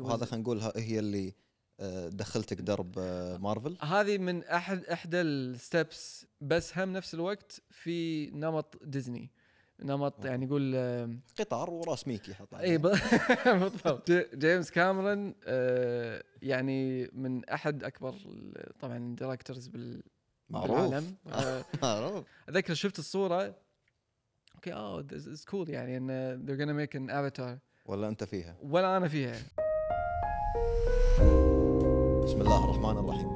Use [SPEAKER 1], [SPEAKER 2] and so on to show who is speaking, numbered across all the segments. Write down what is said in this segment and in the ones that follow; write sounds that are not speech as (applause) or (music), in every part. [SPEAKER 1] هذا خلينا نقول ها- هي اللي آه، دخلتك درب آه، مارفل
[SPEAKER 2] هذه من احد احدى الستبس بس هم نفس الوقت في نمط ديزني نمط يعني يقول آم،
[SPEAKER 1] قطار وراس ميكي حط (laughs)
[SPEAKER 2] اي ب- (laughs) بالضبط ج- طيب. (laughs) جيمس كاميرون آه، يعني من احد اكبر ال- طبعا الدايركترز بال بالعالم آه، (laughs)
[SPEAKER 1] معروف
[SPEAKER 2] اتذكر شفت الصوره اوكي اه اتس كول يعني ان they're gonna make an avatar
[SPEAKER 1] ولا انت فيها
[SPEAKER 2] ولا انا فيها
[SPEAKER 1] بسم الله الرحمن الرحيم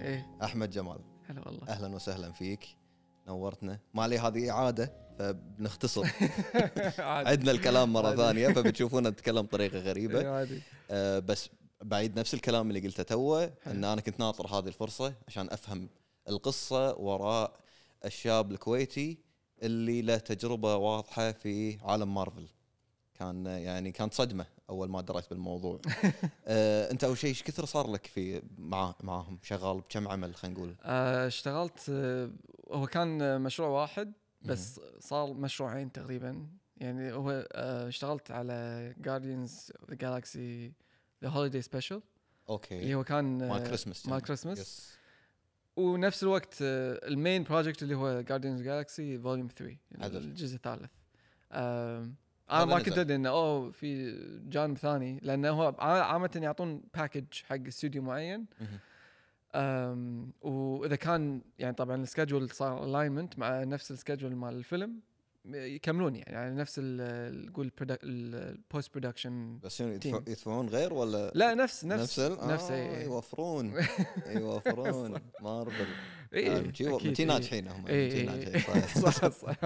[SPEAKER 2] ايه
[SPEAKER 1] احمد جمال
[SPEAKER 2] هلا والله
[SPEAKER 1] اهلا وسهلا فيك نورتنا ما لي هذه اعاده فبنختصر
[SPEAKER 2] (laughs) (laughs) عادي
[SPEAKER 1] عدنا الكلام مره
[SPEAKER 2] عادي.
[SPEAKER 1] ثانيه فبتشوفونا نتكلم بطريقه غريبه
[SPEAKER 2] إيه، عادي
[SPEAKER 1] آه، بس بعيد نفس الكلام اللي قلته توه ان انا كنت ناطر هذه الفرصه عشان افهم القصه وراء الشاب الكويتي اللي له تجربه واضحه في عالم مارفل كان يعني كانت صدمه اول ما دريت
[SPEAKER 2] (laughs)
[SPEAKER 1] بالموضوع آه، انت اول شيء ايش كثر صار لك في مع معاهم شغال بكم عمل خلينا نقول
[SPEAKER 2] آه، اشتغلت آه، هو كان آه، مشروع واحد بس صار مشروعين تقريبا يعني هو آه، اشتغلت على جارديانز ذا جالكسي ذا هوليدي سبيشل اللي
[SPEAKER 1] اوكي
[SPEAKER 2] هو كان آه،
[SPEAKER 1] إيه. مال كريسمس
[SPEAKER 2] مال كريسماس ونفس الوقت آه، المين بروجكت اللي هو جارديانز جالكسي فوليوم 3
[SPEAKER 1] عدل.
[SPEAKER 2] الجزء الثالث آه، آم،
[SPEAKER 1] هذا
[SPEAKER 2] انا ما كنت
[SPEAKER 1] نزل.
[SPEAKER 2] ادري انه اوه في جانب ثاني لانه هو عامه يعطون باكج حق استوديو معين
[SPEAKER 1] مهم.
[SPEAKER 2] أم، واذا كان يعني طبعا السكجول صار الاينمنت مع نفس السكجول مال الفيلم يكملون يعني, يعني نفس ال- نقول البوست برودكشن
[SPEAKER 1] بس شنو
[SPEAKER 2] تيم.
[SPEAKER 1] يدفع- يدفعون غير ولا
[SPEAKER 2] لا نفس نفس
[SPEAKER 1] نفس ال-
[SPEAKER 2] نفس إيه،
[SPEAKER 1] آه،
[SPEAKER 2] اي (laughs)
[SPEAKER 1] يوفرون يوفرون مارفل
[SPEAKER 2] اي
[SPEAKER 1] اكيد آه،
[SPEAKER 2] إيه.
[SPEAKER 1] ناجحين هم جي ناجحين صحيح.
[SPEAKER 2] (laughs)
[SPEAKER 1] (laughs)
[SPEAKER 2] صح صح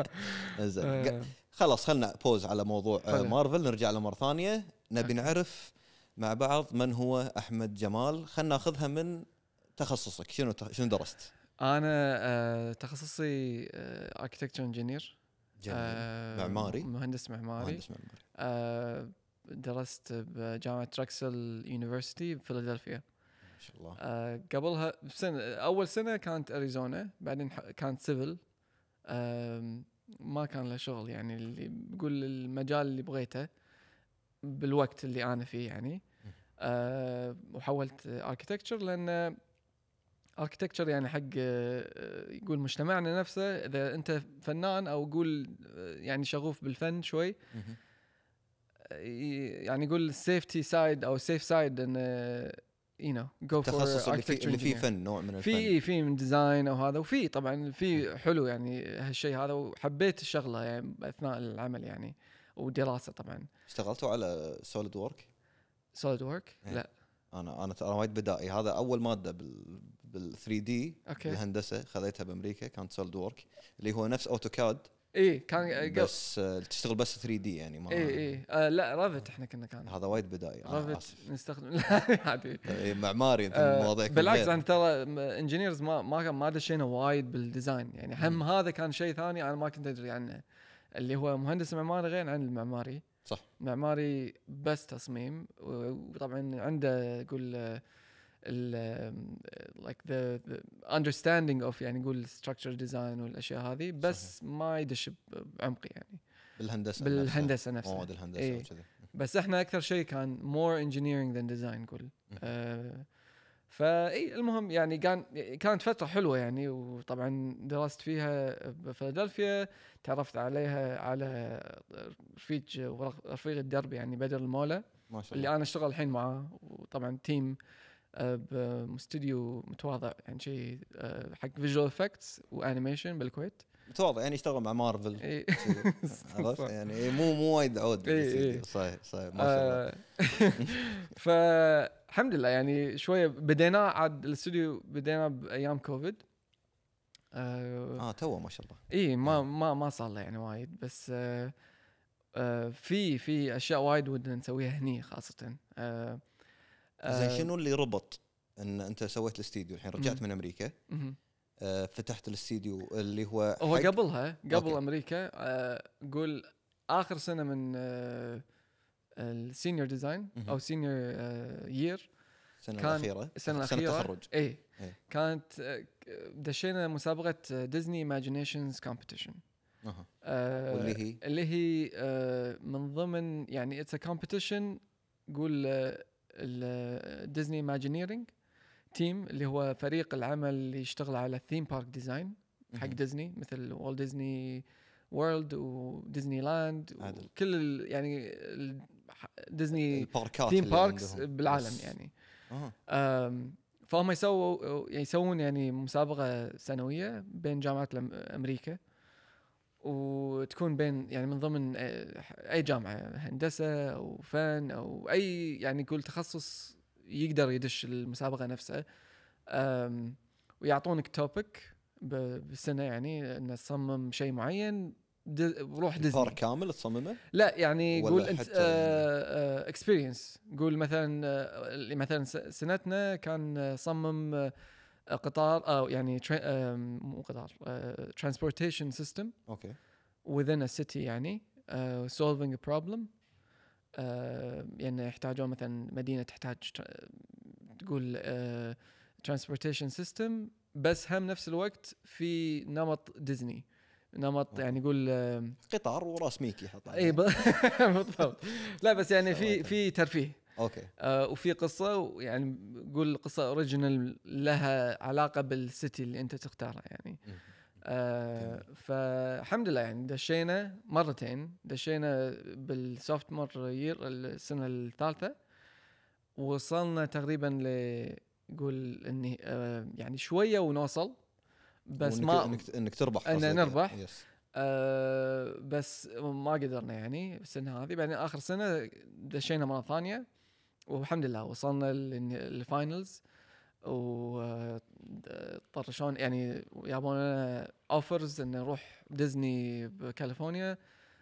[SPEAKER 1] زين
[SPEAKER 2] آه،
[SPEAKER 1] خلاص خلنا بوز على موضوع آه،
[SPEAKER 2] حلو.
[SPEAKER 1] مارفل نرجع له مره ثانيه نبي نعرف مع بعض من هو احمد جمال خلنا ناخذها من تخصصك شنو تخ- شنو درست؟
[SPEAKER 2] انا آه، تخصصي آه، اركتكتشر انجينير
[SPEAKER 1] جميل. معماري.
[SPEAKER 2] آه، مهندس معماري
[SPEAKER 1] مهندس معماري
[SPEAKER 2] آه، درست بجامعه تركسل يونيفرسيتي بفيلادلفيا
[SPEAKER 1] ما شاء الله
[SPEAKER 2] آه، قبلها بسنة أول سنة كانت أريزونا بعدين ح- كانت سيفل آم، ما كان له شغل يعني اللي بقول المجال اللي بغيته بالوقت اللي أنا فيه يعني آه، وحولت أركتكتشر لأن أركتكتشر يعني حق آه، يقول مجتمعنا نفسه إذا أنت فنان أو قول آه، يعني شغوف بالفن شوي آه،
[SPEAKER 1] مهم.
[SPEAKER 2] يعني يقول السيفتي سايد او السيف سايد ان يو نو جو فور
[SPEAKER 1] التخصص اللي فيه اللي فيه فن نوع من
[SPEAKER 2] في
[SPEAKER 1] الفن
[SPEAKER 2] إيه، في من ديزاين او هذا وفي طبعا في حلو يعني هالشيء هذا وحبيت الشغله يعني اثناء العمل يعني والدراسه طبعا
[SPEAKER 1] اشتغلتوا على سوليد وورك
[SPEAKER 2] سوليد ورك
[SPEAKER 1] إيه.
[SPEAKER 2] لا
[SPEAKER 1] انا انا ترى وايد بدائي هذا اول ماده بال بال 3 دي
[SPEAKER 2] اوكي
[SPEAKER 1] بالهندسه خذيتها بامريكا كانت سوليد وورك اللي هو نفس اوتوكاد
[SPEAKER 2] اي إيه، كان يعني قبل
[SPEAKER 1] بس آه، تشتغل بس 3 دي يعني ما آه،
[SPEAKER 2] اي اي آه لا رافت احنا كنا كان
[SPEAKER 1] هذا وايد بدائي انا
[SPEAKER 2] رافت
[SPEAKER 1] اسف
[SPEAKER 2] نستخدم (laughs) لا عادي
[SPEAKER 1] إيه، معماري انت
[SPEAKER 2] آه،
[SPEAKER 1] مواضيعك
[SPEAKER 2] بالعكس
[SPEAKER 1] غير.
[SPEAKER 2] انا ترى انجينيرز ما ما ما دشينا وايد بالديزاين يعني هم هذا كان شيء ثاني انا ما كنت ادري عنه اللي هو مهندس معماري غير عن المعماري
[SPEAKER 1] صح
[SPEAKER 2] معماري بس تصميم و- وطبعا عنده يقول آه، ال لايك ذا اندرستاندينج اوف يعني يقول ستراكشر ديزاين والاشياء هذه بس ما يدش بعمق يعني
[SPEAKER 1] بالهندسه نفسها،
[SPEAKER 2] بالهندسه نفسها
[SPEAKER 1] مواد الهندسه
[SPEAKER 2] إيه.
[SPEAKER 1] وكذي
[SPEAKER 2] بس احنا اكثر شيء كان مور انجينيرنج ذان ديزاين نقول آه، فاي المهم يعني كان كانت فتره حلوه يعني وطبعا درست فيها بفيلادلفيا تعرفت عليها على رفيق ورق- رفيق الدرب يعني بدر المولى
[SPEAKER 1] ما شاء
[SPEAKER 2] اللي
[SPEAKER 1] الله
[SPEAKER 2] انا اشتغل الحين معاه وطبعا تيم آه، باستوديو متواضع يعني شيء آه، حق فيجوال افكتس وانيميشن بالكويت
[SPEAKER 1] متواضع يعني يشتغل مع مارفل
[SPEAKER 2] إي.
[SPEAKER 1] (laughs)
[SPEAKER 2] (laughs)
[SPEAKER 1] كذي. عرفت يعني إيه، مو مو وايد عود
[SPEAKER 2] إيه، آه.
[SPEAKER 1] بالسيدي.
[SPEAKER 2] إيه.
[SPEAKER 1] صحيح صحيح ما شاء الله
[SPEAKER 2] (laughs) فالحمد لله يعني شويه بدينا عاد الاستوديو بدينا بايام كوفيد آه
[SPEAKER 1] اه تو ما شاء الله
[SPEAKER 2] اي
[SPEAKER 1] آه.
[SPEAKER 2] ما ما ما صار له يعني وايد بس آه آه في في اشياء وايد ودنا نسويها هني خاصه آه
[SPEAKER 1] زين شنو اللي ربط ان انت سويت الاستديو الحين رجعت
[SPEAKER 2] مم.
[SPEAKER 1] من امريكا
[SPEAKER 2] مهم.
[SPEAKER 1] آه، فتحت الاستديو اللي هو
[SPEAKER 2] هو
[SPEAKER 1] حق-
[SPEAKER 2] قبلها قبل
[SPEAKER 1] أوكي.
[SPEAKER 2] امريكا آه، قول اخر سنه من آه، السينيور ديزاين
[SPEAKER 1] مهم.
[SPEAKER 2] او سينيور يير
[SPEAKER 1] السنه
[SPEAKER 2] كان-
[SPEAKER 1] الاخيره
[SPEAKER 2] السنه الاخيره
[SPEAKER 1] سنه تخرج
[SPEAKER 2] اي
[SPEAKER 1] إيه.
[SPEAKER 2] آه، كانت آه، ك- دشينا مسابقه ديزني ايماجينيشنز كومبيتيشن
[SPEAKER 1] أها.
[SPEAKER 2] آه،
[SPEAKER 1] واللي هي
[SPEAKER 2] اللي هي آه، من ضمن يعني اتس كومبيتيشن قول آه، ديزني ماجينيرنج تيم اللي هو فريق العمل اللي يشتغل على الثيم بارك ديزاين حق
[SPEAKER 1] مهم.
[SPEAKER 2] ديزني مثل والت ديزني وورلد وديزني لاند
[SPEAKER 1] عدل.
[SPEAKER 2] وكل ال يعني ال- ح- ديزني
[SPEAKER 1] الباركات
[SPEAKER 2] ثيم
[SPEAKER 1] اللي
[SPEAKER 2] باركس
[SPEAKER 1] عندهم.
[SPEAKER 2] بالعالم
[SPEAKER 1] بس-
[SPEAKER 2] يعني
[SPEAKER 1] أها.
[SPEAKER 2] أم، فهم يسووا يسوون يعني مسابقه سنويه بين جامعات الأم- امريكا وتكون بين يعني من ضمن أه، اي جامعه هندسه او فن او اي يعني كل تخصص يقدر يدش المسابقه نفسها أم، ويعطونك توبك بالسنه يعني انه تصمم شيء معين دي- بروح ديزني
[SPEAKER 1] البار كامل تصممه
[SPEAKER 2] لا يعني
[SPEAKER 1] ولا
[SPEAKER 2] قول انت
[SPEAKER 1] حتى-
[SPEAKER 2] اكسبيرينس قول مثلا آه، اللي مثلا س- سنتنا كان آه، صمم آه، قطار او يعني tra- آم، مو قطار ترانسبورتيشن سيستم
[SPEAKER 1] اوكي
[SPEAKER 2] within a city يعني uh, solving a problem uh, يعني يحتاجون مثلا مدينه تحتاج تر- تقول uh, transportation system بس هم نفس الوقت في نمط ديزني نمط
[SPEAKER 1] أوكي.
[SPEAKER 2] يعني يقول uh,
[SPEAKER 1] قطار وراس ميكي حط
[SPEAKER 2] اي إيه، ب- (laughs) بالضبط لا بس يعني في
[SPEAKER 1] سويتها.
[SPEAKER 2] في ترفيه
[SPEAKER 1] اوكي
[SPEAKER 2] آه، وفي قصه ويعني قول قصه اوريجينال لها علاقه بالسيتي اللي انت تختارها يعني
[SPEAKER 1] مم.
[SPEAKER 2] آه فالحمد لله يعني دشينا مرتين دشينا بالسوفت مور يير السنه الثالثه وصلنا تقريبا ل قول اني آه يعني شويه ونوصل بس
[SPEAKER 1] وإنك-
[SPEAKER 2] ما
[SPEAKER 1] انك انك تربح
[SPEAKER 2] إن
[SPEAKER 1] قصدك. يعني.
[SPEAKER 2] نربح.
[SPEAKER 1] يس
[SPEAKER 2] أه بس ما قدرنا يعني السنه هذه بعدين اخر سنه دشينا مره ثانيه والحمد لله وصلنا للفاينلز وطرشون يعني جابونا اوفرز ان نروح ديزني بكاليفورنيا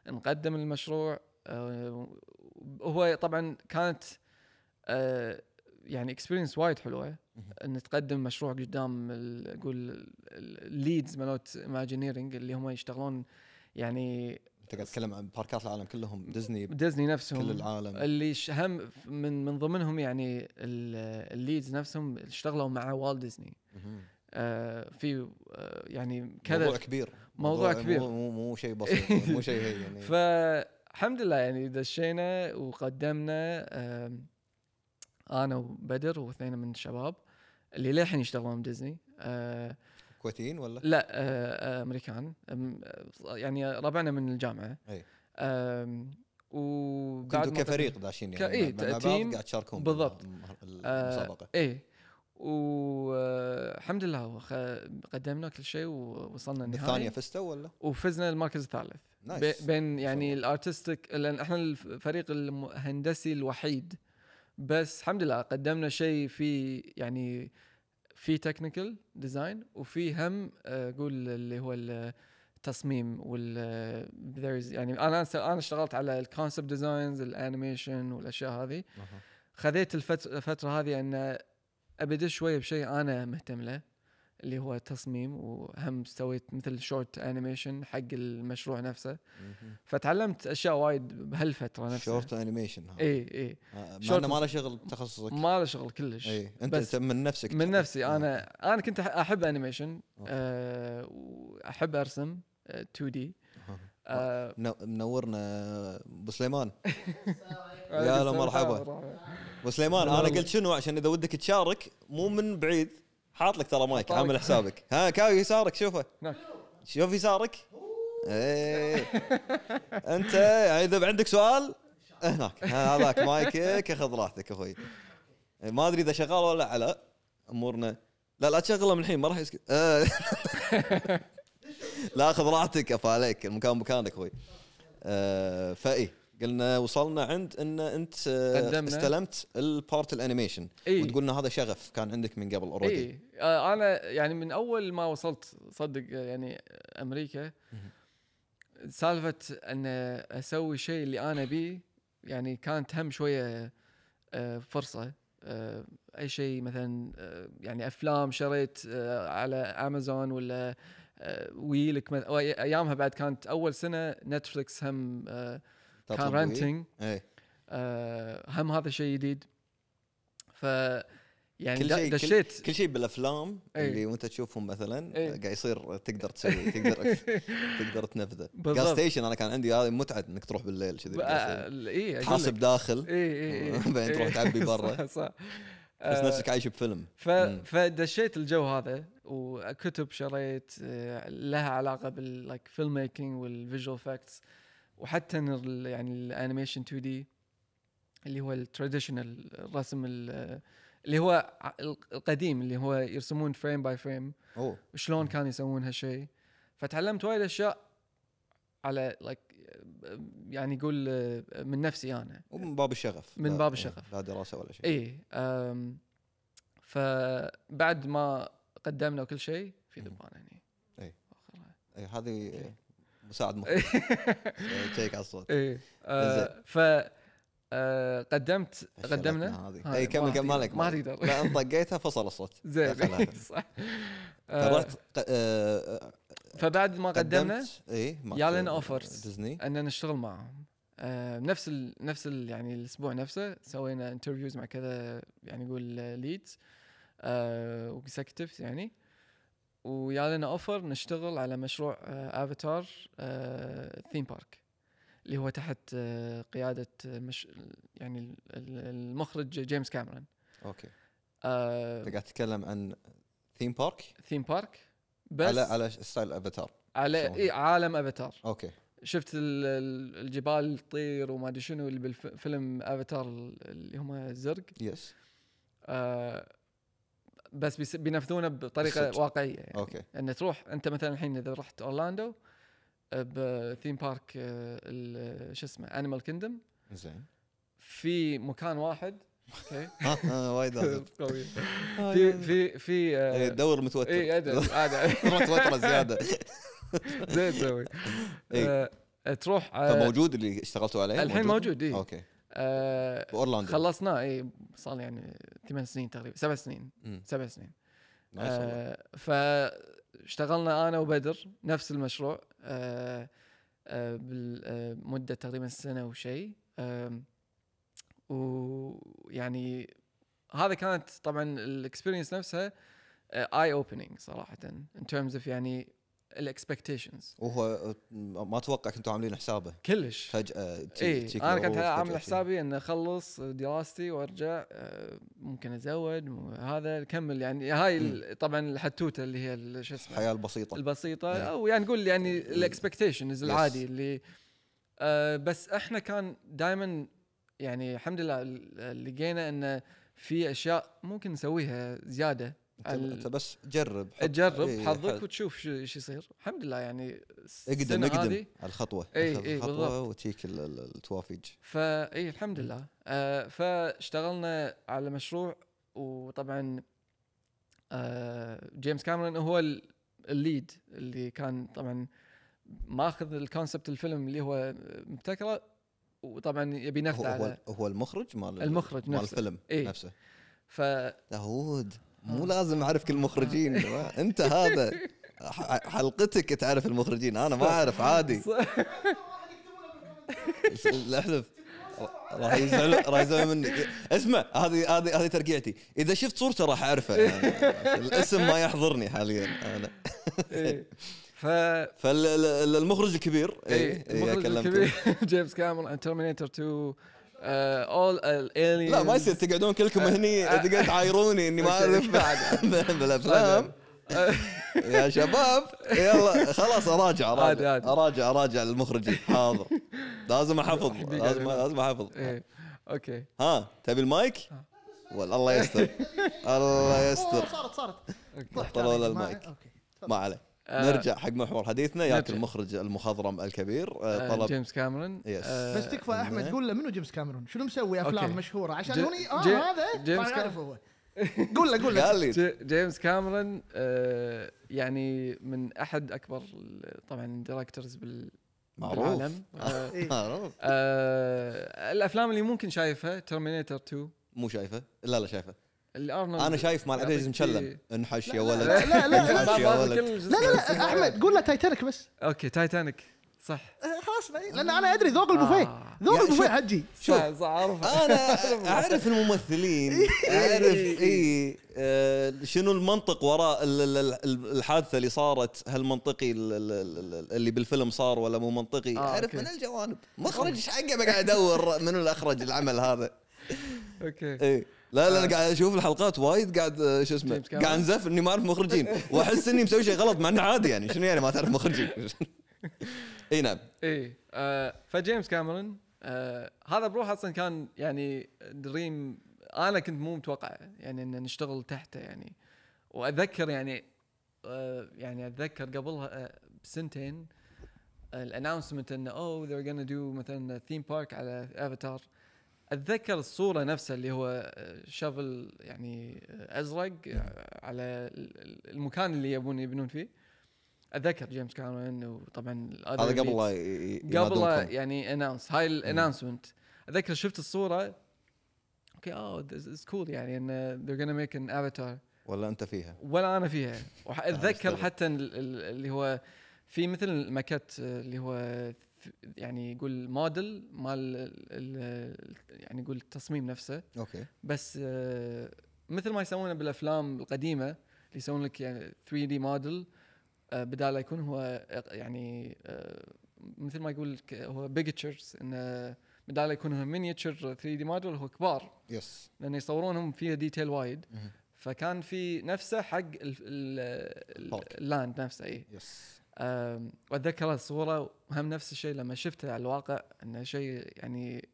[SPEAKER 2] نقدم المشروع أه، هو طبعا كانت أه، يعني اكسبيرينس وايد حلوه
[SPEAKER 1] مهم.
[SPEAKER 2] ان تقدم مشروع قدام ال- قول الليدز مالوت ماجينيرنج اللي هم يشتغلون يعني
[SPEAKER 1] انت قاعد تتكلم عن باركات العالم كلهم ديزني
[SPEAKER 2] ديزني نفسهم
[SPEAKER 1] كل العالم
[SPEAKER 2] اللي ش- هم من من ضمنهم يعني ال- الليدز نفسهم اشتغلوا مع والت ديزني
[SPEAKER 1] مهم.
[SPEAKER 2] آه في آه يعني
[SPEAKER 1] موضوع
[SPEAKER 2] كذا
[SPEAKER 1] كبير
[SPEAKER 2] موضوع كبير.
[SPEAKER 1] مو مو, مو شيء بسيط مو شيء هي يعني
[SPEAKER 2] فالحمد لله يعني دشينا وقدمنا آم، انا وبدر واثنين من الشباب اللي للحين يشتغلون بديزني آه
[SPEAKER 1] كويتيين ولا؟
[SPEAKER 2] لا آه، آه، امريكان أم، آه، يعني ربعنا من الجامعه
[SPEAKER 1] أي.
[SPEAKER 2] آم، وبعد
[SPEAKER 1] إيه. كنتوا
[SPEAKER 2] ما-
[SPEAKER 1] كفريق داشين
[SPEAKER 2] ك-
[SPEAKER 1] يعني
[SPEAKER 2] إيه،
[SPEAKER 1] مع- مع بعض
[SPEAKER 2] تيم.
[SPEAKER 1] قاعد تشاركون
[SPEAKER 2] بالضبط.
[SPEAKER 1] بالمه-
[SPEAKER 2] آه،
[SPEAKER 1] المسابقه
[SPEAKER 2] ايه والحمد لله وخ- قدمنا كل شيء ووصلنا النهائي
[SPEAKER 1] بالثانيه فزتوا ولا؟
[SPEAKER 2] وفزنا المركز الثالث
[SPEAKER 1] نايس.
[SPEAKER 2] بي- بين يعني
[SPEAKER 1] شاء
[SPEAKER 2] الارتستيك لان احنا الفريق الهندسي الوحيد بس الحمد لله قدمنا شيء في يعني في تكنيكال ديزاين وفي هم آه، قول اللي هو التصميم وال آه، there is- يعني انا انا اشتغلت على الكونسبت ديزاينز الانيميشن والاشياء هذه
[SPEAKER 1] أها.
[SPEAKER 2] خذيت الفت- الفترة هذه أن أبدأ شوية بشيء أنا مهتم له اللي هو التصميم وهم سويت مثل شورت انيميشن حق المشروع نفسه
[SPEAKER 1] مهم.
[SPEAKER 2] فتعلمت اشياء وايد بهالفتره نفسها
[SPEAKER 1] شورت انيميشن ها.
[SPEAKER 2] اي اي
[SPEAKER 1] آه، مع
[SPEAKER 2] شورت-
[SPEAKER 1] انه ما له شغل بتخصصك
[SPEAKER 2] ما له شغل كلش
[SPEAKER 1] اي انت
[SPEAKER 2] بس
[SPEAKER 1] أنت من نفسك
[SPEAKER 2] من نفسي
[SPEAKER 1] آه.
[SPEAKER 2] انا انا كنت أح- احب انيميشن
[SPEAKER 1] أوكي.
[SPEAKER 2] أه واحب ارسم أه 2 دي
[SPEAKER 1] أها.
[SPEAKER 2] أه
[SPEAKER 1] منو- منورنا ابو
[SPEAKER 2] (laughs)
[SPEAKER 1] سليمان
[SPEAKER 2] وعليكم
[SPEAKER 1] هلا
[SPEAKER 2] السلام.
[SPEAKER 1] مرحبا. ابو سليمان انا
[SPEAKER 2] والله.
[SPEAKER 1] قلت شنو عشان اذا ودك تشارك مو من بعيد حاط لك ترى مايك
[SPEAKER 2] حاط لك.
[SPEAKER 1] عامل حسابك ها كاوي يسارك شوفه
[SPEAKER 2] هناك.
[SPEAKER 1] شوف يسارك ايه انت يعني اذا عندك سؤال هناك ها، هذاك مايكك اخذ راحتك اخوي ما ادري اذا شغال ولا لا لا امورنا لا لا تشغله من الحين ما راح يسكت آه. (laughs) لا اخذ راحتك افا عليك المكان مكانك اخوي آه فاي قلنا وصلنا عند ان انت آه،
[SPEAKER 2] قدمنا.
[SPEAKER 1] استلمت البارت الانيميشن
[SPEAKER 2] إي.
[SPEAKER 1] وتقولنا هذا شغف كان عندك من قبل اوريدي
[SPEAKER 2] اي آه، انا يعني من اول ما وصلت صدق آه، يعني آه، امريكا سالفه ان آه، اسوي شيء اللي انا بيه يعني كانت هم شويه آه، فرصه آه، اي شيء مثلا آه، يعني افلام شريت آه، على امازون ولا آه، ويلك مث- أو أي- ايامها بعد كانت اول سنه نتفلكس هم آه، كان رنتنج
[SPEAKER 1] اي
[SPEAKER 2] آه، هم هذا شيء جديد ف يعني
[SPEAKER 1] كل
[SPEAKER 2] دا-
[SPEAKER 1] شيء-
[SPEAKER 2] دشيت
[SPEAKER 1] كل شيء بالافلام
[SPEAKER 2] إي.
[SPEAKER 1] اللي وانت تشوفهم مثلا
[SPEAKER 2] إي.
[SPEAKER 1] قاعد يصير تقدر تسوي تقدر
[SPEAKER 2] (laughs)
[SPEAKER 1] تقدر تنفذه
[SPEAKER 2] بالضبط.
[SPEAKER 1] جاز ستيشن انا كان عندي هذه متعه انك تروح بالليل كذي بالجاز
[SPEAKER 2] اي
[SPEAKER 1] ستيشن. تحاسب داخل
[SPEAKER 2] إيه، اي
[SPEAKER 1] (laughs)
[SPEAKER 2] اي
[SPEAKER 1] بعدين تروح تعبي برا.
[SPEAKER 2] إيه. (laughs) صح صح
[SPEAKER 1] بس
[SPEAKER 2] آه،
[SPEAKER 1] نفسك عايش بفيلم
[SPEAKER 2] ف...
[SPEAKER 1] مم.
[SPEAKER 2] فدشيت الجو هذا وكتب شريت آه، لها علاقه بال لايك فيلم ميكينج والفيجوال فاكتس وحتى إن ال- يعني الانيميشن 2 دي اللي هو التراديشنال الرسم ال- اللي هو ع- القديم اللي هو يرسمون فريم باي فريم
[SPEAKER 1] اوه
[SPEAKER 2] شلون كانوا يسوون هالشيء فتعلمت وايد اشياء على لايك يعني يقول آه، من نفسي انا
[SPEAKER 1] ومن باب الشغف
[SPEAKER 2] من
[SPEAKER 1] لا- إيه،
[SPEAKER 2] باب الشغف. إيه.
[SPEAKER 1] لا دراسه ولا شيء
[SPEAKER 2] اي أم، فبعد ما قدمنا وكل شيء في ذبان هني
[SPEAKER 1] إي. إي، إيه، هذه
[SPEAKER 2] (laughs)
[SPEAKER 1] مساعد
[SPEAKER 2] إيه.
[SPEAKER 1] (laughs) مخ تشيك على الصوت
[SPEAKER 2] اي آه، ف آه، قدمت قدمنا
[SPEAKER 1] هذه
[SPEAKER 2] هاي،
[SPEAKER 1] اي كمل
[SPEAKER 2] ما
[SPEAKER 1] كمل
[SPEAKER 2] تقدر-
[SPEAKER 1] مالك
[SPEAKER 2] ما
[SPEAKER 1] مالك.
[SPEAKER 2] تقدر.
[SPEAKER 1] لا انت طقيتها فصل الصوت
[SPEAKER 2] (laughs) زين أه،
[SPEAKER 1] دخلها.
[SPEAKER 2] صح (laughs) آه،
[SPEAKER 1] فرحت ق- آه،
[SPEAKER 2] فبعد ما قدمنا
[SPEAKER 1] قدمت اي مع
[SPEAKER 2] يا لنا offers.
[SPEAKER 1] ديزني
[SPEAKER 2] ان نشتغل معهم آه، نفس ال نفس ال يعني الاسبوع نفسه سوينا انترفيوز مع كذا يعني نقول ليدز واكزكتفز يعني ويا لنا اوفر نشتغل على مشروع آه، افاتار ثيم بارك اللي هو تحت آه، قياده آه، مش يعني ال- ال- المخرج آه، جيمس كاميرون
[SPEAKER 1] اوكي انت قاعد تتكلم عن ثيم بارك
[SPEAKER 2] ثيم بارك بس
[SPEAKER 1] على
[SPEAKER 2] على
[SPEAKER 1] على ستايل افاتار
[SPEAKER 2] على
[SPEAKER 1] شلون؟
[SPEAKER 2] إيه عالم افاتار
[SPEAKER 1] اوكي
[SPEAKER 2] شفت ال- ال- الجبال تطير وما ادري شنو اللي بالفيلم افاتار اللي هم الزرق
[SPEAKER 1] يس
[SPEAKER 2] آه بس بيس- بينفذونه بطريقه
[SPEAKER 1] بالصدق.
[SPEAKER 2] واقعيه يعني
[SPEAKER 1] أوكي.
[SPEAKER 2] ان تروح انت مثلا الحين اذا رحت اورلاندو بثيم بارك آه، ال- شو اسمه انيمال كيندم
[SPEAKER 1] (laughs) زين
[SPEAKER 2] في مكان وايد
[SPEAKER 1] (laughs)
[SPEAKER 2] اوكي
[SPEAKER 1] ها، ها، آه،
[SPEAKER 2] (laughs)
[SPEAKER 1] وايد آزر. (laughs)
[SPEAKER 2] قوي في
[SPEAKER 1] آه،
[SPEAKER 2] في في آه،
[SPEAKER 1] إيه، دور متوتر (laughs)
[SPEAKER 2] اي ادري عادي
[SPEAKER 1] تروح توتره زياده
[SPEAKER 2] (laughs) زين تسوي
[SPEAKER 1] إي.
[SPEAKER 2] آه، تروح آه،
[SPEAKER 1] فموجود اللي اشتغلتوا عليه
[SPEAKER 2] الحين موجود إيه. اي
[SPEAKER 1] اوكي
[SPEAKER 2] آه،
[SPEAKER 1] باورلاندو
[SPEAKER 2] خلصناه اي صار يعني ثمان سنين تقريبا سبع سنين
[SPEAKER 1] مم.
[SPEAKER 2] سبع سنين
[SPEAKER 1] نايس والله.
[SPEAKER 2] آه، فاشتغلنا انا وبدر نفس المشروع آه، آه، بال- آه، مده تقريبا سنه وشيء آم، ويعني هذا كانت طبعا الاكسبيرينس نفسها آه، اي اوبننج صراحه ان terms اوف يعني الاكسبكتيشنز
[SPEAKER 1] وهو آه، ما اتوقع كنتوا عاملين حسابه
[SPEAKER 2] كلش
[SPEAKER 1] فجاه تي-
[SPEAKER 2] اي
[SPEAKER 1] تشيك
[SPEAKER 2] انا إيه، كنت
[SPEAKER 1] العروض، فجأة
[SPEAKER 2] عامل
[SPEAKER 1] شي.
[SPEAKER 2] حسابي اني اخلص دراستي وارجع آه، ممكن اتزوج مو- هذا اكمل يعني هاي ال- طبعا الحتوته اللي هي ال- شو اسمه
[SPEAKER 1] الحياه البسيطه
[SPEAKER 2] البسيطه
[SPEAKER 1] إيه.
[SPEAKER 2] او يعني نقول يعني
[SPEAKER 1] ال-
[SPEAKER 2] الاكسبكتيشنز
[SPEAKER 1] Yes.
[SPEAKER 2] العادي اللي آه، بس احنا كان دائما يعني الحمد لله ال- لقينا انه في اشياء ممكن نسويها زياده
[SPEAKER 1] أنت- انت بس جرب حط-
[SPEAKER 2] تجرب
[SPEAKER 1] إيه،
[SPEAKER 2] حظك
[SPEAKER 1] حط-
[SPEAKER 2] وتشوف شو ايش يصير الحمد لله يعني
[SPEAKER 1] اقدم
[SPEAKER 2] السنة
[SPEAKER 1] اقدم
[SPEAKER 2] هذه
[SPEAKER 1] على الخطوه
[SPEAKER 2] إي،
[SPEAKER 1] خذ
[SPEAKER 2] إي،
[SPEAKER 1] الخطوه
[SPEAKER 2] بالضبط.
[SPEAKER 1] وتيك ال- ال- التوافيج
[SPEAKER 2] فاي إيه، الحمد لله آه فاشتغلنا على مشروع وطبعا آه جيمس كاميرون هو ال- الليد اللي كان طبعا ماخذ الكونسبت الفيلم اللي هو مبتكره وطبعا يبي
[SPEAKER 1] هو
[SPEAKER 2] ينفذه
[SPEAKER 1] هو,
[SPEAKER 2] على
[SPEAKER 1] هو المخرج مال ال-
[SPEAKER 2] المخرج
[SPEAKER 1] مال
[SPEAKER 2] نفسه. إيه.
[SPEAKER 1] الفيلم
[SPEAKER 2] إي.
[SPEAKER 1] نفسه
[SPEAKER 2] ف
[SPEAKER 1] داوود
[SPEAKER 2] آه.
[SPEAKER 1] مو لازم اعرف كل المخرجين انت هذا ح- حلقتك تعرف المخرجين انا ما اعرف عادي احلف راح يزعل راح يزعل مني اسمع هذه هذه هذه ترقيعتي اذا شفت صورته راح اعرفه يعني الاسم ما يحضرني حاليا انا
[SPEAKER 2] (laughs) إيه.
[SPEAKER 1] (laughs)
[SPEAKER 2] ف
[SPEAKER 1] فالمخرج الكبير
[SPEAKER 2] إيه، المخرج
[SPEAKER 1] إيه، كلمته.
[SPEAKER 2] الكبير (laughs) جيمس كاميرون ترمينيتر 2 اول الالينز
[SPEAKER 1] لا ما يصير تقعدون كلكم هني تقعد تعايروني
[SPEAKER 2] (laughs)
[SPEAKER 1] اني ما اعرف (laughs) بالافلام يا شباب يلا خلاص اراجع
[SPEAKER 2] عادي،
[SPEAKER 1] اراجع
[SPEAKER 2] عادي.
[SPEAKER 1] اراجع اراجع المخرجين حاضر لازم
[SPEAKER 2] (laughs)
[SPEAKER 1] احفظ
[SPEAKER 2] دقيقة،
[SPEAKER 1] لازم
[SPEAKER 2] دقيقة.
[SPEAKER 1] لازم احفظ
[SPEAKER 2] ايه اوكي
[SPEAKER 1] ها تبي المايك؟
[SPEAKER 2] آه.
[SPEAKER 1] ولا الله
[SPEAKER 2] (laughs)
[SPEAKER 1] يستر الله
[SPEAKER 3] أوه،
[SPEAKER 1] يستر
[SPEAKER 3] صارت صارت
[SPEAKER 1] طلع
[SPEAKER 3] طلع
[SPEAKER 1] ولا
[SPEAKER 3] ما-
[SPEAKER 1] المايك.
[SPEAKER 3] اوكي
[SPEAKER 1] ما عليه
[SPEAKER 2] آه،
[SPEAKER 1] نرجع حق محور حديثنا ياك
[SPEAKER 2] نرجع.
[SPEAKER 1] المخرج المخضرم الكبير آه،
[SPEAKER 2] آه،
[SPEAKER 1] طلب
[SPEAKER 2] جيمس كاميرون
[SPEAKER 1] يس.
[SPEAKER 2] آه،
[SPEAKER 3] بس تكفى احمد قول له منو جيمس كاميرون؟ شنو مسوي افلام
[SPEAKER 2] أوكي.
[SPEAKER 3] مشهوره عشان
[SPEAKER 2] جي-
[SPEAKER 3] هني اه
[SPEAKER 2] جي-
[SPEAKER 3] هذا
[SPEAKER 2] جيمس
[SPEAKER 3] جيمس عارف
[SPEAKER 2] (laughs)
[SPEAKER 3] هو قول له قول له
[SPEAKER 1] قال لي
[SPEAKER 2] ج- جيمس كاميرون آه، يعني من احد اكبر ال- طبعا الدايركترز بال
[SPEAKER 1] معروف.
[SPEAKER 2] بالعالم آه،
[SPEAKER 3] إيه.
[SPEAKER 1] (laughs) معروف.
[SPEAKER 2] آه، الافلام اللي ممكن شايفها ترمينيتر 2
[SPEAKER 1] مو شايفه لا لا شايفه
[SPEAKER 2] الارنولد
[SPEAKER 1] انا شايف مال عبد العزيز
[SPEAKER 2] يعطيك-
[SPEAKER 1] مشلم انحش يا
[SPEAKER 3] لا،
[SPEAKER 1] ولد
[SPEAKER 3] لا، لا، لا،
[SPEAKER 1] انحش
[SPEAKER 2] ما-
[SPEAKER 1] يا
[SPEAKER 2] ما في
[SPEAKER 1] ولد
[SPEAKER 2] كل جزء.
[SPEAKER 3] لا لا لا احمد قول له تايتانيك بس
[SPEAKER 2] اوكي تايتانيك صح
[SPEAKER 3] آه، خلاص خلاص لان انا ادري ذوق البوفيه
[SPEAKER 2] آه.
[SPEAKER 3] ذوق
[SPEAKER 1] يا
[SPEAKER 3] البوفيه
[SPEAKER 1] شوف.
[SPEAKER 3] حجي
[SPEAKER 1] شوف. أه؟
[SPEAKER 2] صح- صح، أعرفه. (laughs)
[SPEAKER 1] انا اعرف الممثلين
[SPEAKER 2] إيه،
[SPEAKER 1] اعرف اي آه، شنو المنطق وراء ال- ال- ال- الحادثه اللي صارت هل منطقي ال- ال- ال- اللي بالفيلم صار ولا مو منطقي
[SPEAKER 2] آه،
[SPEAKER 1] اعرف
[SPEAKER 2] أوكي.
[SPEAKER 1] من الجوانب مخرج ايش حقه بقعد ادور منو اللي اخرج العمل هذا
[SPEAKER 2] اوكي
[SPEAKER 1] اي لا لا
[SPEAKER 2] آه.
[SPEAKER 1] انا قاعد اشوف الحلقات وايد قاعد آه، شو اسمه
[SPEAKER 2] جيمس كاميرون.
[SPEAKER 1] قاعد انزف اني ما اعرف مخرجين واحس اني مسوي شيء غلط مع انه عادي يعني شنو يعني ما تعرف مخرجين (laughs) اي نعم
[SPEAKER 2] اي آه فجيمس كاميرون آه هذا بروحه اصلا كان يعني دريم انا كنت مو متوقع يعني ان نشتغل تحته يعني واتذكر يعني آه يعني اتذكر قبلها آه بسنتين الاناونسمنت انه اوه ذي "Oh, gonna دو مثلا ثيم بارك على افاتار اتذكر الصوره نفسها اللي هو آه، شفل يعني آه، ازرق آه، على ال- ال- المكان اللي يبون يبنون فيه اتذكر جيمس كاميرون وطبعا الother
[SPEAKER 1] هذا قبل
[SPEAKER 2] leads.
[SPEAKER 1] لا ي- ي-
[SPEAKER 2] قبل
[SPEAKER 1] ينادونكم.
[SPEAKER 2] يعني اناونس هاي الاناونسمنت اتذكر شفت الصوره اوكي اوه اتس كول يعني ان they're gonna make an avatar
[SPEAKER 1] ولا انت فيها
[SPEAKER 2] ولا انا فيها واتذكر
[SPEAKER 1] مستغرب.
[SPEAKER 2] حتى ال- ال- اللي هو في مثل الماكت آه، اللي هو ث- يعني يقول موديل مال ال- ال- يعني يقول التصميم نفسه
[SPEAKER 1] اوكي
[SPEAKER 2] بس آه، مثل ما يسوونه بالافلام القديمه اللي يسوون لك يعني 3 دي موديل آه، بدال لا يكون هو إق- يعني آه، مثل ما يقول لك هو بيجتشرز انه آه، بدال لا يكون هو مينيتشر 3 دي موديل هو كبار
[SPEAKER 1] يس
[SPEAKER 2] لان يصورونهم فيها ديتيل وايد
[SPEAKER 1] مهم.
[SPEAKER 2] فكان في نفسه حق ال- ال-
[SPEAKER 1] البارك.
[SPEAKER 2] ال- اللاند نفسه إيه. اي
[SPEAKER 1] يس
[SPEAKER 2] أم، واتذكر الصوره وهم نفس الشيء لما شفته على الواقع انه شيء يعني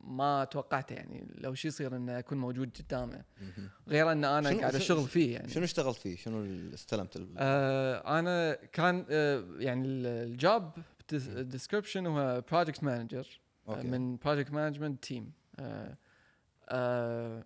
[SPEAKER 2] ما توقعته يعني لو شيء يصير انه اكون موجود قدامه
[SPEAKER 1] مهم.
[SPEAKER 2] غير ان انا
[SPEAKER 1] شنو-
[SPEAKER 2] قاعد
[SPEAKER 1] شنو-
[SPEAKER 2] اشتغل فيه يعني
[SPEAKER 1] شنو اشتغلت فيه؟ شنو ال- استلمت؟ ال-
[SPEAKER 2] آه انا كان آه يعني ال- الجوب ديسكربشن هو بروجكت مانجر
[SPEAKER 1] اوكي
[SPEAKER 2] من بروجكت مانجمنت تيم آه،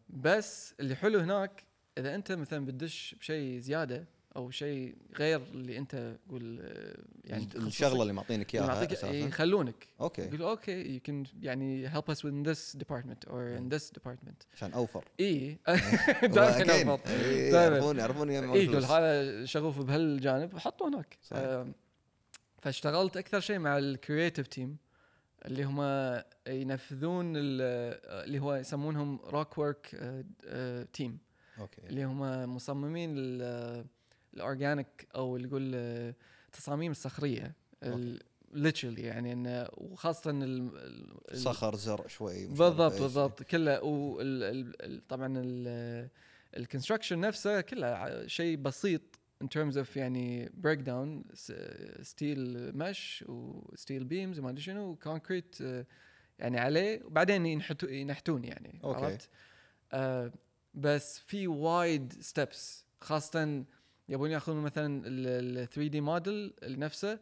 [SPEAKER 2] بس اللي حلو هناك اذا انت مثلا بتدش بشيء زياده او شيء غير اللي انت قول آه، يعني
[SPEAKER 1] ال-
[SPEAKER 2] تخصصك.
[SPEAKER 1] الشغله اللي معطينك
[SPEAKER 2] اللي
[SPEAKER 1] اياها
[SPEAKER 2] معطيك-
[SPEAKER 1] اساسا
[SPEAKER 2] إيه، يخلونك
[SPEAKER 1] اوكي
[SPEAKER 2] يقول اوكي يو كان يعني help us in this department or in this department إيه.
[SPEAKER 1] عشان
[SPEAKER 2] (laughs)
[SPEAKER 1] اوفر
[SPEAKER 2] اي
[SPEAKER 1] هو
[SPEAKER 2] دائما
[SPEAKER 1] أكيد.
[SPEAKER 2] يضبط.
[SPEAKER 1] إيه،
[SPEAKER 2] دائماً.
[SPEAKER 1] يعرفون يعرفون يجمعون
[SPEAKER 2] إي، إيه، يقول
[SPEAKER 1] فلوس.
[SPEAKER 2] هذا شغوف بهالجانب حطه هناك
[SPEAKER 1] صحيح.
[SPEAKER 2] آم، فاشتغلت اكثر شيء مع الكرييتيف تيم اللي هم ينفذون ال- اللي هو يسمونهم آه، روك ورك تيم
[SPEAKER 1] اوكي
[SPEAKER 2] اللي هم مصممين ال- الاورجانيك او اللي يقول آه، التصاميم الصخريه ليتشلي يعني انه وخاصه ال- ال- ال-
[SPEAKER 1] صخر زرع شوي مش عارف
[SPEAKER 2] بالضبط
[SPEAKER 1] إيش.
[SPEAKER 2] بالضبط كله وال طبعا الكونستراكشن نفسه كله ع- شيء بسيط in terms of يعني بريك داون ستيل مش وستيل بيمز وما ادري شنو وكونكريت يعني عليه وبعدين ينحتو ينحتون يعني
[SPEAKER 1] أوكي.
[SPEAKER 2] عرفت؟ آه، بس في وايد ستبس خاصه يبون ياخذون مثلا ال 3 دي موديل نفسه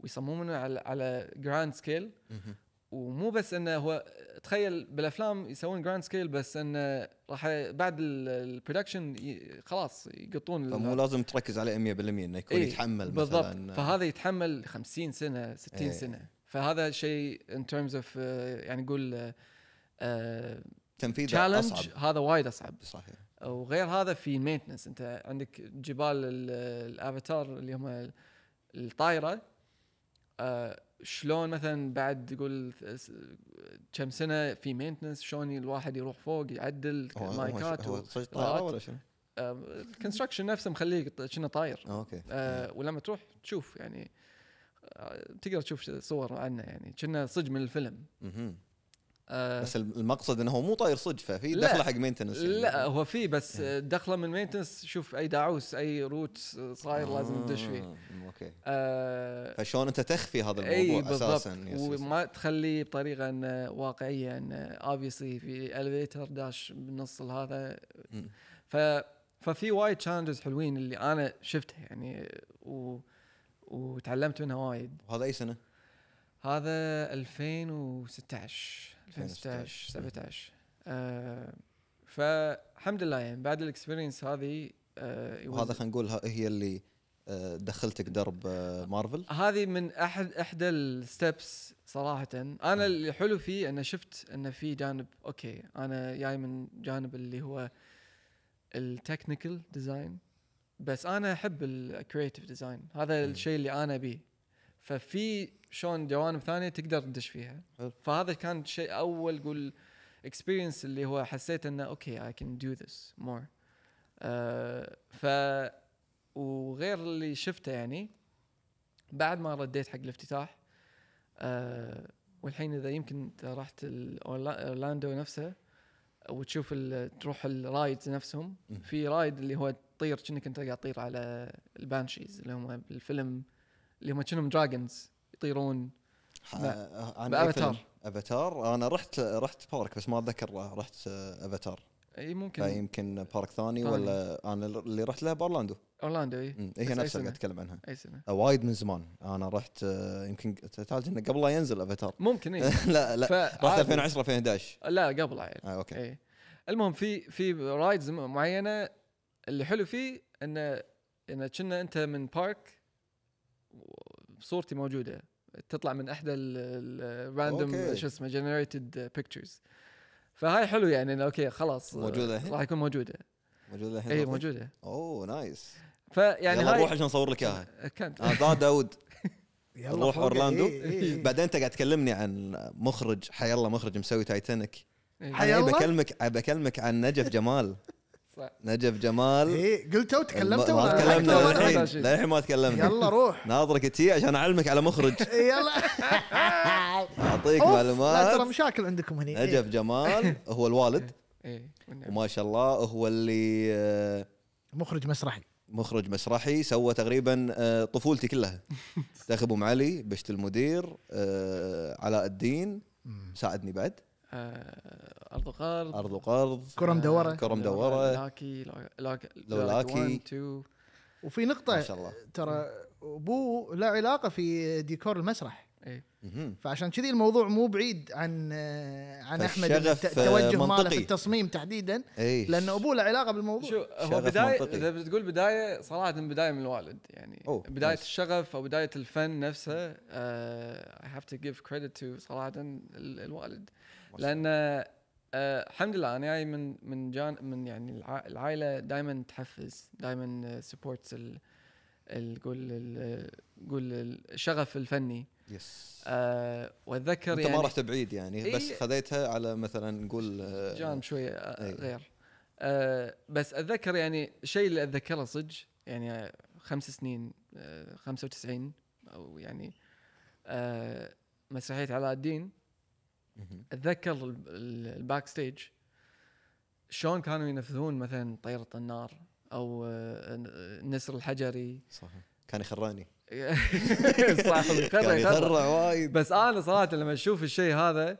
[SPEAKER 2] ويصممونه على على جراند سكيل
[SPEAKER 1] مهم.
[SPEAKER 2] ومو بس انه هو تخيل بالافلام يسوون جراند سكيل بس انه راح ي- بعد البرودكشن خلاص يقطون ال-
[SPEAKER 1] فمو لازم تركز عليه 100% انه يكون
[SPEAKER 2] إيه،
[SPEAKER 1] يتحمل
[SPEAKER 2] بالضبط
[SPEAKER 1] مثلا
[SPEAKER 2] فهذا يتحمل 50 سنه 60
[SPEAKER 1] إيه.
[SPEAKER 2] سنه فهذا شيء ان ترمز اوف يعني نقول
[SPEAKER 1] تنفيذه
[SPEAKER 2] تشالنج
[SPEAKER 1] اصعب
[SPEAKER 2] هذا وايد اصعب
[SPEAKER 1] صحيح
[SPEAKER 2] وغير هذا في مينتنس انت عندك جبال ال- الافاتار اللي هم الطايره آه، شلون مثلا بعد تقول س- كم سنه في مينتنس شلون الواحد يروح فوق يعدل
[SPEAKER 1] هو- هو-
[SPEAKER 2] مايكات
[SPEAKER 1] هو صج طائرة ولا شنو؟
[SPEAKER 2] الكونستراكشن نفسه مخليه يط- شنو طاير
[SPEAKER 1] آه، اوكي
[SPEAKER 2] آه، ولما تروح تشوف يعني آه، تقدر تشوف صور عنه يعني كنا صج من الفيلم
[SPEAKER 1] مهم.
[SPEAKER 2] آه،
[SPEAKER 1] بس الم- المقصد انه هو مو طاير صدق ففي
[SPEAKER 2] لا.
[SPEAKER 1] دخله حق يعني. مينتنس
[SPEAKER 2] لا هو في بس
[SPEAKER 1] يعني.
[SPEAKER 2] دخله من مينتنس شوف اي داعوس اي روت صاير لازم تدش فيه
[SPEAKER 1] اوكي
[SPEAKER 2] آه
[SPEAKER 1] فشلون انت تخفي هذا
[SPEAKER 2] اي
[SPEAKER 1] الموضوع
[SPEAKER 2] بالضبط
[SPEAKER 1] اساسا يس، يس.
[SPEAKER 2] وما تخليه بطريقه انه واقعيه انه اوبسلي في الفيتر داش بالنص هذا
[SPEAKER 1] مم.
[SPEAKER 2] ف ففي وايد تشالنجز حلوين اللي انا شفتها يعني و وتعلمت منها وايد
[SPEAKER 1] وهذا اي سنه؟
[SPEAKER 2] هذا 2016 2016
[SPEAKER 1] 2016.
[SPEAKER 2] 17 آه فالحمد لله يعني بعد الاكسبيرينس هذه آه it was-
[SPEAKER 1] وهذا خلينا نقول ه- هي اللي آه، دخلتك درب آه، مارفل
[SPEAKER 2] هذه من احد احدى الستبس صراحه انا اللي حلو فيه انه شفت انه في جانب اوكي انا جاي من جانب اللي هو التكنيكال ديزاين بس انا احب الكريتيف ديزاين هذا
[SPEAKER 1] مم.
[SPEAKER 2] الشيء اللي انا بيه ففي شلون جوانب ثانيه تقدر تدش فيها
[SPEAKER 1] حلو.
[SPEAKER 2] فهذا كان شيء اول قول اكسبيرينس اللي هو حسيت انه اوكي اي كان دو ذس مور آه، ف وغير اللي شفته يعني بعد ما رديت حق الافتتاح آه والحين اذا يمكن انت رحت ال- أورلا- اورلاندو نفسه وتشوف ال- تروح الرايدز نفسهم
[SPEAKER 1] مم.
[SPEAKER 2] في رايد اللي هو تطير كأنك انت قاعد تطير على البانشيز اللي هم بالفيلم اللي هم كأنهم دراجونز يطيرون
[SPEAKER 1] آه،
[SPEAKER 2] بأفاتار.
[SPEAKER 1] افاتار انا رحت رحت بارك بس ما اتذكر رحت آه، افاتار
[SPEAKER 2] اي ممكن
[SPEAKER 1] فيمكن بارك ثاني
[SPEAKER 2] ثاني.
[SPEAKER 1] ولا انا اللي رحت له باورلاندو
[SPEAKER 2] اورلاندو اي
[SPEAKER 1] مم، هي
[SPEAKER 2] بس أي
[SPEAKER 1] نفسها
[SPEAKER 2] سنة؟
[SPEAKER 1] اللي اتكلم عنها
[SPEAKER 2] اي سنه
[SPEAKER 1] آه، وايد من زمان انا رحت آه، يمكن تحتاج انه قبل لا ينزل افاتار (laughs)
[SPEAKER 2] ممكن اي
[SPEAKER 1] لا لا رحت
[SPEAKER 2] آه،
[SPEAKER 1] 2010 2011
[SPEAKER 2] لا قبل عيل
[SPEAKER 1] آه اوكي
[SPEAKER 2] اي إيه. المهم في في رايدز م- معينه اللي حلو فيه انه انه كنا انت من بارك و- صورتي موجوده تطلع من احدى الراندوم
[SPEAKER 1] أوكي.
[SPEAKER 2] شو اسمه جنريتد بيكتشرز فهاي حلو يعني إنه اوكي خلاص
[SPEAKER 1] موجودة الحين؟
[SPEAKER 2] راح يكون إيه، موجوده
[SPEAKER 1] موجود الحين
[SPEAKER 2] اي
[SPEAKER 1] صوتي؟
[SPEAKER 2] موجوده
[SPEAKER 1] اوه نايس
[SPEAKER 2] فيعني
[SPEAKER 1] يعني يلا
[SPEAKER 2] هاي
[SPEAKER 1] روح عشان اصور لك اياها
[SPEAKER 2] كانت
[SPEAKER 1] آه،
[SPEAKER 3] (laughs)
[SPEAKER 1] ذا داود
[SPEAKER 3] يلا
[SPEAKER 1] نروح
[SPEAKER 3] فوق.
[SPEAKER 1] أورلاندو.
[SPEAKER 3] إيه، إيه.
[SPEAKER 1] بعدين انت قاعد تكلمني عن مخرج حي الله مخرج مسوي تايتانيك
[SPEAKER 2] إي،
[SPEAKER 3] حي
[SPEAKER 1] أنا إيه،
[SPEAKER 3] الله.
[SPEAKER 1] بكلمك بكلمك عن نجف جمال
[SPEAKER 2] صح.
[SPEAKER 1] نجف جمال
[SPEAKER 3] إيه قلته
[SPEAKER 1] الم-
[SPEAKER 3] وتكلمته
[SPEAKER 1] ما
[SPEAKER 3] وأنا
[SPEAKER 1] تكلمنا
[SPEAKER 3] ضحكت وأنا
[SPEAKER 2] للحين.
[SPEAKER 3] ضحكت.
[SPEAKER 1] للحين للحين ما تكلمنا
[SPEAKER 3] يلا روح إيه،
[SPEAKER 1] ناظرك تي عشان اعلمك على مخرج (laughs)
[SPEAKER 3] يلا
[SPEAKER 1] اعطيك
[SPEAKER 3] أوف، لا ترى
[SPEAKER 1] معلومات
[SPEAKER 3] مشاكل عندكم هني إيه.
[SPEAKER 1] نجف جمال هو الوالد
[SPEAKER 2] اي والنعم.
[SPEAKER 1] وما شاء الله هو اللي آه،
[SPEAKER 3] مخرج مسرحي
[SPEAKER 1] مخرج مسرحي سوى تقريبا آه، طفولتي كلها
[SPEAKER 2] (laughs)
[SPEAKER 1] تاخي ابو معلي بشت المدير آه، علاء الدين ساعدني بعد
[SPEAKER 2] آه، ارض غرب
[SPEAKER 1] ارض وقرض آه،
[SPEAKER 3] كرة مدورة
[SPEAKER 1] كرة مدورة.
[SPEAKER 2] لاكي لاكي
[SPEAKER 1] لو لاكي.
[SPEAKER 3] وفي
[SPEAKER 1] ما
[SPEAKER 3] نقطة
[SPEAKER 1] شاء الله
[SPEAKER 3] ترى ابوه له علاقة في ديكور المسرح
[SPEAKER 1] مهم.
[SPEAKER 3] فعشان كذي الموضوع مو بعيد عن آه، عن احمد إن
[SPEAKER 1] فالشغف،
[SPEAKER 3] الت-
[SPEAKER 1] آه،
[SPEAKER 3] التوجه ماله في
[SPEAKER 1] منطقي.
[SPEAKER 3] التصميم تحديدا
[SPEAKER 1] اي
[SPEAKER 3] لان ابوه له
[SPEAKER 1] (laughs)
[SPEAKER 3] علاقة بالموضوع
[SPEAKER 2] شو هو
[SPEAKER 1] شغف
[SPEAKER 2] بدايه
[SPEAKER 1] منطقي.
[SPEAKER 2] اذا بتقول بدايه صراحه بدايه من الوالد يعني
[SPEAKER 1] أوه،
[SPEAKER 2] بدايه
[SPEAKER 1] nice.
[SPEAKER 2] الشغف او بدايه الفن نفسه آه، اي هاف تو جيف كريدت تو صراحه ال- الوالد لان آه، الحمد لله انا جاي من من جان من يعني الع- العائله دائما تحفز دائما سبورتس قول ال- قول الشغف الفني
[SPEAKER 1] يس
[SPEAKER 2] آه، واتذكر
[SPEAKER 1] انت
[SPEAKER 2] يعني إيه.
[SPEAKER 1] ما رحت بعيد يعني بس
[SPEAKER 2] إي.
[SPEAKER 1] خذيتها على مثلا نقول آه،
[SPEAKER 2] جانب شويه آه،
[SPEAKER 1] أي.
[SPEAKER 2] غير آه، بس اتذكر يعني الشيء اللي اتذكره صدق يعني آه، خمس سنين آه، 95 او يعني آه، مسرحيه علاء الدين
[SPEAKER 1] مهم.
[SPEAKER 2] اتذكر ال- ال- الباك ستيج شلون كانوا ينفذون مثلا طيره النار او آه، النسر الحجري (laughs)
[SPEAKER 1] صحيح كان يخرعني
[SPEAKER 2] صح
[SPEAKER 1] كان
[SPEAKER 2] خرع- خرع.
[SPEAKER 1] يخرع وايد
[SPEAKER 2] بس انا صراحه لما اشوف الشيء هذا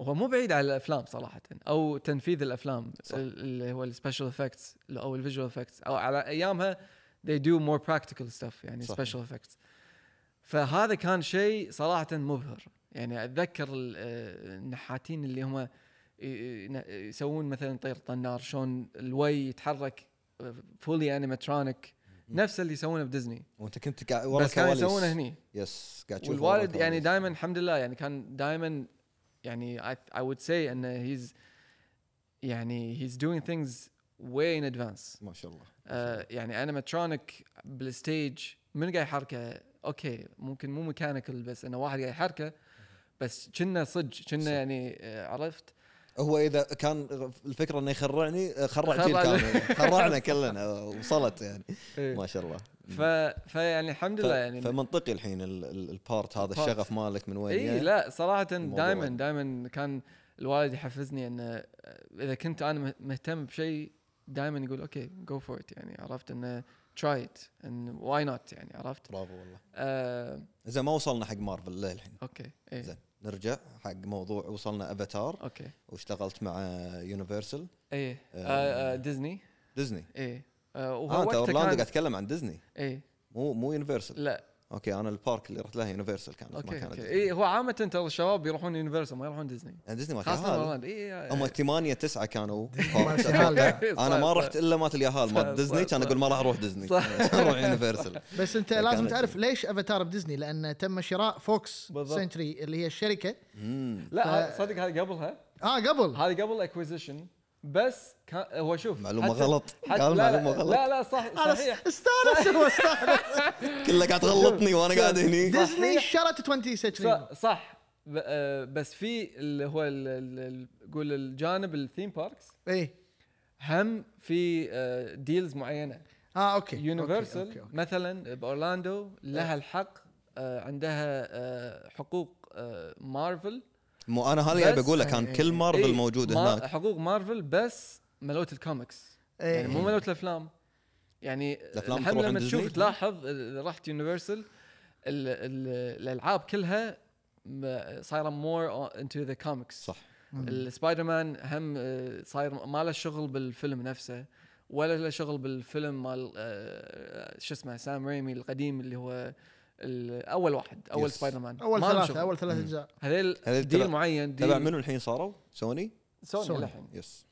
[SPEAKER 2] هو مو بعيد على الافلام صراحه او تنفيذ الافلام
[SPEAKER 1] صح.
[SPEAKER 2] ال- اللي هو السبيشال افكتس او الفيجوال افكتس او على ايامها they do more practical stuff يعني
[SPEAKER 1] صح.
[SPEAKER 2] سبيشال افكتس فهذا كان شيء صراحه مبهر يعني اتذكر ال- آه، النحاتين اللي هم ي- ي- يسوون مثلا طير النار شلون الوي يتحرك فولي انيماترونيك نفس اللي يسوونه بديزني
[SPEAKER 1] وانت كنت قاعد ورا
[SPEAKER 2] بس كانوا
[SPEAKER 1] كواليس
[SPEAKER 2] يسوونه هني
[SPEAKER 1] يس قاعد تشوف ورا
[SPEAKER 2] والوالد يعني
[SPEAKER 1] كواليس.
[SPEAKER 2] دائما الحمد لله يعني كان دائما يعني I, I would say انه هيز يعني he's doing things way in advance
[SPEAKER 1] ما شاء الله
[SPEAKER 2] آه يعني انيماترونيك بالستيج من قاعد يحركه اوكي ممكن مو ميكانيكال بس انه واحد قاعد يحركه بس كنا صدق
[SPEAKER 1] صح.
[SPEAKER 2] كنا يعني آه عرفت
[SPEAKER 1] هو اذا كان الفكره انه يخرعني آه، خرع جيل
[SPEAKER 2] خرع-
[SPEAKER 1] كامل
[SPEAKER 2] (laughs)
[SPEAKER 1] خرعنا كلنا آه، وصلت يعني ما شاء الله
[SPEAKER 2] ف فيعني الحمد
[SPEAKER 1] ف-
[SPEAKER 2] لله يعني
[SPEAKER 1] فمنطقي الحين ال- ال- البارت هذا
[SPEAKER 2] البارت.
[SPEAKER 1] الشغف مالك من وين
[SPEAKER 2] اي
[SPEAKER 1] جاي.
[SPEAKER 2] إيه، لا صراحه
[SPEAKER 1] طيب، الموضوع
[SPEAKER 2] دائما
[SPEAKER 1] يعني.
[SPEAKER 2] دائما كان الوالد يحفزني انه اذا كنت انا مه- مهتم بشيء دائما يقول اوكي جو فور ات يعني عرفت انه تراي ات ان واي نوت يعني عرفت
[SPEAKER 1] برافو والله
[SPEAKER 2] آه إيه،
[SPEAKER 1] اذا ما وصلنا حق مارفل للحين
[SPEAKER 2] اوكي اي
[SPEAKER 1] زين. نرجع حق موضوع وصلنا افاتار
[SPEAKER 2] اوكي
[SPEAKER 1] واشتغلت مع يونيفرسال
[SPEAKER 2] اي آه،
[SPEAKER 1] آه.
[SPEAKER 2] آه، ديزني
[SPEAKER 1] ديزني
[SPEAKER 2] اي آه،
[SPEAKER 1] اه
[SPEAKER 2] وهو
[SPEAKER 1] انت
[SPEAKER 2] وقتها
[SPEAKER 1] اورلاندو قاعد
[SPEAKER 2] كان
[SPEAKER 1] اتكلم عن ديزني
[SPEAKER 2] اي
[SPEAKER 1] مو مو يونيفرسال
[SPEAKER 2] لا
[SPEAKER 1] اوكي انا البارك اللي رحت له يونيفرسال كانت ما
[SPEAKER 2] اوكي
[SPEAKER 1] كانت
[SPEAKER 2] اوكي
[SPEAKER 1] ديزني.
[SPEAKER 2] اي هو عامه ترى الشباب يروحون يونيفرسال ما يروحون ديزني
[SPEAKER 1] ديزني يعني ما كان
[SPEAKER 2] خاصه
[SPEAKER 1] هذا.
[SPEAKER 2] اورلاندو اي آه،
[SPEAKER 1] هم (laughs)
[SPEAKER 2] آه.
[SPEAKER 1] ثمانية تسعة كانوا
[SPEAKER 2] (laughs)
[SPEAKER 1] باركس.
[SPEAKER 3] هذا.
[SPEAKER 1] انا
[SPEAKER 2] صح،
[SPEAKER 1] ما
[SPEAKER 2] صح.
[SPEAKER 1] رحت الا مات اليهال
[SPEAKER 2] صح،
[SPEAKER 1] مات ديزني
[SPEAKER 2] صح،
[SPEAKER 1] كان
[SPEAKER 2] صح.
[SPEAKER 1] اقول ما راح اروح ديزني (laughs)
[SPEAKER 2] صح.
[SPEAKER 1] اروح يونيفرسال
[SPEAKER 3] بس انت
[SPEAKER 1] كانت
[SPEAKER 3] لازم
[SPEAKER 1] جميلة.
[SPEAKER 3] تعرف ليش افاتار بديزني لان تم شراء فوكس
[SPEAKER 2] بالضبط.
[SPEAKER 3] سنتري اللي هي الشركه
[SPEAKER 1] مم.
[SPEAKER 2] لا
[SPEAKER 3] ف-
[SPEAKER 2] صدق هذه قبلها
[SPEAKER 3] اه قبل
[SPEAKER 2] هذه قبل اكويزيشن بس كان هو شوف
[SPEAKER 1] معلومه
[SPEAKER 2] حتى-
[SPEAKER 1] غلط
[SPEAKER 2] حتى
[SPEAKER 1] قال
[SPEAKER 2] لا
[SPEAKER 1] معلومه
[SPEAKER 2] لا,
[SPEAKER 1] غلط
[SPEAKER 2] لا لا صح صحيح
[SPEAKER 3] أنا استانس هو استانس
[SPEAKER 1] كله قاعد تغلطني وانا
[SPEAKER 2] شوف،
[SPEAKER 1] قاعد هني
[SPEAKER 2] صح.
[SPEAKER 3] ديزني شرت 20 سنتري
[SPEAKER 2] صح, صح ب- آه، بس في اللي هو ال- ال- ال- قول الجانب الثيم باركس
[SPEAKER 3] اي
[SPEAKER 2] هم في آه، ديلز معينه
[SPEAKER 3] اه اوكي أوكي، أوكي،
[SPEAKER 2] يونيفرسال
[SPEAKER 3] أوكي. إيه.
[SPEAKER 2] مثلا باورلاندو لها الحق آه، عندها آه، حقوق آه، مارفل
[SPEAKER 1] مو انا هذا اللي
[SPEAKER 2] بس-
[SPEAKER 1] بقوله كان كل مارفل
[SPEAKER 2] إيه،
[SPEAKER 1] موجود
[SPEAKER 2] ما-
[SPEAKER 1] هناك
[SPEAKER 2] حقوق مارفل بس ملوت الكوميكس
[SPEAKER 3] إيه.
[SPEAKER 2] يعني مو ملوت الافلام يعني
[SPEAKER 1] الأفلام
[SPEAKER 2] الحين
[SPEAKER 1] تروح
[SPEAKER 2] لما
[SPEAKER 1] عند
[SPEAKER 2] تشوف
[SPEAKER 1] ديزني؟
[SPEAKER 2] تلاحظ ال- رحت يونيفرسال الالعاب كلها م- صايره مور انتو ذا كوميكس
[SPEAKER 1] صح
[SPEAKER 2] السبايدر مان هم آه، صاير ما له شغل بالفيلم نفسه ولا له شغل بالفيلم مال آه، شو اسمه سام ريمي القديم اللي هو ال- اول واحد اول
[SPEAKER 1] Yes.
[SPEAKER 2] سبايدر مان
[SPEAKER 3] اول
[SPEAKER 2] ما له
[SPEAKER 3] ثلاثة
[SPEAKER 2] شغل.
[SPEAKER 3] اول ثلاثة
[SPEAKER 1] مم.
[SPEAKER 3] اجزاء
[SPEAKER 1] هذيل
[SPEAKER 2] هذيل
[SPEAKER 1] تبع-
[SPEAKER 2] ديل معين ديل
[SPEAKER 1] تبع منو الحين صاروا؟ سوني؟
[SPEAKER 2] سوني
[SPEAKER 3] سوني.
[SPEAKER 2] للحين
[SPEAKER 1] يس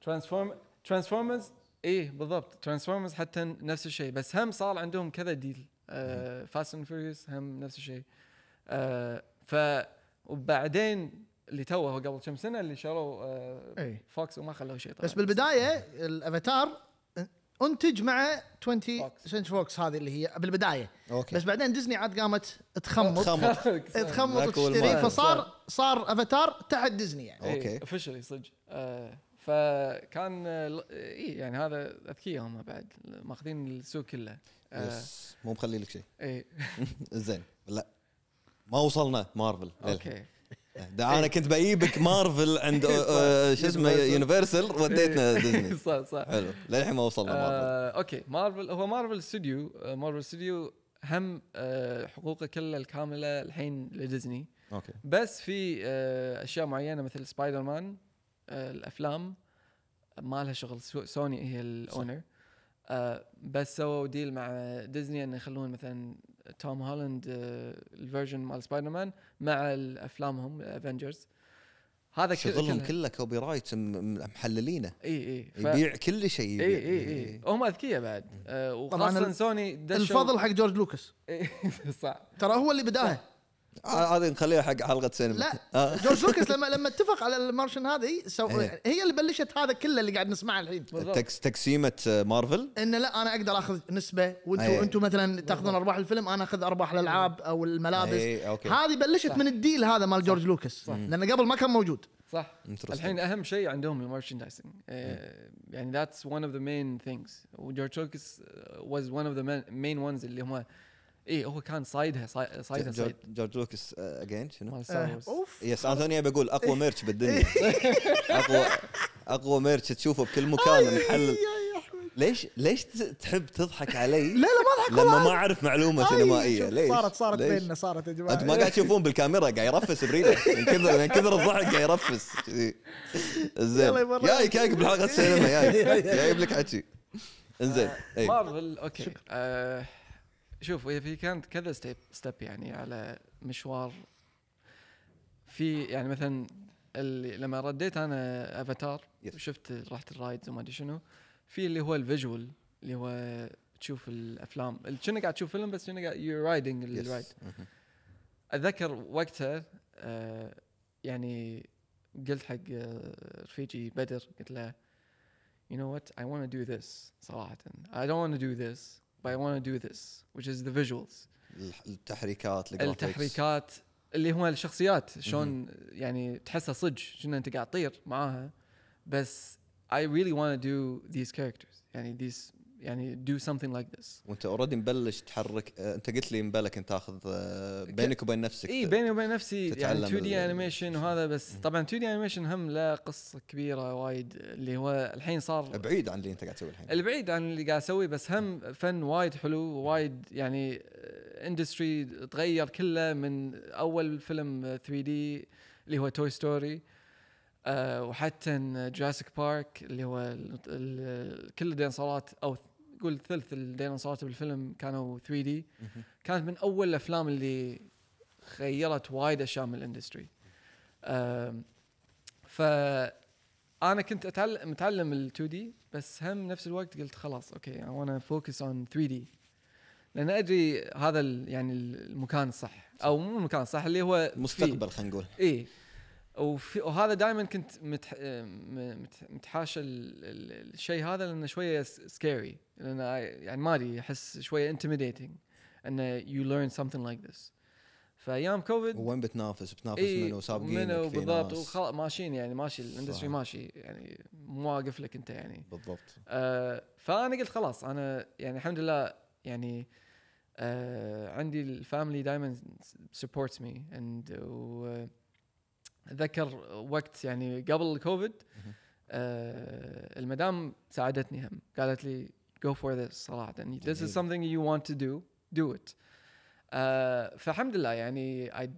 [SPEAKER 2] ترانسفورم ترانسفورمرز ايه بالضبط ترانسفورمرز حتى نفس الشيء بس هم صار عندهم كذا آه، ديل فاست اند فيوريوس هم نفس الشيء آه ف وبعدين اللي توه هو قبل كم سنه اللي شروا آه
[SPEAKER 3] اي
[SPEAKER 2] فوكس وما خلوه شيء طبعا (laughs)
[SPEAKER 3] بس بالبداية الافاتار انتج مع 20
[SPEAKER 2] فوكس.
[SPEAKER 3] سنتري فوكس هذه اللي هي بالبداية
[SPEAKER 1] اوكي
[SPEAKER 3] بس بعدين ديزني عاد قامت تخمط
[SPEAKER 1] خمر
[SPEAKER 3] تخمط
[SPEAKER 1] ماكو
[SPEAKER 3] وتشتري
[SPEAKER 1] المال.
[SPEAKER 3] فصار صار افاتار تحت ديزني يعني
[SPEAKER 1] أوكي.
[SPEAKER 2] اوفشلي إيه، صدق آه، فكان آه، ل- اي يعني هذا اذكياء هم بعد ماخذين السوق كله آه، إيه.
[SPEAKER 1] يس مو مخلي لك شيء
[SPEAKER 2] اي
[SPEAKER 1] زين لا ما وصلنا مارفل للحين.
[SPEAKER 2] اوكي
[SPEAKER 1] ده انا كنت بجيبك مارفل عند آه، آه، شو اسمه يونيفرسال وديتنا
[SPEAKER 2] (laughs)
[SPEAKER 1] ديزني
[SPEAKER 2] (laughs) صح صح
[SPEAKER 1] حلو للحين ما وصلنا مارفل
[SPEAKER 2] إيه. آه، اوكي مارفل هو مارفل استوديو آه، مارفل استوديو هم آه، حقوقه كلها الكامله الحين لديزني
[SPEAKER 1] اوكي
[SPEAKER 2] بس في آه، اشياء معينه مثل سبايدر مان آه، الافلام ما لها شغل سو- سوني هي الاونر آه، بس سووا ديل مع ديزني انه يخلون مثلا توم هولاند آه، الفيرجن مال سبايدر مان مع ال- افلامهم الافنجرز هذا كل-
[SPEAKER 1] شغلهم
[SPEAKER 2] كلها-
[SPEAKER 1] كله كوبي رايت م- م- محللينه
[SPEAKER 2] اي اي ف-
[SPEAKER 1] يبيع كل شيء يبيع.
[SPEAKER 3] إيه،
[SPEAKER 2] اي اي اي إيه، هم اذكياء بعد آه، وخاصه
[SPEAKER 3] يعني. ال-
[SPEAKER 2] سوني دشوا (laughs)
[SPEAKER 3] الفضل حق جورج لوكاس
[SPEAKER 2] إي، صح
[SPEAKER 3] ترى هو اللي بداها
[SPEAKER 1] ع- آه، هذه نخليها حق حلقه سينما
[SPEAKER 3] لا
[SPEAKER 1] (laughs) آه.
[SPEAKER 3] جورج لوكاس لما لما اتفق على المارشن هذه سو...
[SPEAKER 1] إيه.
[SPEAKER 3] هي اللي بلشت هذا كله اللي قاعد نسمعه الحين
[SPEAKER 2] بالضبط
[SPEAKER 1] تكس تقسيمه آه، مارفل
[SPEAKER 3] انه لا انا اقدر اخذ نسبه وانتم
[SPEAKER 1] إيه.
[SPEAKER 3] انتم مثلا تاخذون ارباح الفيلم انا اخذ ارباح الالعاب او الملابس
[SPEAKER 1] اي اوكي
[SPEAKER 3] هذه بلشت
[SPEAKER 2] صح.
[SPEAKER 3] من الديل هذا مال جورج لوكاس
[SPEAKER 2] صح.
[SPEAKER 3] لان قبل ما كان موجود
[SPEAKER 2] صح الحين اهم شيء عندهم المارشندايزنج يعني ذاتس ون اوف ذا مين ثينجز وجورج آه، لوكس واز ون اوف ذا مين ونز اللي هم اي هو كان صايدها صاي- صايدها صيد
[SPEAKER 1] جورج لوكس اجين شنو؟
[SPEAKER 2] مال
[SPEAKER 3] آه،
[SPEAKER 2] ستار وورز
[SPEAKER 3] اوف
[SPEAKER 1] يس انا ثاني بقول اقوى
[SPEAKER 3] (laughs)
[SPEAKER 1] ميرش بالدنيا (laughs) اقوى اقوى ميرش تشوفه بكل مكان محلل ليش ليش ت- تحب تضحك علي؟
[SPEAKER 3] لا لا ما ضحكوا
[SPEAKER 1] لما ما اعرف معلومه
[SPEAKER 3] آي،
[SPEAKER 1] سينمائيه
[SPEAKER 3] شوف،
[SPEAKER 1] ليش؟
[SPEAKER 3] صارت صارت
[SPEAKER 1] ليش؟
[SPEAKER 3] بيننا صارت يا
[SPEAKER 1] انت ما
[SPEAKER 3] جماعه
[SPEAKER 1] قاعد تشوفون بالكاميرا قاعد يرفس بريده من كثر من كثر الضحك قاعد يرفس كذي. زين
[SPEAKER 3] يلا يبرر.
[SPEAKER 1] جايك جايك بالحلقه السينما
[SPEAKER 2] (laughs)
[SPEAKER 1] جايك جايب لك حكي انزين
[SPEAKER 2] آه.
[SPEAKER 1] إيه. إي.
[SPEAKER 2] مارفل
[SPEAKER 3] إيه.
[SPEAKER 2] اوكي آه، شوف هي في كانت كذا ستيب ستيب يعني على مشوار في يعني مثلا اللي لما رديت انا افاتار
[SPEAKER 1] Yes.
[SPEAKER 2] شفت رحت الرايدز وما ادري شنو في اللي هو الفيجوال اللي هو تشوف الافلام اللي كنا قاعد تشوف فيلم بس كنا قاعد يو رايدنج
[SPEAKER 1] يس.
[SPEAKER 2] الرايد اتذكر وقتها آه يعني قلت حق آه، رفيجي بدر قلت له you know what I want to do this صراحة I don't want to do this but I want to do this which is the visuals
[SPEAKER 1] الح- التحريكات الجرافيكس.
[SPEAKER 2] التحريكات اللي هو الشخصيات شلون يعني تحسها صدق شنو انت قاعد تطير معاها بس I really want to do these characters يعني these يعني do something like this
[SPEAKER 1] وانت اوريدي مبلش تحرك آه، انت قلت لي مبالك انت تاخذ آه، بينك وبين نفسك
[SPEAKER 2] اي إيه، بيني وبين نفسي يعني
[SPEAKER 1] تتعلم
[SPEAKER 2] 2 دي
[SPEAKER 1] ال-
[SPEAKER 2] انيميشن وهذا بس طبعا 2 دي انيميشن هم له قصه كبيره وايد اللي هو الحين صار
[SPEAKER 1] بعيد عن اللي انت قاعد تسويه الحين
[SPEAKER 2] البعيد عن اللي قاعد اسويه بس هم فن وايد حلو وايد يعني اندستري تغير كله من اول فيلم 3 دي اللي هو توي ستوري آه وحتى جراسيك بارك اللي هو ال- ال- كل الديناصورات او قول ثلث الديناصورات بالفيلم كانوا 3 دي كانت من اول الافلام اللي غيرت وايد اشياء من الاندستري أم، ف انا كنت اتعلم متعلم ال 2 دي بس هم نفس الوقت قلت خلاص اوكي اي وانا فوكس اون 3 دي لان ادري هذا ال- يعني المكان الصح او مو المكان الصح اللي هو فيه.
[SPEAKER 1] المستقبل خلينا نقول
[SPEAKER 2] اي وفي وهذا دائما كنت متح... م- مت- متحاشى ال- ال- الشيء هذا لانه شويه سكيري لان I- يعني ما ادري احس شويه انتميديتنج انه يو ليرن something لايك ذس فايام كوفيد
[SPEAKER 1] وين بتنافس بتنافس
[SPEAKER 2] إي،
[SPEAKER 1] منو سابقين
[SPEAKER 2] إيه، منو بالضبط وخلاص ماشيين يعني ماشي الاندستري
[SPEAKER 1] صح.
[SPEAKER 2] ماشي يعني مو واقف لك انت يعني
[SPEAKER 1] بالضبط
[SPEAKER 2] آه، فانا قلت خلاص انا يعني الحمد لله يعني آه، عندي الفاميلي دائما سبورتس مي اند اتذكر وقت يعني قبل الكوفيد
[SPEAKER 1] مهم.
[SPEAKER 2] آه، المدام ساعدتني هم قالت لي go for this صراحه this
[SPEAKER 1] جميل.
[SPEAKER 2] is something you want to do do it آه، فالحمد لله يعني I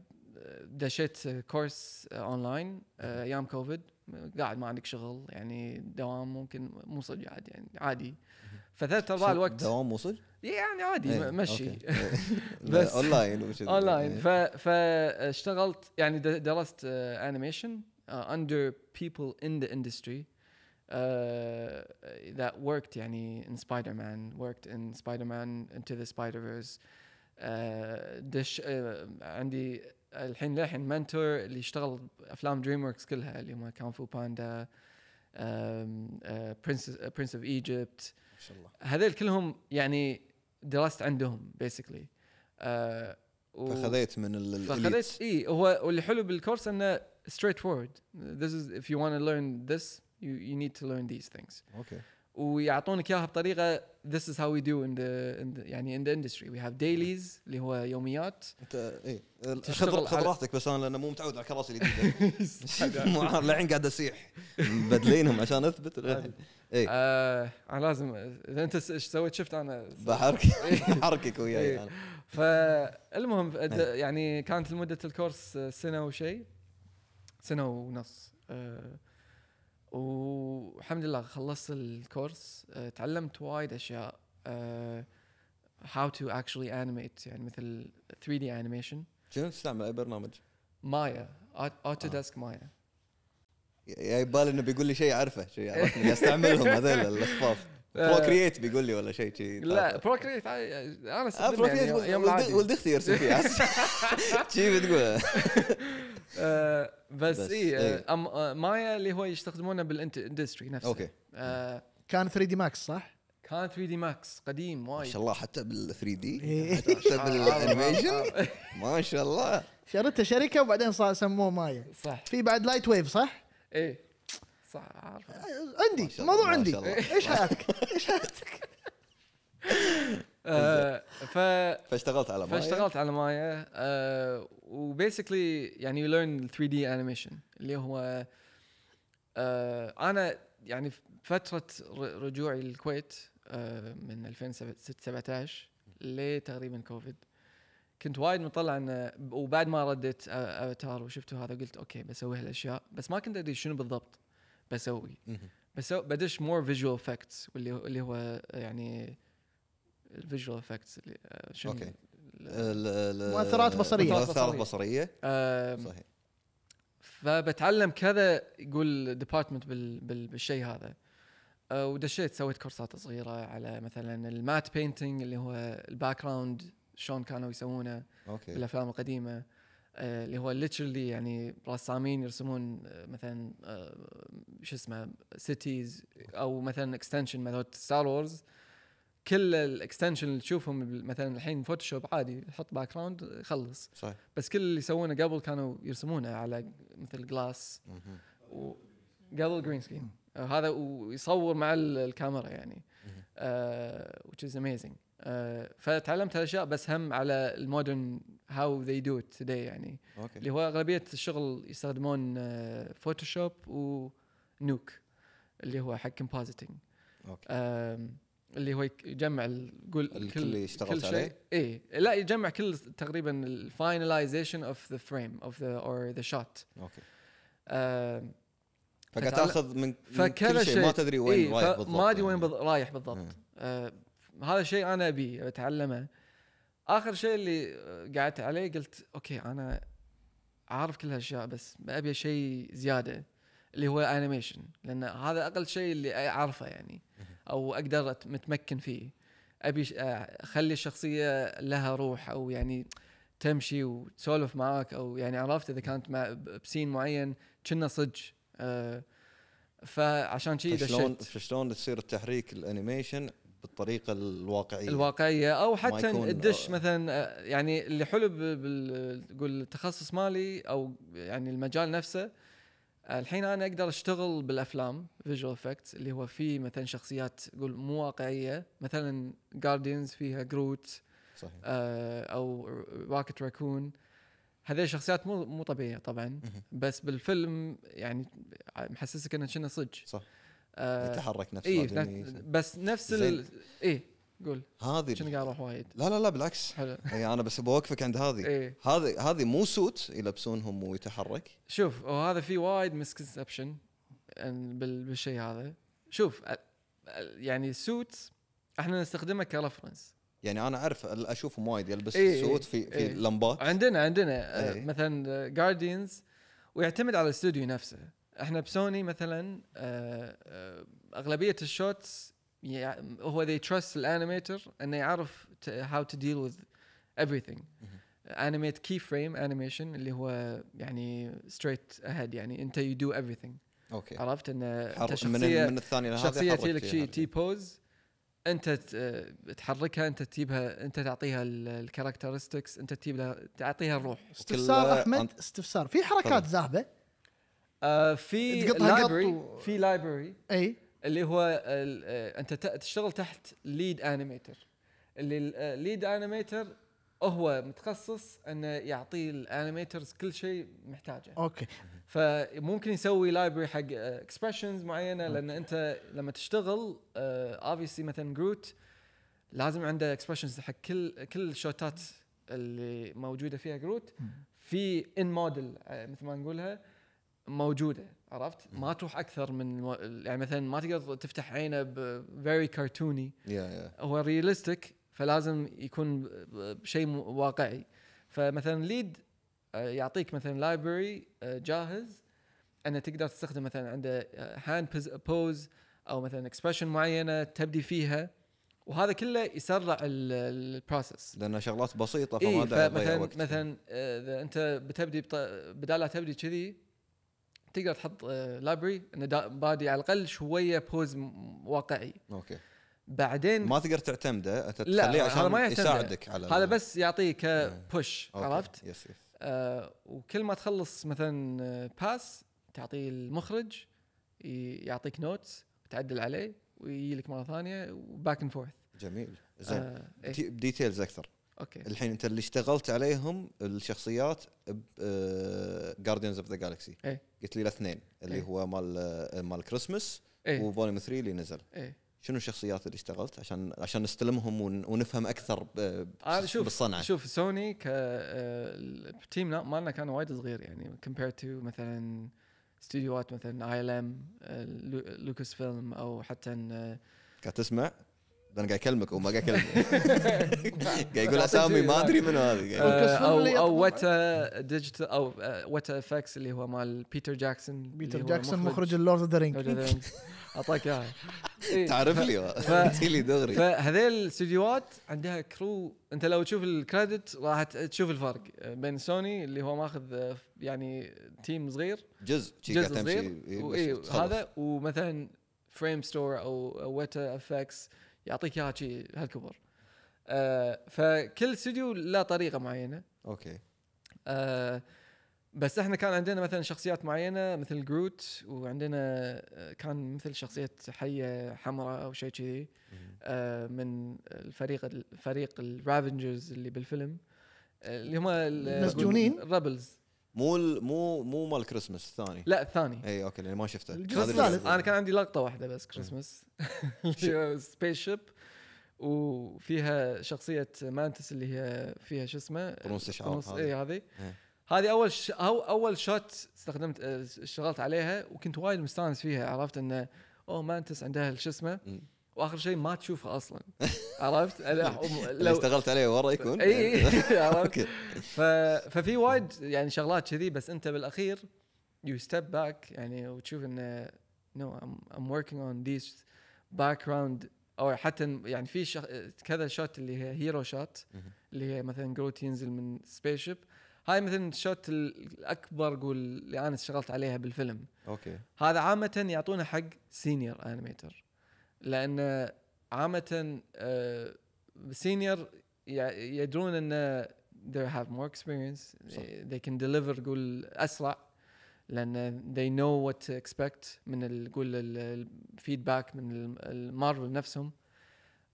[SPEAKER 2] دشيت كورس اونلاين آه، ايام كوفيد قاعد ما عندك شغل يعني دوام ممكن مو صدق عادي يعني عادي فثلاث ارباع الوقت
[SPEAKER 1] دوام وصل؟
[SPEAKER 2] يعني عادي
[SPEAKER 1] إيه،
[SPEAKER 2] م- مشي (laughs)
[SPEAKER 1] أوكي. إيه. لا، (laughs)
[SPEAKER 2] بس-
[SPEAKER 1] اونلاين وش-
[SPEAKER 2] اونلاين
[SPEAKER 1] إيه.
[SPEAKER 2] ف فاشتغلت يعني د- درست انيميشن under people in the industry uh, that worked يعني in Spider-Man worked in Spider-Man into the Spider-Verse uh, دش uh, عندي الحين للحين منتور اللي اشتغل افلام دريم وركس كلها اللي هم كونغ فو باندا برنس اوف ايجيبت
[SPEAKER 1] ما شاء الله
[SPEAKER 2] هذيل كلهم يعني درست عندهم بيسكلي آه و-
[SPEAKER 1] فخذيت من ال- ال-
[SPEAKER 2] فخذيت اي هو واللي حلو بالكورس انه straight forward this is if you want to learn this you, you need to learn these things
[SPEAKER 1] elite. اوكي
[SPEAKER 2] ويعطونك اياها بطريقه this is how we do in the, in the يعني in the industry we have dailies اللي هو يوميات
[SPEAKER 1] انت اي
[SPEAKER 2] تشتغل
[SPEAKER 1] خذ خذ
[SPEAKER 2] على-
[SPEAKER 1] راحتك بس انا لانه مو متعود على الكراسي
[SPEAKER 2] (laughs)
[SPEAKER 1] الجديده (laughs) مو عارف للحين قاعد اسيح مبدلينهم عشان
[SPEAKER 2] (laughs)
[SPEAKER 1] اثبت للحين اي
[SPEAKER 2] آه انا لازم اذا انت س- سويت شفت انا (laughs)
[SPEAKER 1] بحركك بحركك وياي
[SPEAKER 2] إيه.
[SPEAKER 1] انا
[SPEAKER 2] فالمهم د- يعني كانت مده الكورس سنه وشيء سنه ونص آه، والحمد لله خلصت الكورس آه، تعلمت وايد اشياء آه، how to actually animate يعني مثل 3D animation
[SPEAKER 1] شنو تستعمل اي برنامج؟
[SPEAKER 2] مايا آه. اوتوديسك مايا
[SPEAKER 1] يا يبالي انه بيقول لي شيء اعرفه شيء عرفني
[SPEAKER 2] (laughs)
[SPEAKER 1] استعملهم هذول الاخفاف بروكريت بيقول لي ولا شيء شيء
[SPEAKER 2] آه. لا بروكريت انا
[SPEAKER 1] آه،
[SPEAKER 2] استخدمه يعني
[SPEAKER 1] بروكريت
[SPEAKER 2] يوم- يوم
[SPEAKER 1] ولد-
[SPEAKER 2] طيب. العادي
[SPEAKER 1] ولد اختي يرسم
[SPEAKER 2] (laughs)
[SPEAKER 1] فيه (laughs) شي بتقول
[SPEAKER 2] آه، بس
[SPEAKER 1] بس،
[SPEAKER 2] اي
[SPEAKER 1] إيه.
[SPEAKER 2] آه، أم- آه، مايا اللي هو يستخدمونه بالاندستري نفسه
[SPEAKER 1] اوكي
[SPEAKER 2] آه،
[SPEAKER 3] كان 3 دي ماكس صح؟
[SPEAKER 2] كان 3 دي ماكس قديم
[SPEAKER 1] ما
[SPEAKER 2] وايد
[SPEAKER 1] شاء الله حتى بال 3 دي
[SPEAKER 3] إيه.
[SPEAKER 1] حتى بالانيميشن
[SPEAKER 2] آه، آه، (laughs) آه.
[SPEAKER 1] ما شاء الله
[SPEAKER 3] شريته شركه وبعدين صار سموه مايا
[SPEAKER 2] صح
[SPEAKER 3] في بعد لايت ويف صح؟
[SPEAKER 2] ايه صح عارف
[SPEAKER 1] ما شاء
[SPEAKER 3] عندي
[SPEAKER 1] الله،
[SPEAKER 3] الموضوع
[SPEAKER 1] ما
[SPEAKER 3] عندي
[SPEAKER 1] شاء الله.
[SPEAKER 3] ايش
[SPEAKER 1] (laughs)
[SPEAKER 3] حياتك؟
[SPEAKER 2] آه، ف
[SPEAKER 1] فاشتغلت على مايا
[SPEAKER 2] فاشتغلت على مايا آه، وبيسكلي يعني يو ليرن 3 دي انيميشن اللي هو آه، انا يعني فتره ر- رجوعي للكويت آه، من 2017 لتقريبا كوفيد كنت وايد مطلع انه وبعد ما ردت افاتار وشفته هذا قلت اوكي بسوي هالاشياء بس ما كنت ادري شنو بالضبط بسوي
[SPEAKER 1] مهم.
[SPEAKER 2] بس هو- بدش مور فيجوال افكتس واللي هو اللي هو يعني الفيجوال افكتس اللي آه، شنو
[SPEAKER 1] أوكي.
[SPEAKER 2] ال-
[SPEAKER 1] ال- ال-
[SPEAKER 3] مؤثرات بصرية.
[SPEAKER 1] مؤثرات بصريه
[SPEAKER 2] آم،
[SPEAKER 1] صحيح
[SPEAKER 2] فبتعلم كذا يقول ديبارتمنت بال بال بالشيء هذا آه، ودشيت سويت كورسات صغيره على مثلا المات بينتنج اللي هو الباك جراوند شلون كانوا يسوونه
[SPEAKER 1] اوكي
[SPEAKER 2] بالافلام القديمه آه، اللي هو literally يعني رسامين يرسمون آه، مثلا آه، شو اسمه سيتيز او مثلا اكستنشن مثلا ستار وورز كل الاكستنشن اللي تشوفهم بال- مثلا الحين فوتوشوب عادي حط باك جراوند خلص
[SPEAKER 1] صحيح
[SPEAKER 2] بس كل اللي يسوونه قبل كانوا يرسمونه على مثل جلاس
[SPEAKER 1] مهم.
[SPEAKER 2] قبل جرين سكرين هذا ويصور مع ال- الكاميرا يعني
[SPEAKER 1] مهم.
[SPEAKER 2] which is amazing آه، فتعلمت هالاشياء بس هم على المودرن هاو they do it today يعني
[SPEAKER 1] اوكي
[SPEAKER 2] اللي هو اغلبيه الشغل يستخدمون آه، فوتوشوب ونوك اللي هو حق كومبوزيتنج
[SPEAKER 1] اوكي
[SPEAKER 2] اللي هو يك- يجمع ال- قول
[SPEAKER 1] الكل اللي اشتغلت عليه؟
[SPEAKER 2] اي إيه. لا يجمع كل تقريبا الفاينلايزيشن اوف ذا فريم اوف ذا اور ذا شوت
[SPEAKER 1] اوكي فقاعد
[SPEAKER 2] فتعلم-
[SPEAKER 1] تاخذ من من
[SPEAKER 2] فكذا
[SPEAKER 1] كل شيء
[SPEAKER 2] شيء إيه،
[SPEAKER 1] ما تدري وين رايح بالضبط
[SPEAKER 2] ما ادري وين
[SPEAKER 1] يعني.
[SPEAKER 2] بض... رايح بالضبط آه هذا الشيء انا ابي اتعلمه اخر شيء اللي آه، قعدت عليه قلت اوكي انا عارف كل هالاشياء بس ابي شيء زياده اللي هو انيميشن لان هذا اقل شيء اللي اعرفه يعني او اقدر أت- متمكن فيه ابي ش- آه، اخلي الشخصيه لها روح او يعني تمشي وتسولف معاك او يعني عرفت اذا كانت مع ب- بسين معين كنا صج آه فعشان شي
[SPEAKER 1] فشلون
[SPEAKER 2] دشيت
[SPEAKER 1] فشلون تصير التحريك الانيميشن بالطريقه الواقعيه
[SPEAKER 2] الواقعيه او حتى
[SPEAKER 1] إيه. يكون-
[SPEAKER 2] الدش مثلا آه، يعني اللي حلو ب- بال تقول التخصص مالي او يعني المجال نفسه آه، الحين انا اقدر اشتغل بالافلام فيجوال افكتس اللي هو فيه مثلا شخصيات تقول مو واقعيه مثلا جارديانز فيها جروت
[SPEAKER 1] صحيح
[SPEAKER 2] آه، او راكت راكون هذه شخصيات مو مو طبيعيه طبعا
[SPEAKER 1] مهم.
[SPEAKER 2] بس بالفيلم يعني محسسك انه كنا صج
[SPEAKER 1] صح. إيه،
[SPEAKER 2] آه
[SPEAKER 1] يتحرك نفسه
[SPEAKER 2] اي
[SPEAKER 1] آدمي.
[SPEAKER 2] نف- بس نفس ال اي قول
[SPEAKER 1] هذه
[SPEAKER 2] شنو قاعد اروح وايد
[SPEAKER 1] لا لا لا
[SPEAKER 2] (laughs)
[SPEAKER 1] بالعكس
[SPEAKER 2] حلو إيه،
[SPEAKER 1] اي انا بس بوقفك عند هذه
[SPEAKER 2] اي
[SPEAKER 1] هذه هذه مو سوت يلبسونهم ويتحرك
[SPEAKER 2] شوف وهذا في وايد مسكونسبشن بالشيء هذا شوف ال- ال- يعني سوت احنا نستخدمه كرفرنس
[SPEAKER 1] يعني انا اعرف ال- اشوفهم وايد يلبس
[SPEAKER 2] إي إي
[SPEAKER 1] سوت في في
[SPEAKER 2] إي.
[SPEAKER 1] لمبات
[SPEAKER 2] (laughs) عندنا عندنا آه،
[SPEAKER 1] إيه.
[SPEAKER 2] مثلا جارديانز ويعتمد على الاستوديو نفسه احنا بسوني مثلا آه، آه، اغلبيه الشوتس يع- هو they trust الانيميتر انه يعرف ت- how to deal with everything animate key frame animation اللي هو يعني straight ahead يعني انت you do everything
[SPEAKER 1] اوكي
[SPEAKER 2] عرفت ان انت
[SPEAKER 1] إيه. حر- من ال-
[SPEAKER 2] شخصيه
[SPEAKER 1] من الثانيه لهذه
[SPEAKER 2] شخصيه
[SPEAKER 1] حرك
[SPEAKER 2] تجي لك
[SPEAKER 1] فيها
[SPEAKER 2] شي
[SPEAKER 1] هذه.
[SPEAKER 2] تي بوز انت ت- آه، تحركها انت تجيبها انت تعطيها الكاركترستكس انت تجيب لها تعطيها الروح
[SPEAKER 3] استفسار
[SPEAKER 1] وكله
[SPEAKER 3] احمد
[SPEAKER 1] أنت-
[SPEAKER 3] استفسار في حركات
[SPEAKER 1] تفضل.
[SPEAKER 3] ذاهبه
[SPEAKER 2] آه في
[SPEAKER 3] تقطها قط
[SPEAKER 2] library-
[SPEAKER 3] و-
[SPEAKER 2] في لايبرري
[SPEAKER 3] اي
[SPEAKER 2] اللي هو ال- آه، انت ت- تشتغل تحت ليد انيميتر اللي الليد انيميتر هو متخصص انه يعطي الانيميترز كل شيء محتاجه
[SPEAKER 3] اوكي
[SPEAKER 2] فممكن يسوي لايبرري حق اكسبرشنز معينه لان انت لما تشتغل آه، اوبسي مثلا جروت لازم عنده اكسبرشنز حق كل كل الشوتات اللي موجوده فيها جروت في ان موديل مثل ما نقولها موجوده عرفت؟ ما تروح اكثر من مو- يعني مثلا ما تقدر تفتح عينه فيري كرتوني
[SPEAKER 1] يا يا
[SPEAKER 2] هو رياليستيك فلازم يكون ب- ب- بشيء م- واقعي فمثلا ليد آه، يعطيك مثلا لايبرري جاهز انه تقدر تستخدم مثلا عنده آه، هاند بوز او مثلا اكسبرشن معينه تبدي فيها وهذا كله يسرع البروسس
[SPEAKER 1] لانها شغلات بسيطه فما
[SPEAKER 2] اي
[SPEAKER 1] داعي تضيع
[SPEAKER 2] فمثلا
[SPEAKER 1] وقت
[SPEAKER 2] مثلا إيه، آه، اذا انت بتبدي بط... بدال لا تبدي كذي تقدر تحط لايبرري انه دا- بادي على الاقل شويه بوز واقعي
[SPEAKER 1] اوكي
[SPEAKER 2] بعدين
[SPEAKER 1] ما تقدر تعتمده انت
[SPEAKER 2] لا،
[SPEAKER 1] تخليه
[SPEAKER 2] هذا ما
[SPEAKER 1] عشان
[SPEAKER 2] يعتمده.
[SPEAKER 1] يساعدك على
[SPEAKER 2] هذا
[SPEAKER 1] ال-
[SPEAKER 2] بس يعطيك
[SPEAKER 1] آه.
[SPEAKER 2] بوش
[SPEAKER 1] أوكي.
[SPEAKER 2] عرفت
[SPEAKER 1] يس يس
[SPEAKER 2] آه وكل ما تخلص مثلا باس تعطيه المخرج ي- يعطيك نوتس تعدل عليه ويجي لك مره ثانيه وباك اند فورث
[SPEAKER 1] جميل زين
[SPEAKER 2] آه إيه.
[SPEAKER 1] تي- بديتيلز اكثر
[SPEAKER 2] اوكي
[SPEAKER 1] الحين انت اللي اشتغلت عليهم الشخصيات آه، جارديانز اوف ذا جالكسي
[SPEAKER 2] إيه.
[SPEAKER 1] قلت لي الاثنين اللي
[SPEAKER 2] إيه.
[SPEAKER 1] هو مال آه، مال كريسمس
[SPEAKER 2] ايه
[SPEAKER 1] وفوليوم 3 اللي نزل
[SPEAKER 2] ايه
[SPEAKER 1] شنو الشخصيات اللي اشتغلت عشان عشان نستلمهم ون- ونفهم اكثر ب-
[SPEAKER 2] آه،
[SPEAKER 1] بس-
[SPEAKER 2] شوف-
[SPEAKER 1] بالصنعه
[SPEAKER 2] شوف سوني ك آه، التيم مالنا كان وايد صغير يعني كومبير تو مثلا استديوهات مثلا اي ال ام لوكاس فيلم او حتى آه،
[SPEAKER 1] قاعد تسمع انا قاعد اكلمك وما قاعد
[SPEAKER 2] (laughs)
[SPEAKER 1] اكلمك (laughs) قاعد يقول اسامي ما ادري منو هذه
[SPEAKER 2] (laughs)
[SPEAKER 1] قاعد يقول.
[SPEAKER 3] والكاس
[SPEAKER 2] آه،
[SPEAKER 3] فيلم
[SPEAKER 2] او
[SPEAKER 3] اللي
[SPEAKER 2] او
[SPEAKER 3] يطلع
[SPEAKER 2] وتا ديجيتال آه، او وتا افكس اللي هو مال بيتر جاكسون
[SPEAKER 3] بيتر جاكسون مخرج اللورد اوف ذا رينج
[SPEAKER 1] (laughs)
[SPEAKER 2] اعطاك اياها إيه،
[SPEAKER 1] تعرف
[SPEAKER 2] ف-
[SPEAKER 1] لي (laughs)
[SPEAKER 2] ف-
[SPEAKER 1] قلت لي دغري
[SPEAKER 2] فهذيل الاستديوهات عندها كرو انت لو تشوف الكريدت راح ت- تشوف الفرق بين سوني اللي هو ماخذ آه، يعني تيم صغير
[SPEAKER 1] جزء شي قاعد
[SPEAKER 2] جزء
[SPEAKER 1] تمشي
[SPEAKER 2] صغير
[SPEAKER 1] إيه، بس
[SPEAKER 2] وإيه،
[SPEAKER 1] تخلص.
[SPEAKER 2] هذا ومثلا فريم ستور او ويتا افكس يعطيك اياها شي هالكبر آه، فكل استوديو له طريقه معينه
[SPEAKER 1] اوكي
[SPEAKER 2] آه، بس احنا كان عندنا مثلا شخصيات معينه مثل جروت وعندنا آه، كان مثل شخصيه حيه حمراء او شيء كذي آه، من الفريق الفريق الرافنجرز اللي بالفيلم آه، اللي هم
[SPEAKER 3] المسجونين؟
[SPEAKER 2] الربلز
[SPEAKER 1] مو ال- مو مو مال كريسمس الثاني
[SPEAKER 2] لا الثاني
[SPEAKER 1] اي اوكي لاني ما شفته
[SPEAKER 3] الجزء
[SPEAKER 1] هذا اللي
[SPEAKER 3] الثالث.
[SPEAKER 1] أقول.
[SPEAKER 2] انا كان عندي لقطه واحده بس كريسمس سبيس شيب وفيها شخصيه مانتس اللي هي فيها شو اسمه
[SPEAKER 1] قنوص الشعر
[SPEAKER 2] قنوص-
[SPEAKER 1] هذا.
[SPEAKER 2] اي هذه
[SPEAKER 1] إيه.
[SPEAKER 2] هذه اول ش... أو اول شوت استخدمت آه، اشتغلت عليها وكنت وايد مستانس فيها عرفت انه اوه مانتس عندها شو اسمه
[SPEAKER 1] مم.
[SPEAKER 2] واخر شيء ما تشوفها اصلا عرفت أنا-
[SPEAKER 1] اللي اشتغلت عليه ورا يكون
[SPEAKER 2] اي إي، عرفت
[SPEAKER 1] اوكي
[SPEAKER 2] ف... ففي وايد يعني شغلات كذي بس انت بالاخير يو ستيب باك يعني وتشوف انه نو ام وركينج اون ذيس باك جراوند او حتى يعني في شخ... كذا شوت اللي هي هيرو شوت
[SPEAKER 1] مهم.
[SPEAKER 2] اللي هي مثلا جروت ينزل من سبيس شيب هاي مثلا الشوت ال- الاكبر قول اللي انا اشتغلت عليها بالفيلم
[SPEAKER 1] اوكي
[SPEAKER 2] هذا عامة يعطونه حق سينيور انيميتر لان عامة آه، سينيور يع- يدرون ان they have more experience
[SPEAKER 1] صح.
[SPEAKER 2] they can deliver قول اسرع لان they know what to expect من ال- قول ال- الفيدباك من ال- المارفل نفسهم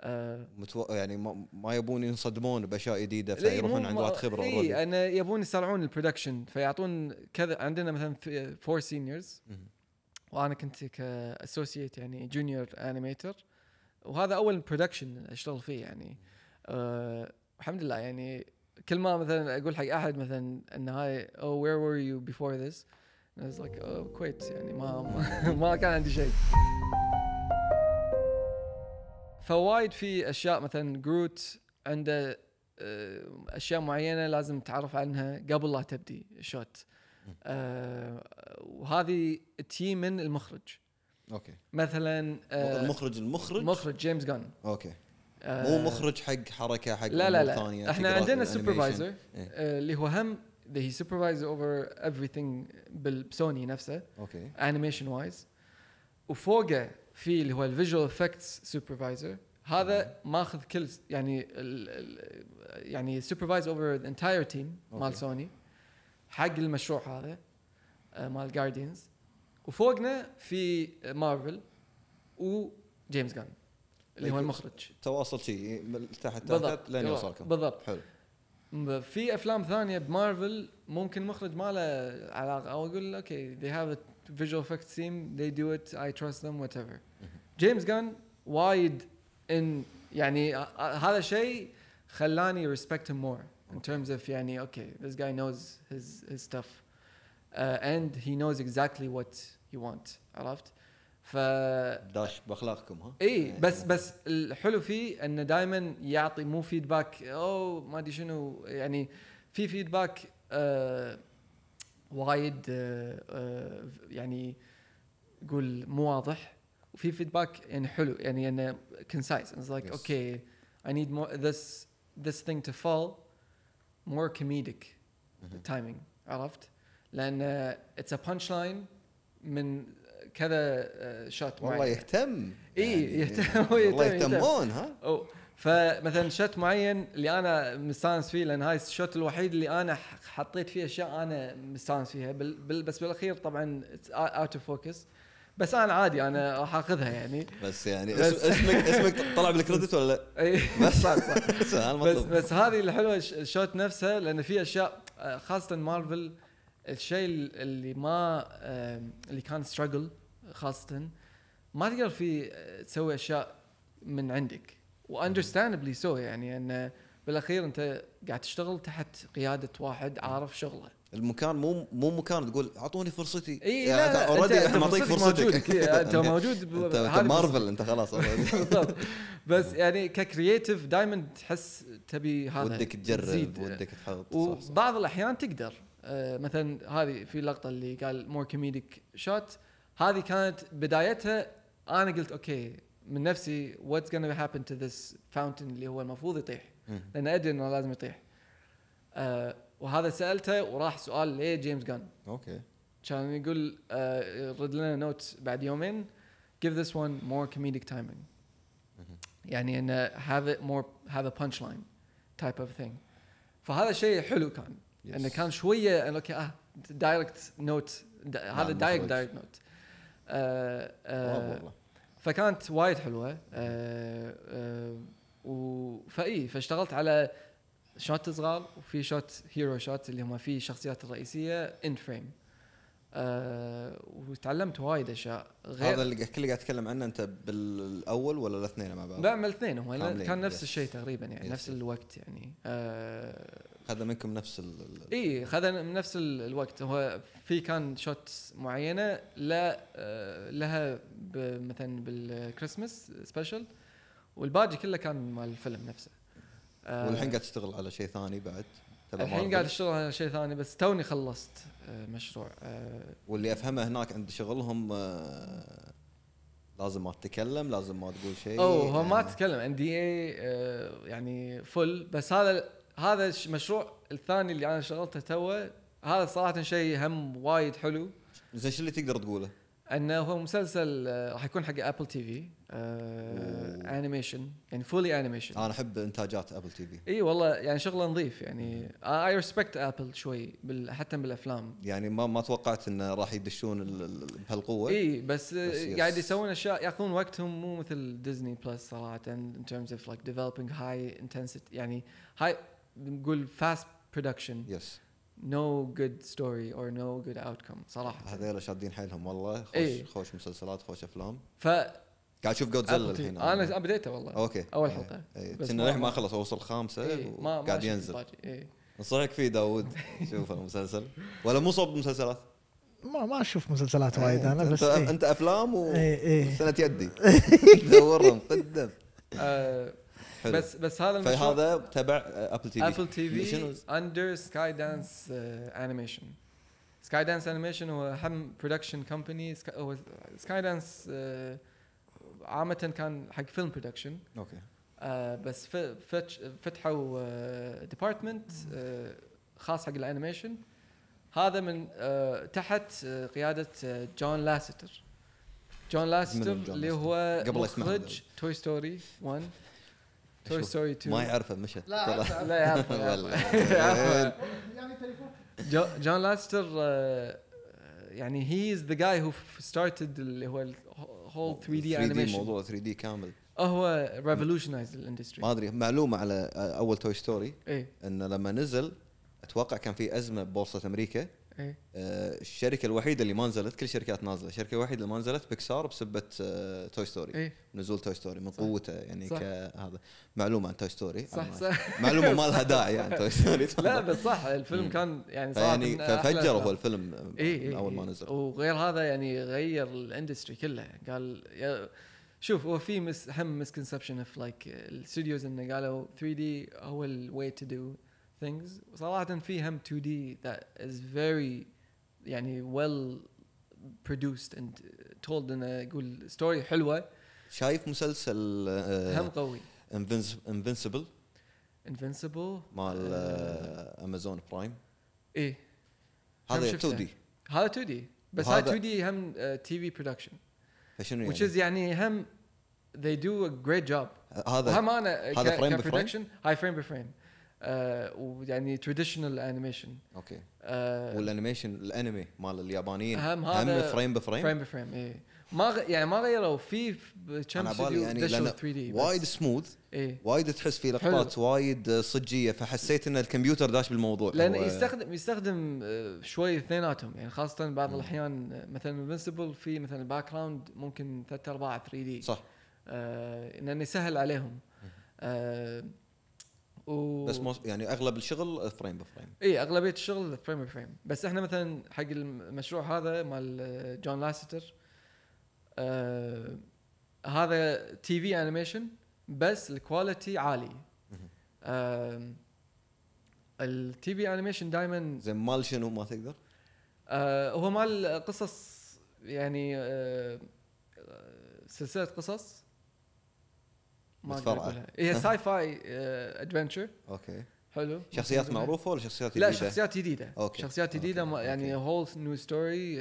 [SPEAKER 2] آه،
[SPEAKER 1] متو... يعني ما, ما يبون ينصدمون باشياء جديده
[SPEAKER 2] لا،
[SPEAKER 1] فيروحون
[SPEAKER 2] مو-
[SPEAKER 1] عند
[SPEAKER 2] ما- إيه،
[SPEAKER 1] واحد خبره
[SPEAKER 2] اي
[SPEAKER 1] already.
[SPEAKER 2] انا يبون يسرعون البرودكشن فيعطون كذا عندنا مثلا فور سينيورز
[SPEAKER 1] مهم.
[SPEAKER 2] وانا كنت كاسوسييت يعني جونيور انيميتر وهذا اول برودكشن اشتغل فيه يعني أه الحمد لله يعني كل ما مثلا اقول حق احد مثلا ان هاي "Oh, او وير وير يو بيفور ذس I was like oh, كويت يعني ما ما, (laughs) ما كان عندي شيء فوايد في اشياء مثلا جروت عنده أه، اشياء معينه لازم تعرف عنها قبل لا تبدي شوت أه وهذه تي من المخرج
[SPEAKER 1] اوكي
[SPEAKER 2] مثلا آه،
[SPEAKER 1] المخرج المخرج
[SPEAKER 2] مخرج جيمس جان
[SPEAKER 1] اوكي
[SPEAKER 2] آه،
[SPEAKER 1] مو مخرج حق حركه حق
[SPEAKER 2] لا لا
[SPEAKER 1] أمور
[SPEAKER 2] لا
[SPEAKER 1] ثانية،
[SPEAKER 2] احنا
[SPEAKER 1] تقرأ
[SPEAKER 2] عندنا
[SPEAKER 1] الأنيميشن.
[SPEAKER 2] سوبرفايزر
[SPEAKER 1] إيه.
[SPEAKER 2] اللي هو هم هي سوبرفايزر اوفر everything بالسوني نفسه
[SPEAKER 1] اوكي
[SPEAKER 2] انيميشن وايز وفوقه في اللي هو الفيجوال افكتس سوبرفايزر هذا ماخذ كل يعني ال ال يعني سوبرفايز اوفر ذا انتاير تيم مال
[SPEAKER 1] أوكي.
[SPEAKER 2] سوني حق المشروع هذا آه، مال جارديانز وفوقنا في مارفل وجيمس جان اللي هو
[SPEAKER 1] طيب.
[SPEAKER 2] المخرج
[SPEAKER 1] تواصل شيء من تحت
[SPEAKER 2] بالضبط
[SPEAKER 1] تحت لين
[SPEAKER 2] بالضبط،
[SPEAKER 1] يوصلكم
[SPEAKER 2] بالضبط
[SPEAKER 1] حلو
[SPEAKER 2] ب- في افلام ثانيه بمارفل ممكن المخرج ما له علاقه او اقول اوكي they have a visual effects team they do it I trust them whatever جيمس جان وايد ان يعني ه- هذا الشيء خلاني respect him more in terms of يعني okay this guy knows his his stuff uh, and he knows exactly what you want عرفت ف
[SPEAKER 1] داش باخلاقكم ها يعني
[SPEAKER 2] اي إيه، بس بس الحلو فيه انه دائما يعطي مو فيدباك او ما ادري شنو يعني في فيدباك آه وايد آه آه يعني قول مو واضح وفي فيدباك يعني حلو يعني انه concise it's like
[SPEAKER 1] Yes.
[SPEAKER 2] okay I need more this this thing to fall more comedic
[SPEAKER 1] مهم.
[SPEAKER 2] timing عرفت لان آه، it's a punchline من كذا آه، شوت
[SPEAKER 1] والله يهتم
[SPEAKER 2] إي،
[SPEAKER 1] يعني،
[SPEAKER 2] يهتم، هو يهتم،
[SPEAKER 1] والله
[SPEAKER 2] يهتم.
[SPEAKER 1] يهتمون ها
[SPEAKER 2] أو فمثلا شوت معين اللي انا مستانس فيه لان هاي الشوت الوحيد اللي انا ح- حطيت فيه اشياء انا مستانس فيها بال بال بس بالاخير طبعا اوت اوف فوكس بس انا عادي انا راح اخذها يعني
[SPEAKER 1] بس يعني
[SPEAKER 2] بس.
[SPEAKER 1] اسم- اسمك اسمك طلع بالكريدت ولا لا؟
[SPEAKER 2] أي.
[SPEAKER 1] بس
[SPEAKER 2] (laughs) صح صح
[SPEAKER 1] (laughs) بس هذا
[SPEAKER 2] بس
[SPEAKER 1] المطلوب
[SPEAKER 2] بس هذه الحلوه الش- الشوت نفسها لان في اشياء آه، خاصه مارفل الشيء ال- اللي ما آه، اللي كان ستراجل خاصه ما تقدر في آه، تسوي اشياء من عندك واندرستاندبلي سو يعني ان بالاخير انت قاعد تشتغل تحت قياده واحد عارف شغله
[SPEAKER 1] المكان مو مو مكان تقول اعطوني فرصتي يعني
[SPEAKER 2] اي لا لا أنت-
[SPEAKER 1] اوريدي احنا
[SPEAKER 2] أنت
[SPEAKER 1] معطيك
[SPEAKER 2] فرصتك موجود، (laughs)
[SPEAKER 1] فرصتك (laughs)
[SPEAKER 2] إيه، انت موجود ب-
[SPEAKER 1] انت أنت
[SPEAKER 2] هذه
[SPEAKER 1] مارفل انت خلاص already.
[SPEAKER 2] (laughs) بالضبط بس يعني ككرييتيف دائما تحس تبي هذا
[SPEAKER 1] ودك
[SPEAKER 2] تزيد.
[SPEAKER 1] تجرب ودك تحط صح صح.
[SPEAKER 2] وبعض الاحيان تقدر آه، مثلا هذه في لقطه اللي قال مور كوميديك شوت هذه كانت بدايتها انا قلت اوكي من نفسي واتس gonna هابن تو ذس فاونتن اللي هو المفروض يطيح
[SPEAKER 1] مم.
[SPEAKER 2] لان ادري انه لازم يطيح آه، وهذا سالته وراح سؤال ليه جيمس جان
[SPEAKER 1] اوكي
[SPEAKER 2] كان يقول آه، رد لنا نوت بعد يومين give this one more comedic timing يعني انه have it more have a punchline type of thing فهذا شيء حلو كان
[SPEAKER 1] Yes.
[SPEAKER 2] انه كان شويه انه اوكي اه دايركت نوت
[SPEAKER 1] نعم،
[SPEAKER 2] هذا دايركت
[SPEAKER 1] المخرج.
[SPEAKER 2] دايركت نوت
[SPEAKER 1] والله والله.
[SPEAKER 2] آه، فكانت وايد حلوه آه، آه، و فاي فاشتغلت على شوت صغار وفي شوت هيرو شوت اللي هم فيه الشخصيات الرئيسيه ان فريم آه وتعلمت وايد اشياء
[SPEAKER 1] هذا
[SPEAKER 2] غير
[SPEAKER 1] اللي قاعد- كله قاعد اتكلم عنه انت بالاول ولا الاثنين مع بعض؟
[SPEAKER 2] بعمل اثنين هم
[SPEAKER 1] كاملين،
[SPEAKER 2] كان نفس
[SPEAKER 1] yes.
[SPEAKER 2] الشيء تقريبا يعني
[SPEAKER 1] Yes,
[SPEAKER 2] نفس
[SPEAKER 1] yes.
[SPEAKER 2] الوقت يعني آه
[SPEAKER 1] هذا منكم نفس ال- ال-
[SPEAKER 2] اي خذنا من إيه، نفس ال- الوقت هو في كان شوت معينه لا آه، لها ب- مثلا بالكريسماس سبيشل والباقي كله كان مال الفيلم نفسه آه،
[SPEAKER 1] والحين قاعد تشتغل على شيء ثاني بعد تبع
[SPEAKER 2] الحين
[SPEAKER 1] مارفل.
[SPEAKER 2] قاعد اشتغل على شيء ثاني بس توني خلصت آه، مشروع آه،
[SPEAKER 1] واللي افهمه هناك عند شغلهم آه، لازم ما تتكلم لازم ما تقول شيء يعني
[SPEAKER 2] اوه هو ما تتكلم ان دي اي يعني فل بس هذا هذا الش- المشروع الثاني اللي انا شغلته توه هذا صراحه شيء هم وايد حلو
[SPEAKER 1] زين شو اللي تقدر تقوله؟
[SPEAKER 2] انه هو مسلسل آه، راح يكون حق ابل تي في
[SPEAKER 1] أوه. آه.
[SPEAKER 2] انيميشن آه، يعني فولي انيميشن
[SPEAKER 1] انا احب انتاجات ابل تي في
[SPEAKER 2] اي والله يعني شغله نظيف يعني اي ريسبكت ابل شوي بال حتى بالافلام
[SPEAKER 1] يعني ما ما توقعت انه راح يدشون ال- ال- بهالقوه
[SPEAKER 2] اي بس, آه،
[SPEAKER 1] يس.
[SPEAKER 2] قاعد يسوون اشياء ياخذون وقتهم مو مثل ديزني بلس صراحه in terms of like developing high intensity يعني هاي نقول fast production
[SPEAKER 1] يس
[SPEAKER 2] no good story or no good outcome صراحه
[SPEAKER 1] هذول شادين حيلهم والله خوش
[SPEAKER 2] إي.
[SPEAKER 1] خوش مسلسلات خوش افلام
[SPEAKER 2] ف
[SPEAKER 1] قاعد اشوف جودزيلا
[SPEAKER 2] Apple TV.
[SPEAKER 1] الحين
[SPEAKER 2] انا بديته والله
[SPEAKER 1] اوكي
[SPEAKER 2] اول حلقه
[SPEAKER 1] إي.
[SPEAKER 2] بس
[SPEAKER 1] كنا
[SPEAKER 2] ما-
[SPEAKER 1] للحين ما خلص اوصل خامسه
[SPEAKER 2] إي، ما ما
[SPEAKER 1] وقاعد
[SPEAKER 2] شفت
[SPEAKER 1] طيب، ينزل
[SPEAKER 2] الباقي، إي.
[SPEAKER 1] انصحك فيه داوود
[SPEAKER 3] (laughs)
[SPEAKER 1] شوف المسلسل ولا مو صوب مسلسلات
[SPEAKER 3] ما ما اشوف مسلسلات وايد انا بس
[SPEAKER 1] انت,
[SPEAKER 3] إيه.
[SPEAKER 1] انت افلام و
[SPEAKER 3] إيه، إيه.
[SPEAKER 1] سنه
[SPEAKER 3] (laughs)
[SPEAKER 1] يدي دورهم قدم
[SPEAKER 2] آه،
[SPEAKER 1] حلو بس
[SPEAKER 2] بس بس هذا المشروع
[SPEAKER 1] فهذا تبع ابل تي في
[SPEAKER 2] ابل تي
[SPEAKER 1] شنو
[SPEAKER 2] في اندر سكاي دانس انيميشن سكاي دانس انيميشن هو اهم برودكشن كومباني هو سكاي دانس عامه كان حق فيلم برودكشن
[SPEAKER 1] اوكي
[SPEAKER 2] آه، بس ف- فتش- فتحوا ديبارتمنت خاص حق الانيميشن هذا من آه، تحت آه، قياده آه، جون لاستر جون لاستر
[SPEAKER 1] جون
[SPEAKER 2] اللي
[SPEAKER 1] لاستر؟
[SPEAKER 2] هو
[SPEAKER 1] قبل اسمع هذا.
[SPEAKER 2] مخرج توي ستوري 1 توي
[SPEAKER 1] أشوف.
[SPEAKER 2] ستوري
[SPEAKER 1] ما
[SPEAKER 2] 2
[SPEAKER 1] يعرفه مشى
[SPEAKER 3] لا
[SPEAKER 2] لا يعرفه،
[SPEAKER 1] (laughs) والله.
[SPEAKER 2] (laughs) يعرفه
[SPEAKER 3] يعني تليفون
[SPEAKER 2] جو- جون لاستر آه، يعني هي از ذا جاي هو ستارتد اللي هو هول 3 دي
[SPEAKER 1] 3D
[SPEAKER 2] انيميشن
[SPEAKER 1] موضوع 3 دي كامل
[SPEAKER 2] هو ريفولوشنايز الاندستري
[SPEAKER 1] ما ادري معلومه على آه، اول توي ستوري
[SPEAKER 2] ايه
[SPEAKER 1] انه لما نزل اتوقع كان في ازمه ببورصه امريكا
[SPEAKER 2] ايه
[SPEAKER 1] آه، الشركه الوحيده اللي ما نزلت كل الشركات نازله الشركه الوحيده اللي ما نزلت آه، بيكسار بسبه توي ستوري
[SPEAKER 2] ايه
[SPEAKER 1] نزول توي ستوري من
[SPEAKER 2] صح.
[SPEAKER 1] قوته يعني
[SPEAKER 2] صح.
[SPEAKER 1] كهذا معلومه عن توي ستوري
[SPEAKER 2] صح صح
[SPEAKER 1] معلومه
[SPEAKER 2] (laughs)
[SPEAKER 1] ما لها داعي عن توي ستوري
[SPEAKER 2] لا
[SPEAKER 1] (laughs)
[SPEAKER 2] بس صح الفيلم كان يعني صراحه
[SPEAKER 1] يعني
[SPEAKER 2] من أحلى
[SPEAKER 1] ففجر
[SPEAKER 2] الأفلام.
[SPEAKER 1] هو الفيلم
[SPEAKER 2] إيه إيه
[SPEAKER 1] من اول ما
[SPEAKER 2] إيه.
[SPEAKER 1] نزل
[SPEAKER 2] وغير هذا يعني غير الاندستري كله قال يا شوف هو في مس هم مسكونسبشن اوف لايك الاستوديوز انه قالوا 3 دي هو الواي تو دو ثينجز صراحه في هم 2 دي ذات از فيري يعني ويل produced and told انه يقول ستوري حلوه
[SPEAKER 1] شايف مسلسل آه،
[SPEAKER 2] هم قوي
[SPEAKER 1] انفنسبل
[SPEAKER 2] انفنسبل
[SPEAKER 1] مال
[SPEAKER 2] آه.
[SPEAKER 1] امازون برايم
[SPEAKER 2] ايه
[SPEAKER 1] هذا
[SPEAKER 2] شفته.
[SPEAKER 1] 2 دي
[SPEAKER 2] هذا 2 دي بس هذا
[SPEAKER 1] وهذا-
[SPEAKER 2] 2 دي هم آه, تي في برودكشن
[SPEAKER 1] فشنو
[SPEAKER 2] which
[SPEAKER 1] يعني
[SPEAKER 2] is يعني هم they do a great job
[SPEAKER 1] هذا
[SPEAKER 2] وهم انا
[SPEAKER 1] هذا frame بframe؟
[SPEAKER 2] كبرودكشن هاي فريم بفريم ويعني آه، تراديشنال انيميشن
[SPEAKER 1] اوكي والانيميشن الانمي مال اليابانيين هم
[SPEAKER 2] هم هذا
[SPEAKER 1] فريم بفريم
[SPEAKER 2] فريم بفريم اي ما غ... يعني ما غيروا في ب- كم
[SPEAKER 1] أنا بالي
[SPEAKER 2] استوديو
[SPEAKER 1] يعني
[SPEAKER 2] دشوا
[SPEAKER 1] لأن
[SPEAKER 2] 3 دي
[SPEAKER 1] وايد سموث
[SPEAKER 2] اي
[SPEAKER 1] وايد تحس فيه لقطات وايد آه، صجيه فحسيت ان الكمبيوتر داش بالموضوع
[SPEAKER 2] لانه
[SPEAKER 1] هو-
[SPEAKER 2] يستخدم يستخدم آه، شوي اثنيناتهم يعني خاصه بعض
[SPEAKER 1] مم.
[SPEAKER 2] الاحيان آه، مثلا انفنسبل في مثلا باك جراوند ممكن ثلاث ارباع 3 دي
[SPEAKER 1] صح
[SPEAKER 2] آه لانه يسهل عليهم آه و...
[SPEAKER 1] بس مو- يعني اغلب الشغل فريم بفريم
[SPEAKER 2] اي اغلبيه الشغل فريم فريم بس احنا مثلا حق المشروع هذا مال آه، جون لاستر آه هذا تي في انيميشن بس الكواليتي عالي
[SPEAKER 1] مهم.
[SPEAKER 2] آه التي في انيميشن دائما
[SPEAKER 1] زين مال شنو ما تقدر
[SPEAKER 2] آه هو مال قصص يعني آه آه، سلسله قصص ما اقدر
[SPEAKER 1] متفرعة.
[SPEAKER 2] اقولها هي ساي فاي ادفنتشر
[SPEAKER 1] اوكي
[SPEAKER 2] حلو
[SPEAKER 1] شخصيات
[SPEAKER 2] معروفه
[SPEAKER 1] معروفه ولا شخصيات
[SPEAKER 2] لا
[SPEAKER 1] جديدة؟
[SPEAKER 2] شخصيات جديده
[SPEAKER 1] أوكي.
[SPEAKER 2] شخصيات جديده
[SPEAKER 1] أوكي.
[SPEAKER 2] ما- يعني هول نيو ستوري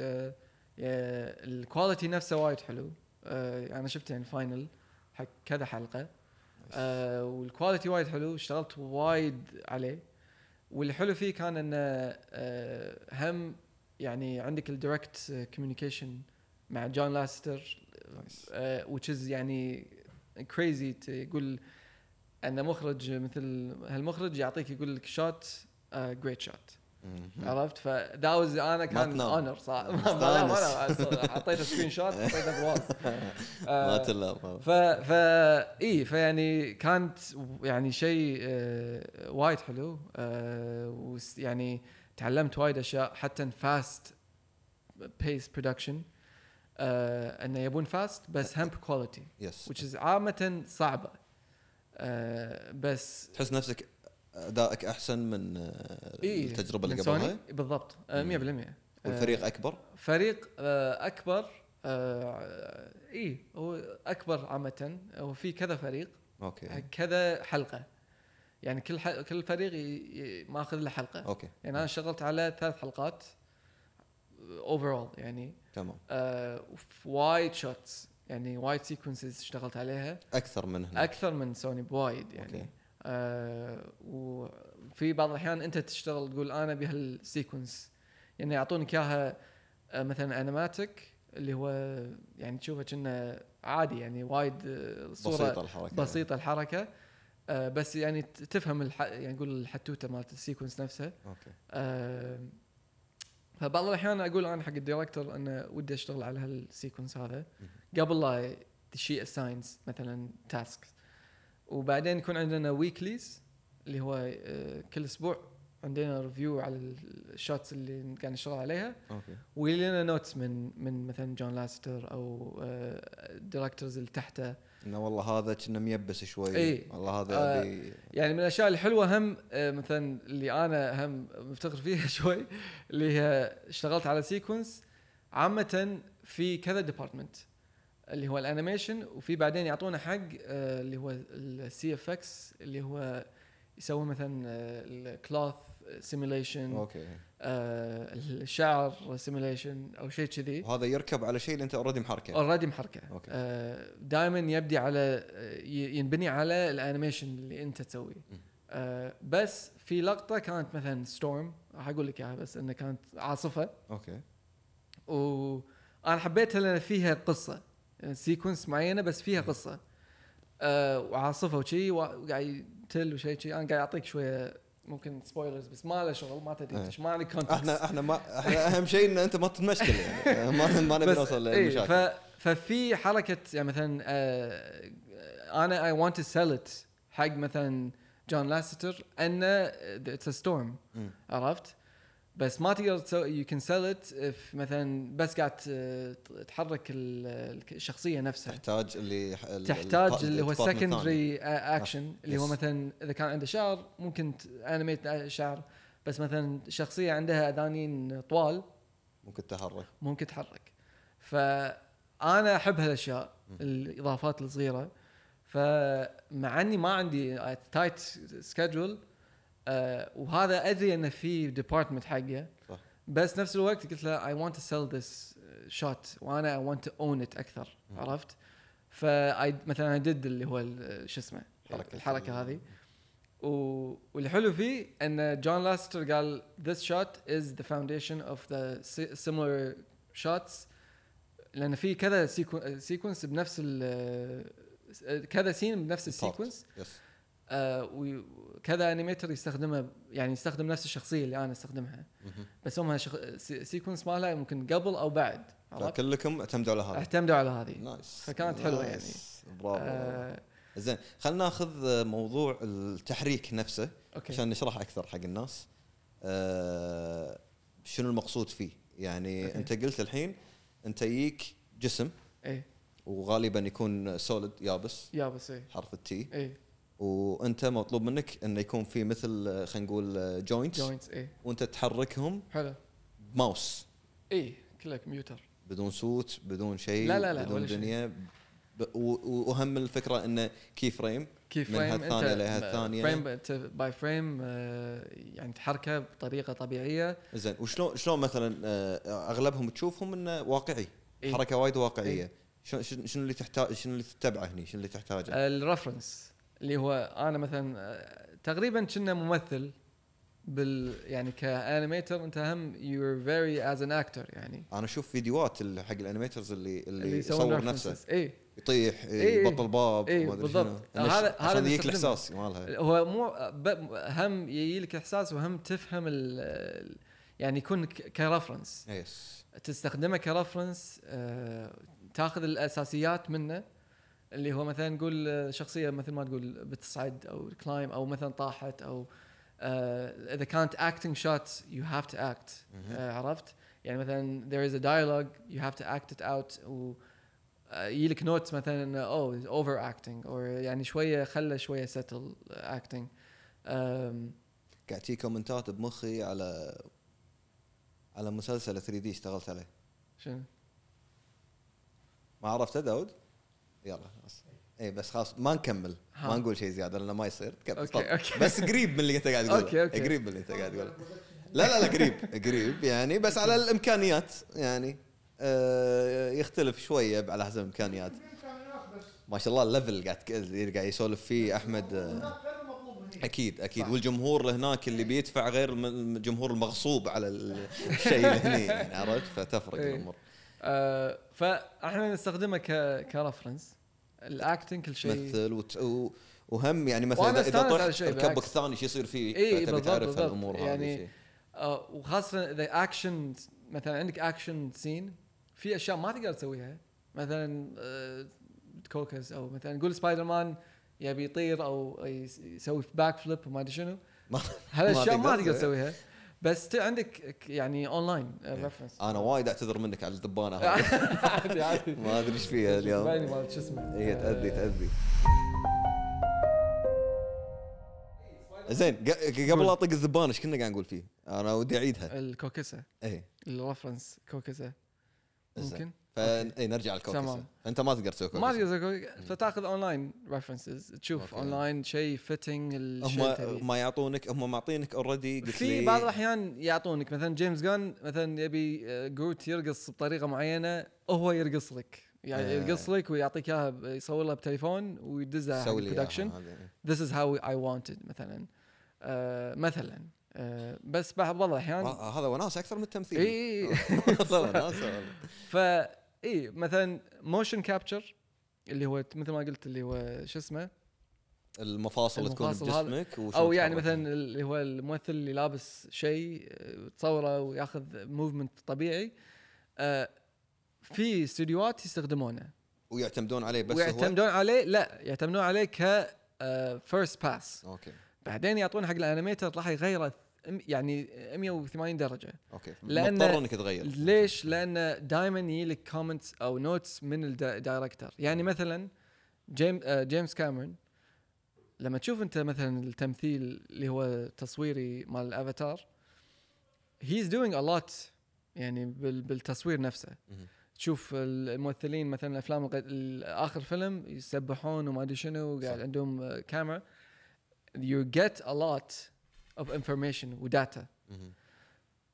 [SPEAKER 2] الكواليتي آه، نفسه وايد حلو آه، انا شفت يعني الفاينل حق كذا حلقه آه، والكواليتي وايد حلو اشتغلت وايد عليه والحلو فيه كان انه آه، هم يعني عندك الدايركت كوميونيكيشن مع جون لاستر
[SPEAKER 1] Nice.
[SPEAKER 2] آه، which is يعني كريزي تقول ان مخرج مثل هالمخرج يعطيك يقول لك آه، شوت جريت شوت
[SPEAKER 1] مهم.
[SPEAKER 2] (laughs) عرفت فداوز انا كان
[SPEAKER 1] تنام.
[SPEAKER 2] اونر صح (laughs) ما- ما- ما- ما-
[SPEAKER 1] مستانس.
[SPEAKER 2] ما- حطيت سكرين
[SPEAKER 1] (laughs)
[SPEAKER 2] شوت حطيته بالواس
[SPEAKER 1] ما
[SPEAKER 2] آه،
[SPEAKER 1] تلا
[SPEAKER 2] ف ف اي فيعني كانت يعني شيء آه، وايد حلو آه، وس- يعني تعلمت وايد اشياء حتى فاست بيس برودكشن انه آه، يبون فاست بس هم كواليتي
[SPEAKER 1] يس
[SPEAKER 2] which is عامة صعبة آه بس
[SPEAKER 1] تحس نفسك ادائك احسن من آه،
[SPEAKER 2] إيه،
[SPEAKER 1] التجربه اللي
[SPEAKER 2] من
[SPEAKER 1] قبلها
[SPEAKER 2] سوني بالضبط آه، 100% آه،
[SPEAKER 1] والفريق اكبر
[SPEAKER 2] فريق آه اكبر آه اي هو اكبر عامه وفي كذا فريق
[SPEAKER 1] اوكي
[SPEAKER 2] كذا حلقه يعني كل ح... كل فريق ي... ي... ماخذ له حلقه
[SPEAKER 1] اوكي
[SPEAKER 2] يعني انا اشتغلت على ثلاث حلقات اوفرول يعني
[SPEAKER 1] تمام
[SPEAKER 2] آه وايد شوتس يعني وايد سيكونسز اشتغلت عليها
[SPEAKER 1] اكثر من هنا
[SPEAKER 2] اكثر من سوني بوايد
[SPEAKER 1] نعم. أوكي.
[SPEAKER 2] يعني آه وفي بعض الاحيان انت تشتغل تقول انا ابي هالسيكونس يعني يعطونك اياها آه، مثلا انيماتيك اللي هو يعني تشوفه كأنه عادي يعني وايد آه،
[SPEAKER 1] بسيطه
[SPEAKER 2] صوره
[SPEAKER 1] الحركه
[SPEAKER 2] بسيطه الحركه آه بس يعني ت- تفهم الح... يعني نقول الحتوته مالت السيكونس نفسها
[SPEAKER 1] اوكي
[SPEAKER 2] آه، فبعض الاحيان اقول انا حق الدايركتور انه ودي اشتغل على هالسيكونس هذا قبل لا شيء اساينز مثلا تاسك وبعدين يكون عندنا ويكليز اللي هو آه، كل اسبوع عندنا ريفيو على الشوتس اللي قاعد نشتغل عليها
[SPEAKER 1] اوكي
[SPEAKER 2] ولنا نوتس من من مثلا جون لاستر او الدايركتورز آه، اللي تحته
[SPEAKER 1] انه والله هذا كنا ميبس شوي
[SPEAKER 2] إي.
[SPEAKER 1] والله هذا
[SPEAKER 2] آه.
[SPEAKER 1] ابي
[SPEAKER 2] يعني من الاشياء الحلوه هم آه، مثلا اللي انا هم مفتخر فيها (laughs) شوي اللي هي اشتغلت على سيكونس عامه في كذا ديبارتمنت اللي هو الانيميشن وفي بعدين يعطونا حق آه، اللي هو السي اف اكس اللي هو آه، يسوون مثلا الكلوث سيميليشن
[SPEAKER 1] اوكي
[SPEAKER 2] آه، الشعر سيميليشن او شيء كذي
[SPEAKER 1] وهذا يركب على شيء اللي انت اوريدي محركه
[SPEAKER 2] اوريدي محركه
[SPEAKER 1] أوكي.
[SPEAKER 2] دائما آه، يبدي على آه، ي- ينبني على الانيميشن اللي انت تسويه
[SPEAKER 1] م.
[SPEAKER 2] آه، بس في لقطه كانت مثلا ستورم راح اقول لك اياها بس انها كانت عاصفه
[SPEAKER 1] اوكي
[SPEAKER 2] وانا حبيتها لان فيها قصه سيكونس معينه بس فيها قصه آه، وعاصفه وشي وع- وقاعد تل وشي شي انا قاعد اعطيك شويه ممكن سبويلرز بس ما له شغل ما تدري
[SPEAKER 1] إيه.
[SPEAKER 2] إيش، ما عليك كونتكست
[SPEAKER 1] احنا احنا ما احنا اهم شيء ان انت ما تتمشكل يعني (laughs) ما ما نبي
[SPEAKER 2] بس-
[SPEAKER 1] نوصل
[SPEAKER 2] إيه،
[SPEAKER 1] للمشاكل
[SPEAKER 2] ف- ففي حركه يعني مثلا آه، انا اي ونت تو سيل ات حق مثلا جون لاستر انه اتس ستورم
[SPEAKER 1] مم.
[SPEAKER 2] عرفت بس ما تقدر تسوي يو كان سيل ات مثلا بس قاعد ت- تحرك ال- الشخصيه نفسها
[SPEAKER 1] تحتاج اللي ح- ال-
[SPEAKER 2] تحتاج
[SPEAKER 1] ال-
[SPEAKER 2] اللي هو
[SPEAKER 1] الديبارتمنت الثاني.
[SPEAKER 2] سكندري اكشن اللي هو
[SPEAKER 1] يس.
[SPEAKER 2] مثلا اذا كان عنده شعر ممكن انيميت شعر بس مثلا شخصيه عندها اذانين طوال
[SPEAKER 1] ممكن تتحرك
[SPEAKER 2] ممكن تتحرك فانا احب هالاشياء الاضافات الصغيره فمع اني ما عندي تايت سكجول وهذا ادري انه في ديبارتمنت حقه
[SPEAKER 1] صح.
[SPEAKER 2] بس نفس الوقت قلت له اي ونت تو سيل ذس شوت وانا اي ونت تو اون ات اكثر
[SPEAKER 1] مم.
[SPEAKER 2] عرفت؟ فاي مثلا دد اللي هو ال- شو اسمه
[SPEAKER 1] حركة
[SPEAKER 2] الحركه
[SPEAKER 1] ال-
[SPEAKER 2] هذه و... والحلو فيه ان جون لاستر قال this shot is the foundation of the si- similar shots لان في كذا سيكونس بنفس ال كذا سين بنفس السيكونس
[SPEAKER 1] يس
[SPEAKER 2] آه وكذا انيميتر يستخدمه يعني يستخدم نفس الشخصيه اللي انا استخدمها
[SPEAKER 1] مهم.
[SPEAKER 2] بس هم شخ... سيكونس مالها ممكن قبل او بعد عرفت؟
[SPEAKER 1] كلكم اعتمدوا على هذا
[SPEAKER 2] اعتمدوا على هذه
[SPEAKER 1] نايس
[SPEAKER 2] فكانت حلوة يعني.
[SPEAKER 1] نايس. برافو
[SPEAKER 2] آه
[SPEAKER 1] زين خلينا ناخذ موضوع التحريك نفسه
[SPEAKER 2] اوكي
[SPEAKER 1] عشان نشرح اكثر حق الناس آه، شنو المقصود فيه يعني
[SPEAKER 2] أوكي.
[SPEAKER 1] انت قلت الحين انت يجيك جسم
[SPEAKER 2] ايه
[SPEAKER 1] وغالبا يكون سوليد يابس
[SPEAKER 2] يا بس ايه
[SPEAKER 1] حرف التي
[SPEAKER 2] ايه
[SPEAKER 1] وانت مطلوب منك انه يكون في مثل آه، خلينا نقول جوينتس
[SPEAKER 2] جوينتس ايه
[SPEAKER 1] وانت تحركهم
[SPEAKER 2] حلو
[SPEAKER 1] بماوس
[SPEAKER 2] ايه كله كمبيوتر
[SPEAKER 1] بدون سوت بدون شيء
[SPEAKER 2] لا، لا، لا،
[SPEAKER 1] بدون
[SPEAKER 2] ولا شيء.
[SPEAKER 1] دنيا ب- و- و- واهم الفكره انه كي فريم
[SPEAKER 2] كيف
[SPEAKER 1] من
[SPEAKER 2] فريم
[SPEAKER 1] هالثانية لهالثانية.
[SPEAKER 2] فريم باي فريم يعني تحركه بطريقه طبيعيه
[SPEAKER 1] زين وشلون شلون مثلا آه، اغلبهم تشوفهم انه واقعي
[SPEAKER 2] إيه.
[SPEAKER 1] حركه وايد واقعيه
[SPEAKER 2] إيه.
[SPEAKER 1] شلون- شنو شنو اللي تحتاج شنو اللي تتبعه هني شنو اللي
[SPEAKER 2] أه.
[SPEAKER 1] تحتاجه
[SPEAKER 2] الرفرنس اللي هو انا مثلا آه، تقريبا كنا ممثل بال يعني كانيميتر انت هم يور فيري از ان اكتر يعني
[SPEAKER 1] انا اشوف فيديوهات اللي حق الانيميترز اللي اللي
[SPEAKER 2] يسوون
[SPEAKER 1] يصور
[SPEAKER 2] references.
[SPEAKER 1] نفسه
[SPEAKER 2] اي
[SPEAKER 1] يطيح
[SPEAKER 2] إيه،
[SPEAKER 1] يبطل باب
[SPEAKER 2] إيه،
[SPEAKER 1] ما أدري
[SPEAKER 2] بالضبط.
[SPEAKER 1] شنو. إنه
[SPEAKER 2] آه، هذا-
[SPEAKER 1] ش-
[SPEAKER 2] هذا
[SPEAKER 1] عشان يجيك
[SPEAKER 2] نستخدمه.
[SPEAKER 1] الاحساس مالها
[SPEAKER 2] هو مو ب- هم يجي لك احساس وهم تفهم ال- ال يعني يكون ك- كرفرنس
[SPEAKER 1] يس
[SPEAKER 2] تستخدمه كرفرنس تاخذ الاساسيات منه اللي هو مثلا نقول آه، شخصيه مثل ما تقول بتصعد او كلايم او مثلا طاحت او آه، اذا كانت acting shots you have to act
[SPEAKER 1] مهم.
[SPEAKER 2] آه، عرفت؟ يعني مثلا there is a dialogue you have to act it out و آه، يجيلك نوتس مثلا او اوفر acting او oh، يعني شويه خله شويه settle acting آم،
[SPEAKER 1] قاعد تجي كومنتات بمخي على على مسلسل 3 دي اشتغلت عليه
[SPEAKER 2] شنو؟
[SPEAKER 1] ما عرفته داود يلا خلاص اي بس خلاص ما نكمل
[SPEAKER 2] ها.
[SPEAKER 1] ما نقول شيء زياده لانه ما يصير تكمل
[SPEAKER 2] أوكي،
[SPEAKER 1] طب.
[SPEAKER 2] أوكي. (laughs)
[SPEAKER 1] بس قريب من اللي انت قاعد تقوله
[SPEAKER 2] أوكي، أوكي.
[SPEAKER 1] قريب من اللي انت قاعد تقوله لا لا لا قريب قريب يعني بس على الامكانيات يعني آه يختلف شويه على حسب الامكانيات ما شاء الله الليفل قاعد ك- اللي قاعد يسولف فيه احمد آه اكيد اكيد والجمهور هناك اللي بيدفع غير الم- الجمهور المغصوب على ال- الشيء اللي هني يعني عرفت فتفرق
[SPEAKER 2] إيه.
[SPEAKER 1] الامور
[SPEAKER 2] آه فاحنا نستخدمه ك كرفرنس الاكتنج كل شيء
[SPEAKER 1] تمثل وت... و... وهم يعني مثلا
[SPEAKER 2] وأنا
[SPEAKER 1] اذا اذا
[SPEAKER 2] استانس على
[SPEAKER 1] طحت
[SPEAKER 2] شيء
[SPEAKER 1] الكبك
[SPEAKER 2] بالعكس.
[SPEAKER 1] الثاني شو يصير فيه
[SPEAKER 2] إي،
[SPEAKER 1] فتبي
[SPEAKER 2] بالضبط،
[SPEAKER 1] تعرف
[SPEAKER 2] بالضبط.
[SPEAKER 1] هالامور هذه
[SPEAKER 2] يعني-
[SPEAKER 1] شيء.
[SPEAKER 2] آه وخاصه اذا اكشن مثلا عندك اكشن سين في اشياء ما تقدر تسويها مثلا آه تكوكس او مثلا نقول سبايدر مان يبي يطير او يس- يسوي باك فليب وما ادري شنو
[SPEAKER 1] ما-
[SPEAKER 2] هالاشياء ما تقدر
[SPEAKER 1] تقدر.
[SPEAKER 2] تسويها بس ت- عندك ك- يعني اونلاين
[SPEAKER 1] إيه. (laughs)
[SPEAKER 2] ريفرنس
[SPEAKER 1] انا وايد اعتذر منك على الدبانه
[SPEAKER 2] (laughs)
[SPEAKER 1] هذه
[SPEAKER 2] عادي عادي
[SPEAKER 1] ما ادري ايش فيها (laughs)
[SPEAKER 2] (laughs)
[SPEAKER 1] اليوم إيه،
[SPEAKER 2] بالي مال شو اسمه
[SPEAKER 1] هي تاذي تاذي زين ق- قبل
[SPEAKER 2] قول.
[SPEAKER 1] اطق الذبان ايش كنا قاعد نقول فيه؟ انا ودي اعيدها
[SPEAKER 2] الكوكسه
[SPEAKER 1] اي
[SPEAKER 2] الرفرنس كوكسه
[SPEAKER 1] زين.
[SPEAKER 2] ممكن
[SPEAKER 1] فاي نرجع للكوكسه
[SPEAKER 2] تمام.
[SPEAKER 1] انت ما تقدر تسوي
[SPEAKER 2] ما
[SPEAKER 1] كوكسه
[SPEAKER 2] تقدر تقول- فتاخذ اونلاين ريفرنسز تشوف
[SPEAKER 1] أوكي.
[SPEAKER 2] اونلاين شيء فيتنج
[SPEAKER 1] هم ما يعطونك هم معطينك اوريدي قلت
[SPEAKER 2] في
[SPEAKER 1] لي
[SPEAKER 2] بعض الاحيان يعطونك مثلا جيمس جان مثلا يبي آه، جروت يرقص بطريقه معينه هو يرقص لك يعني
[SPEAKER 1] آه.
[SPEAKER 2] يرقص لك ويعطيك اياها ب- يصور لها بتليفون ويدزها حق
[SPEAKER 1] سوي لي إياها
[SPEAKER 2] البرودكشن
[SPEAKER 1] هذه.
[SPEAKER 2] ذيس از هاو اي wanted مثلا آه مثلا آه بس بعض الاحيان
[SPEAKER 1] آه، هذا وناس اكثر من التمثيل (laughs)
[SPEAKER 2] (laughs) اي
[SPEAKER 1] والله وناسة والله.
[SPEAKER 2] فا اي مثلا موشن كابتشر اللي هو مثل ما قلت اللي هو شو اسمه
[SPEAKER 1] المفاصل تكون
[SPEAKER 2] المفاصل هذا-
[SPEAKER 1] بجسمك وشلون
[SPEAKER 2] او يعني
[SPEAKER 1] تتحرك.
[SPEAKER 2] مثلا اللي هو الممثل اللي لابس شيء آه، تصوره وياخذ موفمنت طبيعي آه، في استديوهات يستخدمونه
[SPEAKER 1] ويعتمدون عليه بس ويعتمد...
[SPEAKER 2] ويعتمدون عليه لا يعتمدون عليه ك فيرست باس
[SPEAKER 1] هو اوكي
[SPEAKER 2] بعدين يعطون حق الانيميتر راح يغيره م- يعني 180 درجه
[SPEAKER 1] اوكي
[SPEAKER 2] لأن-
[SPEAKER 1] مضطر انك تغير
[SPEAKER 2] ليش؟ لان دائما يجي لك كومنتس او نوتس من الدايركتر، يعني مثلا جيم آه، جيمس كاميرون لما تشوف انت مثلا التمثيل اللي هو تصويري مال الافاتار هي از دوينج ا لوت يعني بال- بالتصوير نفسه
[SPEAKER 1] مهم.
[SPEAKER 2] تشوف الممثلين مثلا الافلام الق- ال- اخر فيلم يسبحون وما ادري شنو
[SPEAKER 1] صح.
[SPEAKER 2] وقاعد عندهم آه، كاميرا you get a lot of information وداتا
[SPEAKER 1] مهم.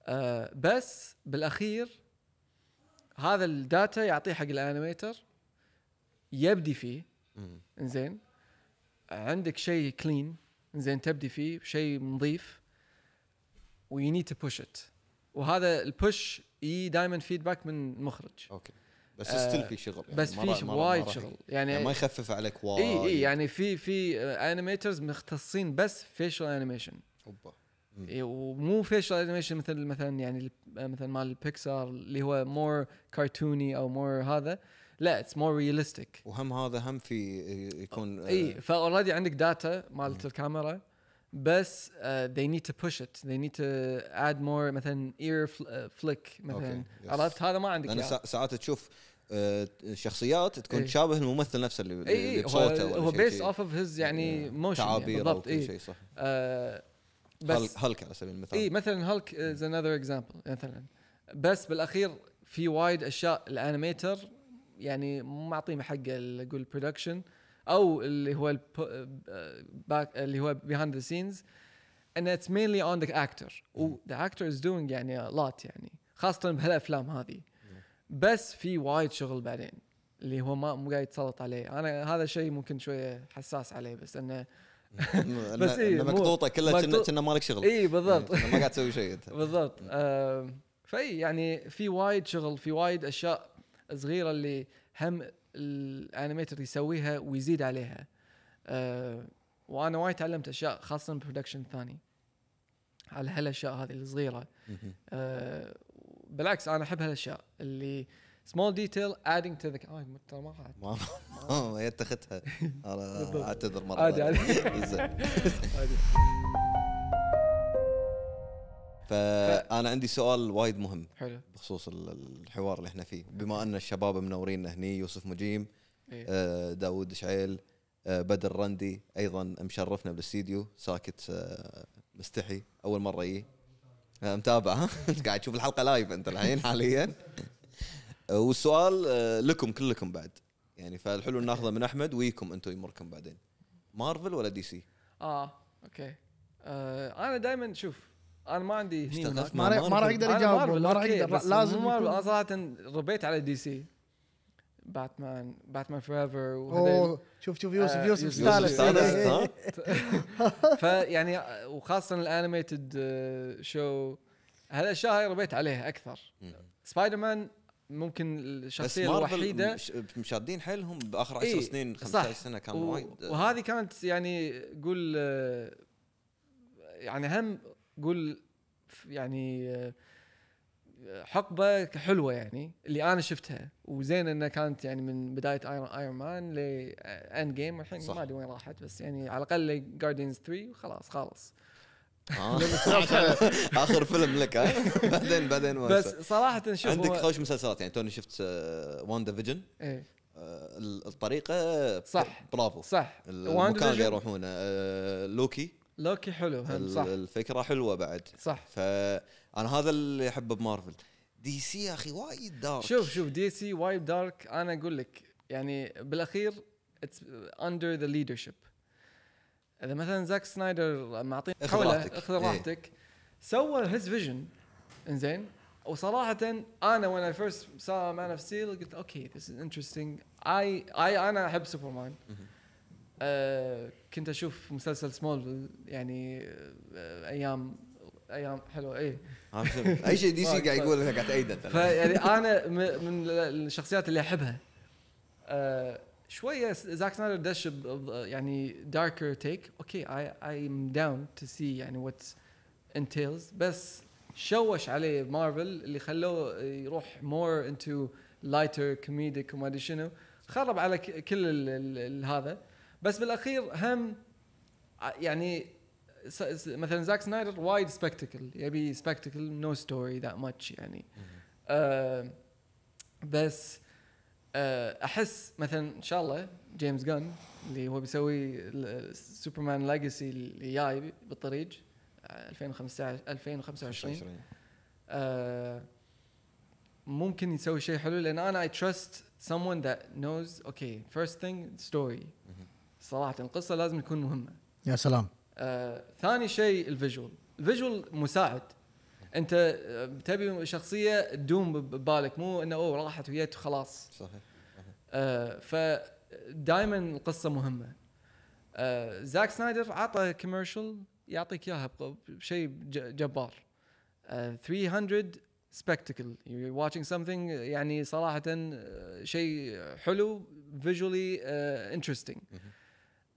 [SPEAKER 2] آه، بس بالاخير هذا الداتا يعطيه حق الانيميتر يبدي فيه
[SPEAKER 1] مهم.
[SPEAKER 2] انزين عندك شيء كلين انزين تبدي فيه شيء نظيف ويو نيد تو بوش ات وهذا البوش يجي دائما فيدباك من المخرج
[SPEAKER 1] اوكي بس
[SPEAKER 2] آه،
[SPEAKER 1] ستيل في شغل يعني
[SPEAKER 2] بس
[SPEAKER 1] ما راح-
[SPEAKER 2] في
[SPEAKER 1] ما راح- ما
[SPEAKER 2] وايد
[SPEAKER 1] راح-
[SPEAKER 2] شغل
[SPEAKER 1] يعني
[SPEAKER 2] يعني
[SPEAKER 1] ما يخفف عليك وايد
[SPEAKER 2] اي اي يعني في في انيميترز مختصين بس فيشل انيميشن
[SPEAKER 1] أوبا.
[SPEAKER 2] إيه، ومو فيشل انيميشن مثل مثلا يعني ال- مثلا مال البيكسار اللي هو مور كرتوني او مور هذا لا اتس مور رياليستيك
[SPEAKER 1] وهم هذا هم في يكون آه،
[SPEAKER 2] اي فاوريدي إيه، عندك داتا
[SPEAKER 1] إيه.
[SPEAKER 2] مالت الكاميرا بس uh, they need to push it they need to add more مثلا ear fl- uh, flick مثلا
[SPEAKER 1] أوكي، يس.
[SPEAKER 2] عرفت هذا ما عندك
[SPEAKER 1] لان
[SPEAKER 2] إياه.
[SPEAKER 1] سا- ساعات تشوف آه، شخصيات تكون
[SPEAKER 2] إي.
[SPEAKER 1] تشابه الممثل نفسه اللي
[SPEAKER 2] اي
[SPEAKER 1] اللي
[SPEAKER 2] اي
[SPEAKER 1] بصوته
[SPEAKER 2] إيه، هو,
[SPEAKER 1] ولا
[SPEAKER 2] هو
[SPEAKER 1] شيء
[SPEAKER 2] بيس
[SPEAKER 1] شيء.
[SPEAKER 2] اوف اوف هيز يعني موشن يعني
[SPEAKER 1] تعابير او
[SPEAKER 2] بالضبط
[SPEAKER 1] كل
[SPEAKER 2] اي
[SPEAKER 1] شيء صح
[SPEAKER 2] آه، بس
[SPEAKER 1] هل- هلك على سبيل المثال (laughs)
[SPEAKER 2] اي مثلا إيه، هالك از انذر اكزامبل مثلا بس بالاخير في وايد اشياء الانيميتر يعني مو معطيه حقه ال- قول برودكشن او اللي هو باك اللي هو بيهاند ذا سينز and it's mainly on the actor و the actor is doing يعني a lot يعني خاصة بهالافلام هذه بس في وايد شغل بعدين اللي هو ما مو قاعد يتسلط عليه انا هذا شيء ممكن شوية حساس عليه بس انه
[SPEAKER 1] بس
[SPEAKER 2] بس إي، مو-
[SPEAKER 1] مقطوطه كلها كنا-
[SPEAKER 2] مقطوط-
[SPEAKER 1] كنا مالك شغل
[SPEAKER 2] اي إيه، بالضبط
[SPEAKER 1] يعني كنا ما قاعد تسوي
[SPEAKER 2] (laughs)
[SPEAKER 1] شيء انت
[SPEAKER 2] بالضبط آم، فاي يعني في وايد شغل في وايد اشياء صغيره اللي هم الانيميتر يسويها ويزيد عليها آه، وانا وايد تعلمت اشياء خاصه برودكشن ثاني على هالاشياء هذه الصغيره
[SPEAKER 1] مهم.
[SPEAKER 2] آه، بالعكس انا احب هالاشياء اللي small detail adding to the آه، ترى ما قعدت.
[SPEAKER 1] ما ما- ما يتختها انا
[SPEAKER 2] بالضبط.
[SPEAKER 1] اعتذر مره
[SPEAKER 2] عادي،
[SPEAKER 1] ثانية. (laughs) زين. فانا عندي سؤال وايد مهم
[SPEAKER 2] حلو
[SPEAKER 1] بخصوص ال- الحوار اللي احنا فيه بما ان الشباب منورين هني يوسف مجيم
[SPEAKER 2] إيه.
[SPEAKER 1] آه، داود شعيل آه، بدر رندي ايضا مشرفنا بالاستديو ساكت آه، مستحي اول (laughs) مره يجي آه، متابع ها قاعد تشوف الحلقه لايف انت الحين حاليا آه، والسؤال آه، لكم كلكم بعد يعني فالحلو إن ناخذه من احمد ويكم انتم يمركم بعدين مارفل ولا دي سي؟
[SPEAKER 2] اه اوكي آه انا دائما شوف انا ما عندي هني
[SPEAKER 1] اشتغلت
[SPEAKER 2] هناك.
[SPEAKER 1] مع
[SPEAKER 3] ما راح- ما راح
[SPEAKER 1] مارفل.
[SPEAKER 2] أنا
[SPEAKER 3] يقدر يجاوب
[SPEAKER 2] مارفل،
[SPEAKER 3] ما راح
[SPEAKER 2] أوكي،
[SPEAKER 3] يقدر
[SPEAKER 2] بس
[SPEAKER 3] لا- لازم
[SPEAKER 2] مو مارفل
[SPEAKER 3] يكون-
[SPEAKER 2] انا صراحه ربيت على دي سي باتمان باتمان فوريفر وهذيل
[SPEAKER 3] اوه شوف شوف يوسف
[SPEAKER 2] آه،
[SPEAKER 3] يوسف
[SPEAKER 2] يوسف
[SPEAKER 1] يوسف
[SPEAKER 3] استانس
[SPEAKER 2] استانس،
[SPEAKER 1] استانست،
[SPEAKER 3] إيه، إيه.
[SPEAKER 1] ها؟
[SPEAKER 2] فيعني آه، وخاصه الانيميتد آه، شو هالاشياء هاي ربيت عليها اكثر سبايدر مان ممكن
[SPEAKER 1] بس
[SPEAKER 2] الشخصيه
[SPEAKER 1] مارفل
[SPEAKER 2] الوحيده
[SPEAKER 1] مش- مشادين حيلهم باخر 10
[SPEAKER 2] إيه،
[SPEAKER 1] سنين
[SPEAKER 2] صح.
[SPEAKER 1] 15 سنه كان
[SPEAKER 2] و-
[SPEAKER 1] وايد آه،
[SPEAKER 2] وهذه كانت يعني قول آه، يعني هم قول ف- يعني آه، حقبه حلوه يعني اللي انا شفتها وزين انها كانت يعني من بدايه ايرون مان لاند جيم والحين
[SPEAKER 1] صح.
[SPEAKER 2] ما ادري وين راحت بس يعني على الاقل جاردينز 3 وخلاص خالص
[SPEAKER 1] آه. (laughs) عشان اخر فيلم لك ها بعدين بعدين وين
[SPEAKER 2] بس صراحه شوف
[SPEAKER 1] عندك
[SPEAKER 2] هو-
[SPEAKER 1] خوش مسلسلات يعني توني شفت آه، وان فيجن
[SPEAKER 2] إيه،
[SPEAKER 1] الطريقه
[SPEAKER 2] صح.
[SPEAKER 1] برافو
[SPEAKER 2] صح
[SPEAKER 1] المكان اللي
[SPEAKER 2] WandaVision
[SPEAKER 1] يروحونه آه، لوكي
[SPEAKER 2] لوكي حلو هم
[SPEAKER 1] ال-
[SPEAKER 2] صح
[SPEAKER 1] الفكره حلوه بعد
[SPEAKER 2] صح
[SPEAKER 1] فانا هذا اللي احبه بمارفل دي سي يا اخي وايد دارك
[SPEAKER 2] شوف شوف دي سي وايد دارك انا اقول لك يعني بالاخير اتس اندر ذا ليدرشيب اذا مثلا زاك سنايدر معطينا
[SPEAKER 1] اخذ
[SPEAKER 2] حوله،
[SPEAKER 1] راحتك.
[SPEAKER 2] اخذ
[SPEAKER 1] إيه.
[SPEAKER 2] راحتك سوى هيز فيجن انزين وصراحه انا وانا فيرست سا مان اوف ستيل قلت اوكي ذس از انترستنج اي اي انا احب سوبرمان آه كنت اشوف مسلسل سمول يعني آه ايام ايام حلوه ايه
[SPEAKER 1] عارف شنو؟ اي شيء دي سي قاعد يقول أنا قاعد تأيده ترى.
[SPEAKER 2] فيعني انا م- من ال- الشخصيات اللي احبها آه، شويه س- زاك سنايدر دش ب- ب- يعني داركر تيك اوكي اي ايم داون تو سي يعني وات انتيلز بس شوش عليه مارفل اللي خلوه يروح مور انتو لايتر كوميديك وما ادري شنو خرب على ك- كل ال- ال- ال- هذا بس بالاخير هم ع- يعني س- س- مثلا زاك سنايدر وايد سبكتكل يبي سبكتكل نو ستوري ذات ماتش يعني آه بس آه احس مثلا ان شاء الله جيمس جان اللي هو بيسوي ال- سوبرمان ليجاسي اللي جاي بالطريق آه، 2015 2025 آه، ممكن يسوي شيء حلو لان انا اي تراست someone that knows okay first thing story صراحه القصه لازم تكون مهمه
[SPEAKER 3] يا سلام
[SPEAKER 2] آه، ثاني شيء الفيجوال الفيجوال مساعد انت آه، تبي شخصيه تدوم بب- ببالك مو انه اوه راحت ويت وخلاص
[SPEAKER 1] صحيح
[SPEAKER 2] آه، فدائما القصه مهمه آه، زاك سنايدر عطى كوميرشل يعطيك اياها بق- بشيء ج- جبار آه، 300 سبكتكل يو واتشينج سمثينج يعني صراحه آه، شيء حلو فيجولي انترستنج
[SPEAKER 1] مهم.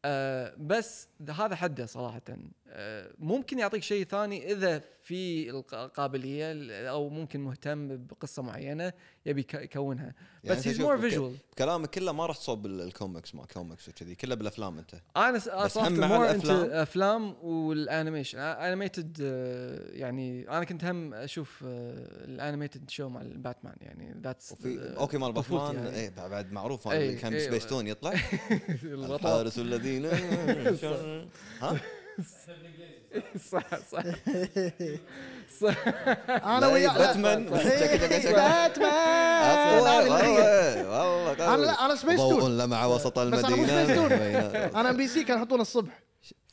[SPEAKER 2] آه، بس هذا حده صراحه آه، ممكن يعطيك شيء ثاني اذا في الق- القابليه او ممكن مهتم بقصه معينه يبي يك- يكونها
[SPEAKER 1] يعني
[SPEAKER 2] بس
[SPEAKER 1] أنت
[SPEAKER 2] هيز
[SPEAKER 1] شوف،
[SPEAKER 2] مور
[SPEAKER 1] بك-
[SPEAKER 2] فيجوال
[SPEAKER 1] كلامك كله ما راح تصوب بال- الكوميكس ما كوميكس وكذي كله بالافلام انت
[SPEAKER 2] انا س- أنا
[SPEAKER 1] بس
[SPEAKER 2] صراحه
[SPEAKER 1] هم مع
[SPEAKER 2] مور انت
[SPEAKER 1] الأفلام؟
[SPEAKER 2] افلام والانيميشن انيميتد يعني انا كنت هم اشوف الانيميتد شو مع باتمان يعني ذاتس (laughs)
[SPEAKER 1] وفي اوكي مال باتمان
[SPEAKER 2] يعني.
[SPEAKER 1] ايه بعد معروف
[SPEAKER 2] إيه،
[SPEAKER 1] اللي كان
[SPEAKER 2] إيه.
[SPEAKER 1] سبيس تون
[SPEAKER 3] (laughs)
[SPEAKER 1] يطلع الحارس الذين شر- ها
[SPEAKER 2] (laughs) صح صح صح
[SPEAKER 3] انا
[SPEAKER 1] لا،
[SPEAKER 3] ويا
[SPEAKER 1] إيه، باتمان
[SPEAKER 3] لا، إيه،
[SPEAKER 1] شكلك- شكلك- أيوه،
[SPEAKER 3] باتمان أنا
[SPEAKER 1] والله،
[SPEAKER 3] بالحقيقة.
[SPEAKER 1] والله قوي.
[SPEAKER 3] انا لا انا سبيس
[SPEAKER 1] ضوء
[SPEAKER 3] تون
[SPEAKER 1] لمع وسط
[SPEAKER 3] بس أنا مو
[SPEAKER 1] المدينه (laughs)
[SPEAKER 3] سبيستون.
[SPEAKER 1] بين-
[SPEAKER 3] انا ام بي سي كانوا يحطون الصبح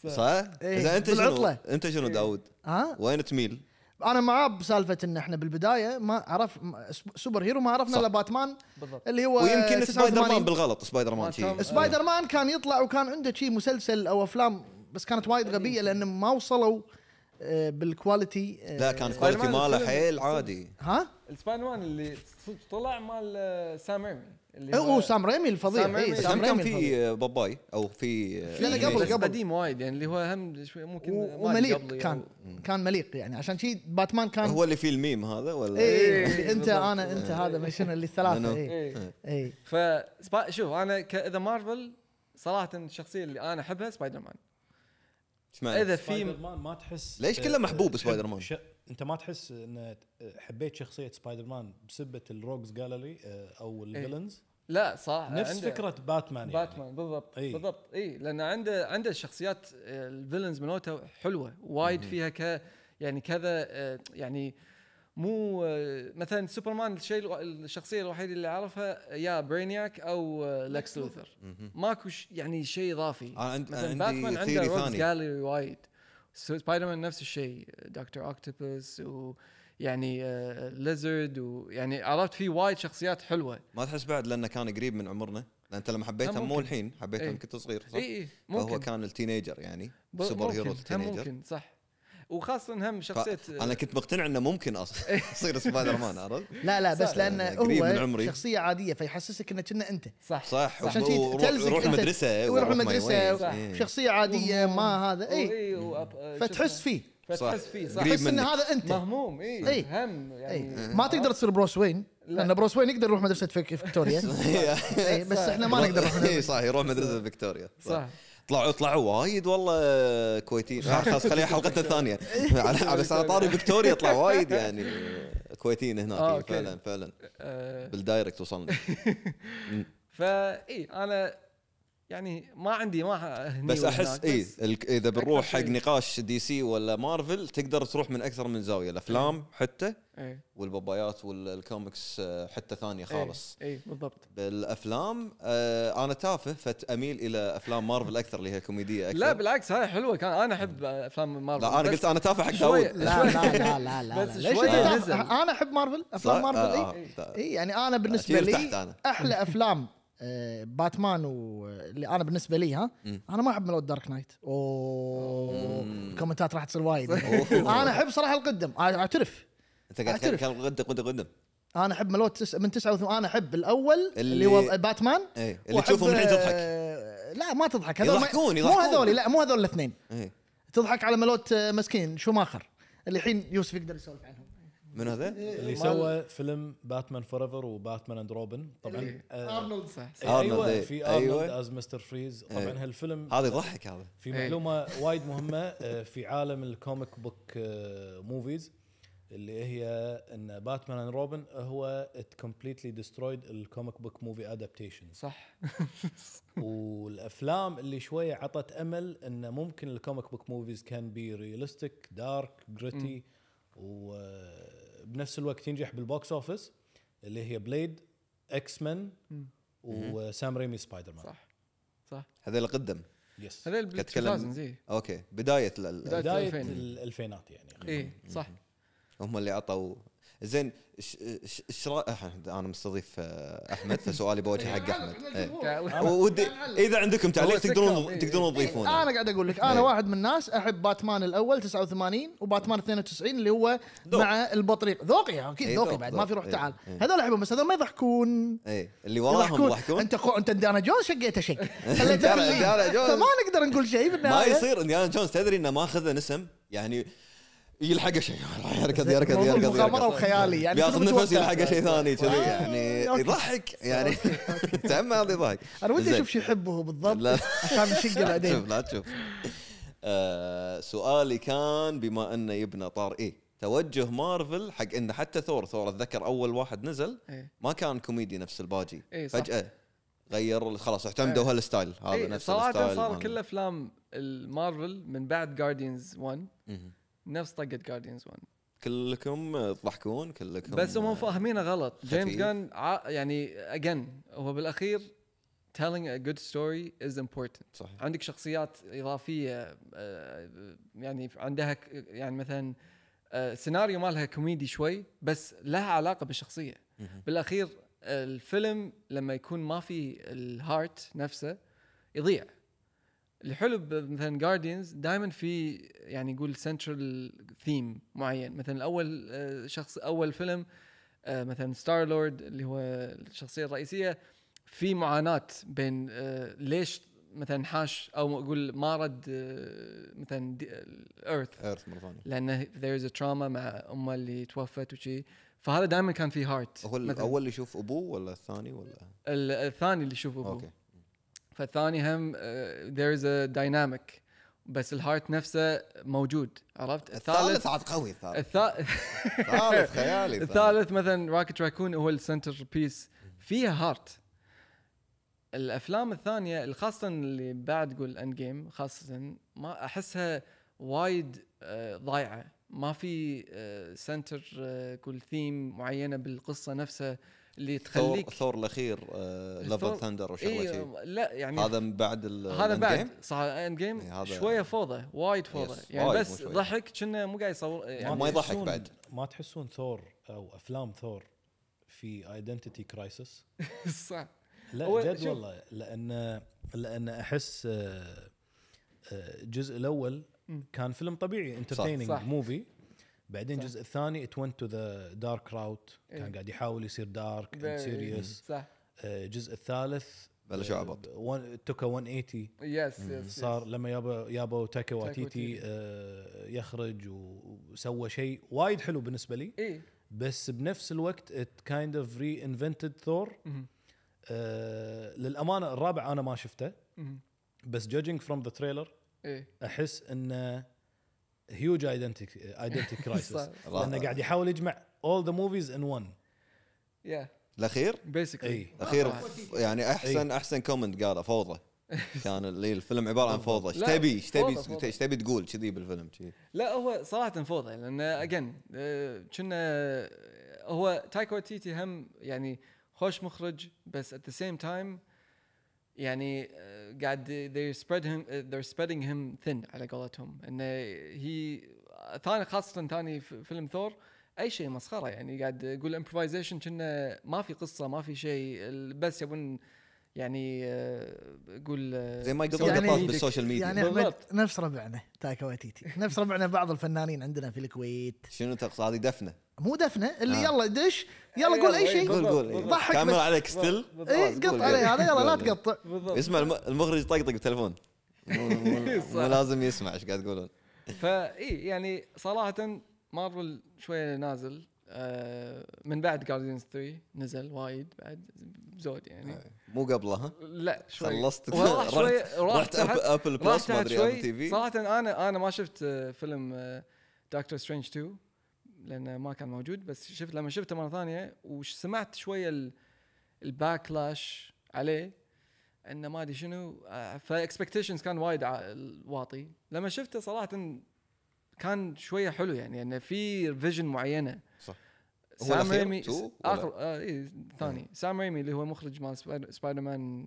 [SPEAKER 1] صح؟
[SPEAKER 3] إيه،
[SPEAKER 1] اذا انت شنو
[SPEAKER 3] بالعطلة. إيه.
[SPEAKER 1] انت شنو داود؟
[SPEAKER 3] ها
[SPEAKER 1] وين تميل؟
[SPEAKER 3] انا معاه بسالفه ان احنا بالبدايه ما عرف م- س- سوبر هيرو ما عرفنا
[SPEAKER 1] صح.
[SPEAKER 3] الا باتمان
[SPEAKER 2] بالضبط
[SPEAKER 3] اللي هو
[SPEAKER 1] ويمكن
[SPEAKER 3] 89.
[SPEAKER 1] سبايدر مان بالغلط سبايدر مان شي.
[SPEAKER 2] مالتهم.
[SPEAKER 3] سبايدر مان كان يطلع وكان عنده شيء مسلسل او افلام بس كانت وايد
[SPEAKER 1] إيه،
[SPEAKER 3] غبيه لان ما وصلوا آه، بالكواليتي آه،
[SPEAKER 1] لا كان
[SPEAKER 2] سبايدر
[SPEAKER 1] كواليتي
[SPEAKER 2] مان
[SPEAKER 1] ماله
[SPEAKER 2] الفيلم.
[SPEAKER 1] حيل عادي
[SPEAKER 3] ها
[SPEAKER 2] السبايدر مان اللي صدق طلع مال آه، سام ريمي اللي
[SPEAKER 3] هو سام ريمي
[SPEAKER 2] سام
[SPEAKER 3] الفظيع
[SPEAKER 2] ريمي. سام
[SPEAKER 3] إيه،
[SPEAKER 1] كم
[SPEAKER 3] سام
[SPEAKER 1] كان
[SPEAKER 3] ريمي الفظيع.
[SPEAKER 1] في باباي او في
[SPEAKER 3] لا، لا، قبل-
[SPEAKER 2] إيه، بس
[SPEAKER 3] قبل.
[SPEAKER 2] قديم وايد يعني اللي هو هم شوي ممكن يعني. ما
[SPEAKER 3] و-
[SPEAKER 2] أدري قبلي
[SPEAKER 3] ومليق
[SPEAKER 2] أو-
[SPEAKER 3] كان كان مليق يعني عشان شيء باتمان كان
[SPEAKER 1] هو اللي فيه الميم هذا ولا؟
[SPEAKER 2] إيه،
[SPEAKER 3] اي انت
[SPEAKER 2] بالضبط.
[SPEAKER 3] انا انت هذا ما شنو اللي الثلاثه
[SPEAKER 1] منو؟
[SPEAKER 3] اي
[SPEAKER 2] إيه.
[SPEAKER 3] اي
[SPEAKER 2] فسبا... شوف انا ك... اذا مارفل صراحه الشخصيه اللي انا احبها سبايدر مان
[SPEAKER 1] اشمعنى؟
[SPEAKER 2] اذا
[SPEAKER 4] سبايدر
[SPEAKER 2] في
[SPEAKER 4] مان ما تحس
[SPEAKER 1] ليش كله محبوب سبايدر مان؟
[SPEAKER 4] ش... انت ما تحس ان حبيت شخصيه سبايدر مان بسبه الروجز جالري او
[SPEAKER 2] إيه.
[SPEAKER 4] الفيلنز
[SPEAKER 2] لا صح
[SPEAKER 4] نفس
[SPEAKER 2] عنده
[SPEAKER 4] فكره باتمان يعني.
[SPEAKER 2] باتمان بالضبط
[SPEAKER 1] إيه.
[SPEAKER 4] إي.
[SPEAKER 2] بالضبط إيه، اي لان عنده عنده الشخصيات الفيلنز مالته حلوه وايد فيها ك يعني كذا آه، يعني مو آه، مثلا سوبرمان الشيء الو- الشخصيه الوحيده اللي اعرفها يا برينياك او آه، لكس لوثر
[SPEAKER 1] مهم.
[SPEAKER 2] ماكو ش- يعني شيء اضافي
[SPEAKER 1] انا عند-
[SPEAKER 2] مثلا
[SPEAKER 1] أنا عندي
[SPEAKER 2] باتمان عنده
[SPEAKER 1] ثيري
[SPEAKER 2] روكس
[SPEAKER 1] ثاني
[SPEAKER 2] جالري وايد سو- سبايدر مان نفس الشيء دكتور اوكتوبس ويعني آه، ليزرد ويعني عرفت في وايد شخصيات حلوه
[SPEAKER 1] ما تحس بعد لانه كان قريب من عمرنا لان انت لما
[SPEAKER 2] هم
[SPEAKER 1] حبيته مو
[SPEAKER 2] ممكن.
[SPEAKER 1] الحين حبيته
[SPEAKER 2] إيه.
[SPEAKER 1] يوم كنت صغير صح؟
[SPEAKER 2] اي اي
[SPEAKER 1] فهو
[SPEAKER 2] ممكن
[SPEAKER 1] كان التينيجر يعني
[SPEAKER 2] ب-
[SPEAKER 1] سوبر هيرو
[SPEAKER 2] ممكن. هم
[SPEAKER 1] التينيجر
[SPEAKER 2] ممكن صح وخاصه هم شخصيه
[SPEAKER 1] انا كنت مقتنع انه ممكن اصلا
[SPEAKER 2] إيه.
[SPEAKER 1] يصير سبايدر مان عرفت؟
[SPEAKER 3] لا لا بس
[SPEAKER 4] صح.
[SPEAKER 3] لان
[SPEAKER 1] أنا قريب من
[SPEAKER 3] هو
[SPEAKER 1] عمري.
[SPEAKER 3] شخصيه عاديه فيحسسك انه كنا انت
[SPEAKER 2] صح
[SPEAKER 1] صح
[SPEAKER 3] عشان شي
[SPEAKER 1] وروح
[SPEAKER 3] تلزق
[SPEAKER 1] روح
[SPEAKER 3] أنت. إيه،
[SPEAKER 1] مدرسه
[SPEAKER 3] ويروح
[SPEAKER 1] وروح ما
[SPEAKER 3] المدرسه
[SPEAKER 1] يوين. إيه.
[SPEAKER 3] شخصيه عاديه ما هذا اي
[SPEAKER 2] اي وأب- آه، شو
[SPEAKER 3] إيه. فتحس
[SPEAKER 2] اسمه؟
[SPEAKER 3] فيه
[SPEAKER 2] فتحس
[SPEAKER 1] صح.
[SPEAKER 2] فيه صح
[SPEAKER 1] قريب
[SPEAKER 3] تحس ان
[SPEAKER 1] منك.
[SPEAKER 3] هذا انت
[SPEAKER 2] مهموم اي
[SPEAKER 3] إي.
[SPEAKER 2] هم يعني
[SPEAKER 3] اي إيه. ما تقدر تصير بروس وين لان بروس وين يقدر يروح مدرسه فيك- (laughs) فيكتوريا
[SPEAKER 1] (laughs)
[SPEAKER 3] إي، بس احنا ما نقدر نروح
[SPEAKER 1] اي إيه، صح يروح مدرسه فيكتوريا
[SPEAKER 2] (laughs) صح
[SPEAKER 1] طلعوا طلعوا وايد والله كويتيين آه، خلاص
[SPEAKER 2] (laughs)
[SPEAKER 1] خليها حلقتنا الثانيه على- بس على طاري فيكتوريا طلعوا وايد يعني كويتيين
[SPEAKER 2] آه،
[SPEAKER 1] هناك
[SPEAKER 2] أوكي.
[SPEAKER 1] فعلا فعلا
[SPEAKER 2] آه،
[SPEAKER 1] بالدايركت وصلنا
[SPEAKER 2] فاي انا إيه، يعني ما عندي ما ح- هني
[SPEAKER 1] بس إيه،
[SPEAKER 2] وهناك،
[SPEAKER 1] احس اي
[SPEAKER 2] بس
[SPEAKER 1] ال- اذا بنروح
[SPEAKER 2] أكثر
[SPEAKER 1] حق
[SPEAKER 2] شيء.
[SPEAKER 1] نقاش دي سي ولا مارفل تقدر تروح من اكثر من زاويه الافلام
[SPEAKER 2] إيه.
[SPEAKER 1] حتى
[SPEAKER 2] إي.
[SPEAKER 1] والبابايات والكوميكس آه، حتى ثانيه
[SPEAKER 2] إيه.
[SPEAKER 1] خالص
[SPEAKER 2] اي بالضبط
[SPEAKER 1] بالافلام آه، انا تافه فاميل الى افلام مارفل اكثر اللي هي كوميديه اكثر
[SPEAKER 2] لا بالعكس هاي حلوه كان انا احب افلام مارفل
[SPEAKER 1] لا انا
[SPEAKER 2] بس-
[SPEAKER 1] قلت انا تافه حق
[SPEAKER 2] شوية.
[SPEAKER 1] داوود
[SPEAKER 3] لا لا لا لا لا
[SPEAKER 2] بس
[SPEAKER 3] ليش
[SPEAKER 2] شوي
[SPEAKER 3] أنت تعرف-
[SPEAKER 2] نزل.
[SPEAKER 3] انا احب مارفل افلام
[SPEAKER 1] صح؟
[SPEAKER 3] مارفل
[SPEAKER 2] إيه.
[SPEAKER 1] آه،
[SPEAKER 3] اي
[SPEAKER 1] آه، تا-
[SPEAKER 3] اي يعني انا بالنسبه
[SPEAKER 1] أشيل تحت
[SPEAKER 3] لي
[SPEAKER 1] أنا. (laughs)
[SPEAKER 3] احلى افلام آه، باتمان واللي انا بالنسبه لي ها
[SPEAKER 1] مم.
[SPEAKER 3] انا ما احب ملود دارك نايت اوه
[SPEAKER 1] مم.
[SPEAKER 3] الكومنتات راح تصير وايد
[SPEAKER 1] أوه.
[SPEAKER 3] انا احب صراحه القدم أنا اعترف
[SPEAKER 1] انت قاعد
[SPEAKER 3] أعترف.
[SPEAKER 1] تخيل كان قدم قدم قدم
[SPEAKER 3] انا احب ملود تس... من 89 انا احب الاول
[SPEAKER 1] اللي-
[SPEAKER 3] اللي هو باتمان
[SPEAKER 1] اي إيه، اللي
[SPEAKER 3] وأحب-
[SPEAKER 1] تشوفهم الحين تضحك
[SPEAKER 3] آه، لا ما تضحك هذول ما-
[SPEAKER 1] يضحكون-
[SPEAKER 3] مو
[SPEAKER 1] يضحكون.
[SPEAKER 3] هذول لا مو هذول الاثنين
[SPEAKER 1] إيه.
[SPEAKER 3] تضحك على ملوت آه، مسكين شو ماخر اللي الحين يوسف يقدر يسولف عنهم
[SPEAKER 1] من هذا؟
[SPEAKER 4] اللي
[SPEAKER 2] مال-
[SPEAKER 4] سوى فيلم باتمان فور ايفر وباتمان اند روبن طبعا
[SPEAKER 2] اللي-
[SPEAKER 1] إيه.
[SPEAKER 4] آه،
[SPEAKER 2] صح صح.
[SPEAKER 1] أرنولد،
[SPEAKER 4] ايوه
[SPEAKER 1] إيه.
[SPEAKER 4] في
[SPEAKER 1] أيوة.
[SPEAKER 4] ارنولد از مستر فريز طبعا
[SPEAKER 1] إيه.
[SPEAKER 4] هالفيلم
[SPEAKER 1] هذا يضحك هذا
[SPEAKER 4] في
[SPEAKER 2] إيه.
[SPEAKER 4] معلومه وايد مهمه آه، في عالم الكوميك بوك آه، موفيز اللي هي ان باتمان اند روبن هو ات كومبليتلي ديسترويد الكوميك بوك موفي ادابتيشنز
[SPEAKER 2] صح (laughs)
[SPEAKER 4] والافلام اللي شويه عطت امل ان ممكن الكوميك بوك موفيز كان بي ريالستيك دارك جريتي وبنفس الوقت ينجح بالبوكس اوفيس اللي هي بليد اكس مان
[SPEAKER 2] مم.
[SPEAKER 4] وسام ريمي سبايدر مان
[SPEAKER 2] صح صح
[SPEAKER 1] هذا اللي قدم
[SPEAKER 4] يس
[SPEAKER 2] هذول
[SPEAKER 1] قاعد أتكلم-
[SPEAKER 2] بال إيه. 2000 زي
[SPEAKER 1] اوكي بدايه لل-
[SPEAKER 2] بداية
[SPEAKER 4] بدايه
[SPEAKER 2] الألفين.
[SPEAKER 4] الالفينات يعني
[SPEAKER 2] اي إيه، صح
[SPEAKER 1] هم اللي عطوا زين ش- ش- ايش رايك انا مستضيف آه، احمد فسؤالي بوجهه حق احمد إيه.
[SPEAKER 2] قاعد-
[SPEAKER 1] ودي اذا عندكم تعليق
[SPEAKER 2] هو سكر،
[SPEAKER 1] تقدرون
[SPEAKER 2] إيه.
[SPEAKER 1] تقدرون تضيفونه
[SPEAKER 3] انا قاعد اقول لك انا
[SPEAKER 1] إيه.
[SPEAKER 3] واحد من الناس احب باتمان الاول 89 وباتمان 92 اللي هو
[SPEAKER 1] ذوق.
[SPEAKER 3] مع البطريق ذوقي اكيد
[SPEAKER 1] إيه،
[SPEAKER 3] ذوقي
[SPEAKER 1] ذوق،
[SPEAKER 3] بعد
[SPEAKER 1] ذوق.
[SPEAKER 3] ما في روح
[SPEAKER 1] إيه،
[SPEAKER 3] تعال
[SPEAKER 1] إيه.
[SPEAKER 3] هذول احبهم بس هذول ما يضحكون
[SPEAKER 1] اي إيه. اللي وراهم يضحكون
[SPEAKER 3] انت خو... انت انديانا جونز شقيته
[SPEAKER 1] (laughs)
[SPEAKER 3] شق خليته
[SPEAKER 1] إنديانا- إنديانا
[SPEAKER 3] في
[SPEAKER 1] جونز.
[SPEAKER 3] فما نقدر نقول شيء
[SPEAKER 1] ما
[SPEAKER 3] بالنهايه
[SPEAKER 1] يصير انديانا جونز تدري انه ما اخذ نسم يعني يلحقه شيء (laughs) يركض يركض
[SPEAKER 3] موضوع
[SPEAKER 1] يركض
[SPEAKER 3] مغامره
[SPEAKER 1] يركض
[SPEAKER 3] وخيالي يعني
[SPEAKER 1] ياخذ
[SPEAKER 3] شنو
[SPEAKER 1] نفس
[SPEAKER 3] متوقع؟
[SPEAKER 1] يلحقه شيء ثاني كذي
[SPEAKER 3] آه،
[SPEAKER 1] يعني
[SPEAKER 3] أوكي.
[SPEAKER 1] يضحك يعني (laughs) تعمى هذا يضحك
[SPEAKER 3] انا ودي
[SPEAKER 1] زين.
[SPEAKER 3] اشوف شو يحبه هو
[SPEAKER 1] لا.
[SPEAKER 3] بالضبط عشان نشقه بعدين
[SPEAKER 1] شوف لا تشوف آه، سؤالي كان بما انه يبنى طار ايه توجه مارفل حق انه حتى ثور ثور اتذكر اول واحد نزل
[SPEAKER 2] (laughs) إيه.
[SPEAKER 1] ما كان كوميدي نفس الباجي
[SPEAKER 2] إيه، صح.
[SPEAKER 1] فجاه غير خلاص اعتمدوا
[SPEAKER 2] إيه.
[SPEAKER 1] هالستايل هذا
[SPEAKER 2] إيه،
[SPEAKER 1] نفس
[SPEAKER 2] صراحه
[SPEAKER 1] الستايل
[SPEAKER 2] صار
[SPEAKER 1] مال-
[SPEAKER 2] كل افلام المارفل من بعد جارديانز 1
[SPEAKER 1] مهم.
[SPEAKER 2] نفس طقه جارديانز 1
[SPEAKER 1] كلكم تضحكون كلكم
[SPEAKER 2] بس هم فاهمينه غلط جيمس
[SPEAKER 1] خفيف.
[SPEAKER 2] جان ع- يعني اجين هو بالاخير telling a good story is important
[SPEAKER 1] صحيح
[SPEAKER 2] عندك شخصيات اضافيه آه، يعني عندها ك- يعني مثلا آه، سيناريو مالها كوميدي شوي بس لها علاقه بالشخصيه
[SPEAKER 1] مهم.
[SPEAKER 2] بالاخير الفيلم لما يكون ما في الهارت نفسه يضيع الحلو ب- مثلا جارديانز دائما في يعني يقول سنترال ثيم معين مثلا اول آه، شخص اول فيلم آه، مثلا ستار لورد اللي هو الشخصيه الرئيسيه في معاناه بين آه، ليش مثلا حاش او اقول ما رد آه، مثلا الايرث
[SPEAKER 1] ايرث مره ثانيه
[SPEAKER 2] لانه there is a trauma مع امه اللي توفت وشي فهذا دائما كان في هارت
[SPEAKER 1] هو الاول اللي يشوف ابوه ولا الثاني ولا
[SPEAKER 2] الثاني اللي يشوف ابوه
[SPEAKER 1] اوكي
[SPEAKER 2] فالثاني هم آه، there is a dynamic بس الهارت نفسه موجود عرفت
[SPEAKER 1] الثالث عاد قوي الثالث
[SPEAKER 2] الثالث (laughs)
[SPEAKER 1] الثالث خيالي
[SPEAKER 2] الثالث مثلا راكت راكون هو السنتر بيس فيها هارت الافلام الثانيه اللي خاصه اللي بعد قول اند جيم خاصه ما احسها وايد آه، ضايعه ما في سنتر كل ثيم معينه بالقصه نفسها اللي
[SPEAKER 1] ثور
[SPEAKER 2] تخليك
[SPEAKER 1] ثور الاخير آه،
[SPEAKER 2] ثور-
[SPEAKER 1] لفل ثندر وشغله شي.
[SPEAKER 2] إيه لا يعني
[SPEAKER 1] هذا من بعد ال-
[SPEAKER 2] هذا
[SPEAKER 1] الإند
[SPEAKER 2] بعد
[SPEAKER 1] جيم؟
[SPEAKER 2] صح اند جيم
[SPEAKER 1] إيه، هذا-
[SPEAKER 2] شويه فوضى وايد فوضى
[SPEAKER 1] يس،
[SPEAKER 2] يعني
[SPEAKER 1] وايد
[SPEAKER 2] بس
[SPEAKER 1] مو شوية.
[SPEAKER 2] ضحك كنا مو قاعد يصور يعني
[SPEAKER 1] ما يضحك
[SPEAKER 4] تحسون-
[SPEAKER 1] بعد.
[SPEAKER 4] ما تحسون ثور او افلام ثور في ايدنتيتي كرايسس
[SPEAKER 2] (laughs) صح هو
[SPEAKER 4] لا جد
[SPEAKER 2] شوف-
[SPEAKER 4] والله لان لان احس آه، آه، الجزء الاول
[SPEAKER 2] مم.
[SPEAKER 4] كان فيلم طبيعي
[SPEAKER 2] صح.
[SPEAKER 4] انترتيننج موفي بعدين
[SPEAKER 2] صح.
[SPEAKER 4] الجزء الثاني ات ونت تو ذا دارك راوت
[SPEAKER 2] إيه.
[SPEAKER 4] كان قاعد يحاول يصير دارك
[SPEAKER 2] ب-
[SPEAKER 4] سيريس
[SPEAKER 2] صح
[SPEAKER 4] آه، الجزء الثالث آه،
[SPEAKER 1] بلشوا عبط.
[SPEAKER 4] توكا 180
[SPEAKER 2] يس يس
[SPEAKER 4] صار
[SPEAKER 2] صار
[SPEAKER 4] لما يابا يابا تاكا
[SPEAKER 2] واتيتي.
[SPEAKER 4] واتيتي آه، يخرج و- وسوى شيء وايد حلو بالنسبه لي
[SPEAKER 2] اي
[SPEAKER 4] بس بنفس الوقت ات كايند اوف ري انفنتد ثور
[SPEAKER 2] مهم.
[SPEAKER 4] للامانه آه، الرابع انا ما شفته
[SPEAKER 2] مهم.
[SPEAKER 4] بس جادجنج فروم ذا تريلر
[SPEAKER 2] اي
[SPEAKER 4] احس انه هيوج ايدنتي ايدنتي كرايسس
[SPEAKER 2] صح.
[SPEAKER 4] لانه قاعد يحاول يجمع اول ذا موفيز ان ون
[SPEAKER 2] يا
[SPEAKER 1] الاخير
[SPEAKER 2] بيسكلي
[SPEAKER 4] إي.
[SPEAKER 1] الاخير ف- يعني احسن احسن كومنت قاله فوضى (laughs) كان اللي الفيلم عباره عن فوضى ايش
[SPEAKER 2] لا،
[SPEAKER 1] تبي ايش تبي
[SPEAKER 2] فوضى، فوضى.
[SPEAKER 1] ايش تبي تقول كذي بالفيلم كذي
[SPEAKER 2] لا هو صراحه فوضى لان اجين كنا آه، هو تايكو تيتي هم يعني خوش مخرج بس at the same time يعني آه، قاعد they spread him آه، they're spreading him thin على قولتهم انه هي ثاني خاصه ثاني ف- فيلم ثور اي شيء مسخره يعني قاعد يقول امبروفايزيشن كنا ما في قصه ما في شيء ال- بس يبون يعني آه، يقول آه،
[SPEAKER 1] زي ما يقطون
[SPEAKER 2] يسوون
[SPEAKER 3] يعني
[SPEAKER 1] قطات
[SPEAKER 2] إيدك.
[SPEAKER 1] بالسوشيال
[SPEAKER 3] يعني
[SPEAKER 1] (laughs) ميديا
[SPEAKER 3] احمد
[SPEAKER 2] بالضبط.
[SPEAKER 3] نفس ربعنا تايكا واتيتي نفس ربعنا بعض الفنانين عندنا في الكويت
[SPEAKER 1] شنو تقصد هذه دفنه
[SPEAKER 3] مو دفنه اللي
[SPEAKER 1] آه.
[SPEAKER 3] يلا دش يلا
[SPEAKER 2] إي،
[SPEAKER 3] قول اي
[SPEAKER 2] يلا، إي،
[SPEAKER 3] شيء
[SPEAKER 1] قول
[SPEAKER 2] بالضبط،
[SPEAKER 1] قول إيه.
[SPEAKER 2] بالضبط.
[SPEAKER 3] ضحك
[SPEAKER 1] كاميرا
[SPEAKER 3] بس.
[SPEAKER 1] عليك ستيل
[SPEAKER 3] اي قط علي هذا يلا لا تقطع
[SPEAKER 2] بالضبط
[SPEAKER 1] يسمع الم- المخرج يطقطق بالتليفون مو- مو-
[SPEAKER 2] صح.
[SPEAKER 1] مو لازم يسمع ايش قاعد تقولون
[SPEAKER 2] فاي يعني صراحه مارفل شويه نازل آه، من بعد جارديانز 3 نزل وايد بعد زود يعني
[SPEAKER 1] مو قبله ها
[SPEAKER 2] لا شوي
[SPEAKER 1] آه. خلصت
[SPEAKER 2] وراح شوي راح
[SPEAKER 1] رحت
[SPEAKER 2] تحت
[SPEAKER 1] أب- ابل
[SPEAKER 2] راح
[SPEAKER 1] بلس ما
[SPEAKER 2] تحت
[SPEAKER 1] ادري ابل
[SPEAKER 2] شوي
[SPEAKER 1] تي في
[SPEAKER 2] صراحه انا انا ما شفت آه، فيلم دكتور سترينج 2 لانه ما كان موجود بس شفت لما شفته مره ثانيه وسمعت شويه الباكلاش عليه انه ما ادري شنو فاكسبكتيشنز كان وايد ع- واطي لما شفته صراحه كان شويه حلو يعني انه في فيجن معينه
[SPEAKER 1] صح. هو
[SPEAKER 2] سام
[SPEAKER 1] الأخير؟
[SPEAKER 2] ريمي
[SPEAKER 1] تو ولا؟
[SPEAKER 2] اخر آه إيه ثاني سام ريمي اللي هو مخرج مال سبايدر- سبايدر مان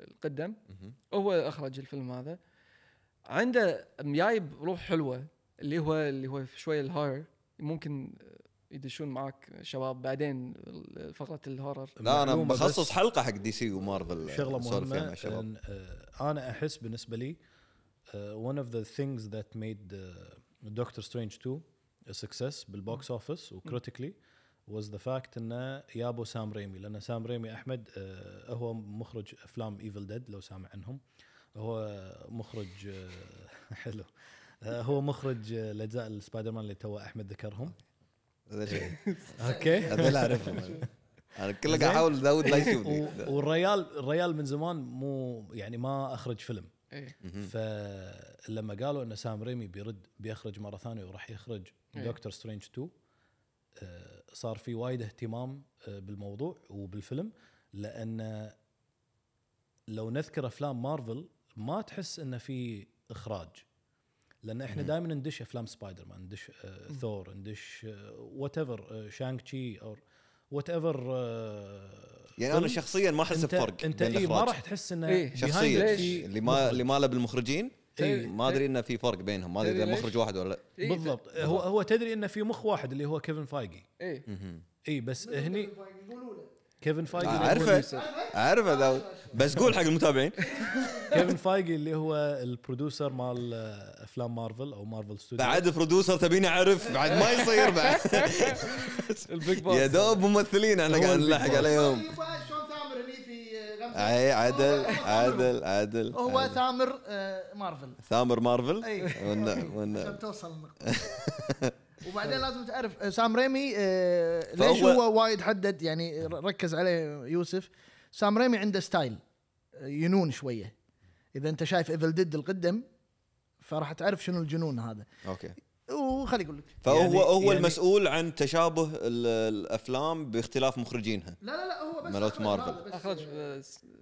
[SPEAKER 2] القدم
[SPEAKER 1] مهم.
[SPEAKER 2] هو اخرج الفيلم هذا عنده جايب روح حلوه اللي هو اللي هو شويه الهور ممكن يدشون معاك شباب بعدين فقره الهورر
[SPEAKER 1] لا انا
[SPEAKER 4] معلومة
[SPEAKER 1] بخصص
[SPEAKER 4] بس.
[SPEAKER 1] حلقه حق دي سي ومارفل
[SPEAKER 4] شغله
[SPEAKER 1] نسولف فيها مع
[SPEAKER 4] مهمه
[SPEAKER 1] الشباب.
[SPEAKER 4] إن، آه، انا احس بالنسبه لي آه، ون اوف ذا ثينجز ذات ميد دكتور سترينج 2 سكسس بالبوكس اوفيس وكريتيكلي واز ذا فاكت انه يابو سام ريمي لان سام ريمي احمد آه، هو مخرج افلام ايفل ديد لو سامع عنهم هو مخرج آه، (laughs) حلو آه، هو مخرج آه، الاجزاء السبايدر مان اللي تو احمد ذكرهم آه،
[SPEAKER 1] هذا شيء
[SPEAKER 4] (laughs)
[SPEAKER 1] (laughs)
[SPEAKER 4] اوكي
[SPEAKER 1] هذا لا اعرفهم انا كله قاعد احاول داود لا يشوفني
[SPEAKER 4] (laughs) و- والريال الريال من زمان مو يعني ما اخرج فيلم
[SPEAKER 2] إيه.
[SPEAKER 1] مهم.
[SPEAKER 4] فلما قالوا ان سام ريمي بيرد بيخرج مره ثانيه وراح يخرج
[SPEAKER 2] إيه.
[SPEAKER 4] دكتور سترينج 2 آه، صار في وايد اهتمام آه، بالموضوع وبالفيلم لان لو نذكر افلام مارفل ما تحس انه في اخراج لان احنا
[SPEAKER 1] مم.
[SPEAKER 4] دائما ندش افلام سبايدر مان ندش آه،
[SPEAKER 2] مم.
[SPEAKER 4] ثور ندش آه، وات ايفر شانك تشي او وات ايفر آه،
[SPEAKER 1] يعني انا شخصيا ما احس بفرق
[SPEAKER 4] انت
[SPEAKER 1] بين
[SPEAKER 4] إيه ما
[SPEAKER 1] الإخراج.
[SPEAKER 4] راح تحس انه
[SPEAKER 2] إيه.
[SPEAKER 4] behind
[SPEAKER 1] شخصيا
[SPEAKER 4] it
[SPEAKER 2] ليش؟
[SPEAKER 4] في
[SPEAKER 1] اللي ما
[SPEAKER 4] مخرج.
[SPEAKER 1] اللي ما له بالمخرجين
[SPEAKER 2] إيه.
[SPEAKER 1] ما ادري انه في فرق بينهم ما ادري
[SPEAKER 2] تدري
[SPEAKER 1] اذا
[SPEAKER 2] ليش؟
[SPEAKER 1] مخرج واحد ولا لا
[SPEAKER 2] إيه،
[SPEAKER 4] بالضبط هو هو تدري انه في مخ واحد اللي هو كيفن فايجي
[SPEAKER 2] ايه
[SPEAKER 1] مهم.
[SPEAKER 4] اي بس هني كيفن
[SPEAKER 1] آه،
[SPEAKER 4] فايجي اللي هو
[SPEAKER 1] اعرفه اعرفه داود بس قول حق المتابعين
[SPEAKER 4] كيفن فايجي اللي هو البرودوسر مال آه، افلام مارفل او مارفل ستوديو
[SPEAKER 1] بعد برودوسر تبيني اعرف بعد ما يصير
[SPEAKER 4] (laughs)
[SPEAKER 1] بعد
[SPEAKER 2] البيج
[SPEAKER 1] (laughs)
[SPEAKER 2] بوس
[SPEAKER 1] يا دوب ممثلين احنا
[SPEAKER 4] هو
[SPEAKER 1] قاعد
[SPEAKER 4] البيج
[SPEAKER 1] نلحق
[SPEAKER 4] بوس.
[SPEAKER 1] عليهم
[SPEAKER 3] شلون ثامر هني في
[SPEAKER 1] اي عدل عدل عدل
[SPEAKER 3] هو
[SPEAKER 1] عدل.
[SPEAKER 3] ثامر آه، مارفل
[SPEAKER 1] ثامر مارفل
[SPEAKER 4] إيه.
[SPEAKER 3] اي
[SPEAKER 1] ون- ون-
[SPEAKER 4] (laughs)
[SPEAKER 3] عشان توصل
[SPEAKER 1] (laughs)
[SPEAKER 3] النقطة. وبعدين لازم تعرف سام ريمي آه،
[SPEAKER 1] فهو-
[SPEAKER 3] ليش هو وايد حدد يعني ر- ركز عليه يوسف سام ريمي عنده ستايل آه، ينون شويه اذا انت شايف ايفل ديد القدم فراح تعرف شنو الجنون هذا
[SPEAKER 1] اوكي
[SPEAKER 3] وخلي اقول لك
[SPEAKER 1] فهو
[SPEAKER 4] يعني-
[SPEAKER 1] هو
[SPEAKER 4] يعني-
[SPEAKER 1] المسؤول عن تشابه ال- الافلام باختلاف
[SPEAKER 4] إيه،
[SPEAKER 1] مخرجينها
[SPEAKER 3] لا لا لا هو
[SPEAKER 1] بس ملوت أخرج مارفل. هذا
[SPEAKER 2] اخرج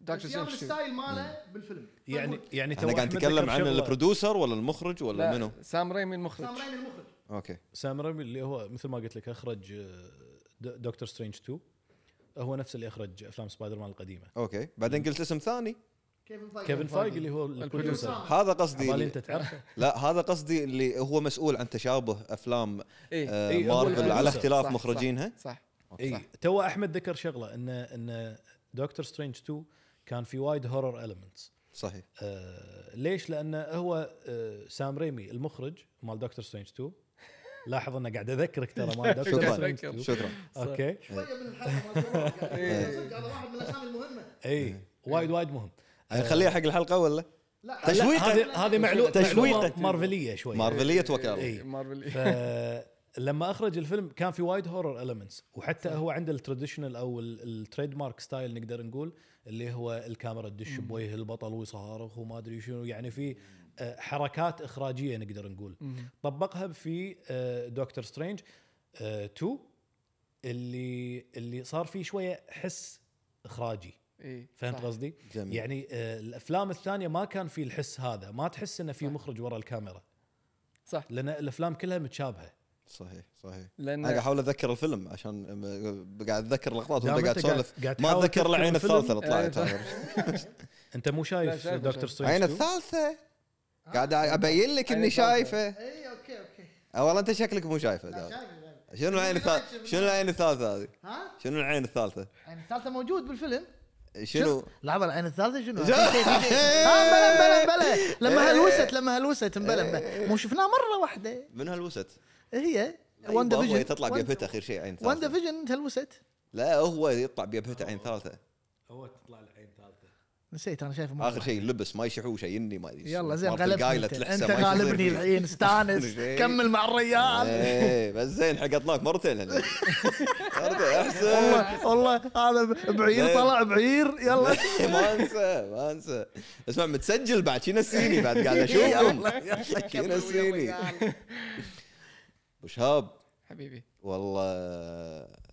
[SPEAKER 2] دكتور سترينج 2
[SPEAKER 3] ماله بالفيلم
[SPEAKER 4] يعني يعني
[SPEAKER 1] احنا قاعد نتكلم عن البرودوسر ولا المخرج ولا
[SPEAKER 2] لا،
[SPEAKER 1] منو؟
[SPEAKER 2] سام ريمي المخرج
[SPEAKER 3] ريمي المخرج
[SPEAKER 1] اوكي
[SPEAKER 4] سام ريمي اللي هو مثل ما قلت لك اخرج آه، د- دكتور سترينج 2 هو نفس اللي اخرج افلام سبايدر مان القديمه
[SPEAKER 1] اوكي بعدين قلت اسم ثاني
[SPEAKER 3] كيفن فايج
[SPEAKER 4] كيفن فايج اللي هو البروديوسر
[SPEAKER 2] البروديوسر.
[SPEAKER 1] هذا قصدي
[SPEAKER 4] عبالي
[SPEAKER 1] اللي
[SPEAKER 4] انت تعرفه
[SPEAKER 1] لا هذا قصدي اللي هو مسؤول عن تشابه افلام
[SPEAKER 2] اي
[SPEAKER 1] آه،
[SPEAKER 4] إيه، هو
[SPEAKER 1] مارفل على
[SPEAKER 4] البروديوسر.
[SPEAKER 1] اختلاف
[SPEAKER 2] صح، صح.
[SPEAKER 1] مخرجينها
[SPEAKER 2] صح
[SPEAKER 4] اي
[SPEAKER 2] صح.
[SPEAKER 4] إيه، تو احمد ذكر شغله ان ان دكتور سترينج 2 كان في وايد هورر المنتس
[SPEAKER 1] صحيح
[SPEAKER 4] آه، ليش؟ لانه هو آه، سام ريمي المخرج مال دكتور سترينج 2 لاحظ انه قاعد اذكرك ترى مال دكتور
[SPEAKER 1] شكراً.
[SPEAKER 4] سترينج
[SPEAKER 2] شكراً.
[SPEAKER 4] 2
[SPEAKER 1] شكرا
[SPEAKER 4] اوكي
[SPEAKER 3] شويه من الحلقه
[SPEAKER 4] (laughs)
[SPEAKER 3] يعني
[SPEAKER 1] إيه.
[SPEAKER 3] هذا واحد من الاسامي المهمه
[SPEAKER 4] اي وايد وايد مهم آه.
[SPEAKER 1] يعني خليها حق الحلقه ولا
[SPEAKER 3] لا
[SPEAKER 4] لا،
[SPEAKER 1] تشويقة.
[SPEAKER 4] هذه هذه معلومه
[SPEAKER 1] تشويقة.
[SPEAKER 4] معلومة مارفليه شوي
[SPEAKER 1] مارفليه وكاله
[SPEAKER 2] إيه،
[SPEAKER 4] إي. (laughs)
[SPEAKER 2] مارفل
[SPEAKER 4] فلما اخرج الفيلم كان في وايد هورر المنتس وحتى هو عنده التراديشنال او التريد مارك ستايل نقدر نقول اللي هو الكاميرا تدش بوجه البطل ويصارخ وما ادري شنو يعني في آه، حركات اخراجيه نقدر نقول طبقها في آه، دكتور سترينج 2 اللي اللي صار فيه شويه حس اخراجي
[SPEAKER 2] اي
[SPEAKER 4] فهمت
[SPEAKER 2] إيه، صح.
[SPEAKER 4] قصدي؟
[SPEAKER 1] جميل
[SPEAKER 4] يعني آه، الافلام الثانيه ما كان في الحس هذا ما تحس انه في
[SPEAKER 2] صح.
[SPEAKER 4] مخرج ورا الكاميرا
[SPEAKER 2] صح
[SPEAKER 4] لان الافلام كلها متشابهه
[SPEAKER 1] صحيح صحيح انا قاعد
[SPEAKER 2] لان
[SPEAKER 1] احاول اتذكر الفيلم عشان أم- قاعد اتذكر لقطات
[SPEAKER 4] دام
[SPEAKER 1] وانت قاعد
[SPEAKER 4] أنت قاعد-
[SPEAKER 1] تسولف
[SPEAKER 4] قاعد
[SPEAKER 1] ما
[SPEAKER 4] تحاول
[SPEAKER 1] اتذكر
[SPEAKER 4] تذكر
[SPEAKER 1] العين
[SPEAKER 4] الفيلم. آه،
[SPEAKER 1] الثالثه اللي طلعت
[SPEAKER 2] أيوة.
[SPEAKER 1] هذا.
[SPEAKER 4] انت مو
[SPEAKER 2] لا،
[SPEAKER 4] شايف
[SPEAKER 2] شايفه،
[SPEAKER 4] دكتور
[SPEAKER 3] طيب
[SPEAKER 2] شايفه.
[SPEAKER 4] سترينج
[SPEAKER 1] العين
[SPEAKER 4] 2
[SPEAKER 1] الثالثه
[SPEAKER 3] آه،
[SPEAKER 1] قاعد ابين لك
[SPEAKER 2] العين
[SPEAKER 1] اني
[SPEAKER 2] الثالثة.
[SPEAKER 1] شايفه
[SPEAKER 3] اي اوكي اوكي
[SPEAKER 1] أه والله انت شكلك مو شايفه
[SPEAKER 3] لا،
[SPEAKER 1] دام.
[SPEAKER 3] إيه، شايف، شايف.
[SPEAKER 1] شنو العين الثالثه شنو العين الثالثه هذه
[SPEAKER 3] ها
[SPEAKER 1] شنو العين الثالثه
[SPEAKER 3] يعني الثالثه موجود بالفيلم
[SPEAKER 1] (laughs) شنو
[SPEAKER 3] لحظه العين الثالثه شنو؟ ها، بلا بلا بلا لما هلوست لما هلوست مبلا مو شفناه مره واحده
[SPEAKER 1] من
[SPEAKER 3] (laughs)
[SPEAKER 1] هالوسط
[SPEAKER 3] هي
[SPEAKER 1] أيوة،
[SPEAKER 3] وان
[SPEAKER 1] هو
[SPEAKER 3] ديفيجن
[SPEAKER 1] تطلع بيبهته اخر شيء عين
[SPEAKER 3] وان
[SPEAKER 1] ثالثه
[SPEAKER 3] ديفيجن هلوست
[SPEAKER 1] لا هو يطلع بيبهته عين ثالثه
[SPEAKER 4] هو تطلع العين ثالثه
[SPEAKER 3] نسيت انا شايفه مرة.
[SPEAKER 1] اخر شيء لبس ما يشحوه شيء اني ما ادري
[SPEAKER 3] يلا زين
[SPEAKER 1] مرت
[SPEAKER 3] غلبني
[SPEAKER 1] القايلة
[SPEAKER 3] انت,
[SPEAKER 1] تلحسه
[SPEAKER 3] انت
[SPEAKER 1] ما يصير
[SPEAKER 3] غالبني
[SPEAKER 1] فيه.
[SPEAKER 3] الحين استانس
[SPEAKER 1] زين.
[SPEAKER 3] كمل مع الريال
[SPEAKER 1] ايه بس زين حق اطلاق مرتين
[SPEAKER 3] (laughs)
[SPEAKER 1] هنا مرتين احسن
[SPEAKER 3] والله والله هذا بعير طلع بعير يلا
[SPEAKER 1] ما انسى ما انسى اسمع متسجل بعد شي نسيني بعد قاعد اشوفهم (laughs) شي نسيني (laughs) ابو شهاب
[SPEAKER 2] (laughs) حبيبي
[SPEAKER 1] والله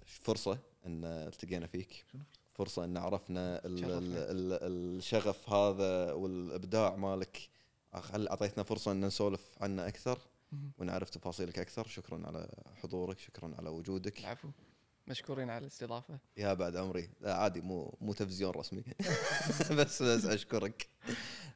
[SPEAKER 1] فرصه ان التقينا فيك فرصه ان عرفنا ال ال
[SPEAKER 2] شرفنا.
[SPEAKER 1] ال الشغف هذا والابداع مالك أخ- اعطيتنا فرصه ان نسولف عنه اكثر
[SPEAKER 2] مهم.
[SPEAKER 1] ونعرف تفاصيلك اكثر شكرا على حضورك شكرا على وجودك
[SPEAKER 2] العفو مشكورين على الاستضافه
[SPEAKER 1] يا بعد عمري لا عادي مو مو تلفزيون رسمي (laughs) بس بس اشكرك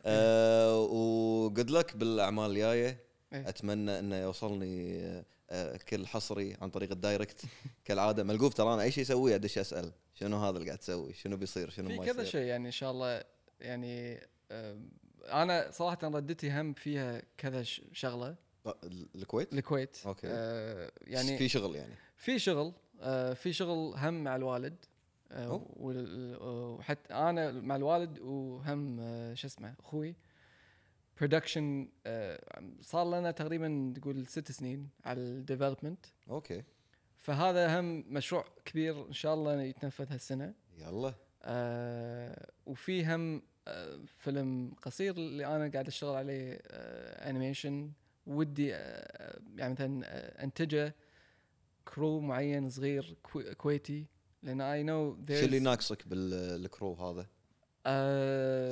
[SPEAKER 1] آه وجود لك بالاعمال الجايه
[SPEAKER 2] إيه.
[SPEAKER 1] اتمنى انه يوصلني آه كل حصري عن طريق الدايركت كالعاده ملقوف ترى انا اي شيء اسويه ادش اسال شنو هذا اللي قاعد تسوي شنو بيصير شنو
[SPEAKER 2] في
[SPEAKER 1] ما
[SPEAKER 2] كذا
[SPEAKER 1] يصير
[SPEAKER 2] شيء يعني ان شاء الله يعني آم، انا صراحه ردتي هم فيها كذا ش- شغله
[SPEAKER 1] آه، ال- الكويت
[SPEAKER 2] الكويت
[SPEAKER 1] أوكي.
[SPEAKER 2] آه
[SPEAKER 1] يعني
[SPEAKER 2] يعني
[SPEAKER 1] في شغل يعني
[SPEAKER 2] في شغل آه، في شغل هم مع الوالد آه،
[SPEAKER 1] أوه.
[SPEAKER 2] وال- وحتى انا مع الوالد وهم آه، شو اسمه اخوي برودكشن آه، صار لنا تقريبا تقول ست سنين على الديفلوبمنت
[SPEAKER 1] اوكي
[SPEAKER 2] فهذا هم مشروع كبير ان شاء الله يتنفذ هالسنه
[SPEAKER 1] يلا
[SPEAKER 2] آه، وفي هم آه، فيلم قصير اللي انا قاعد اشتغل عليه آه، انيميشن ودي آه، يعني مثلا آه، انتجه كرو معين صغير كو- كويتي لان اي نو
[SPEAKER 1] شو اللي ناقصك بالكرو هذا؟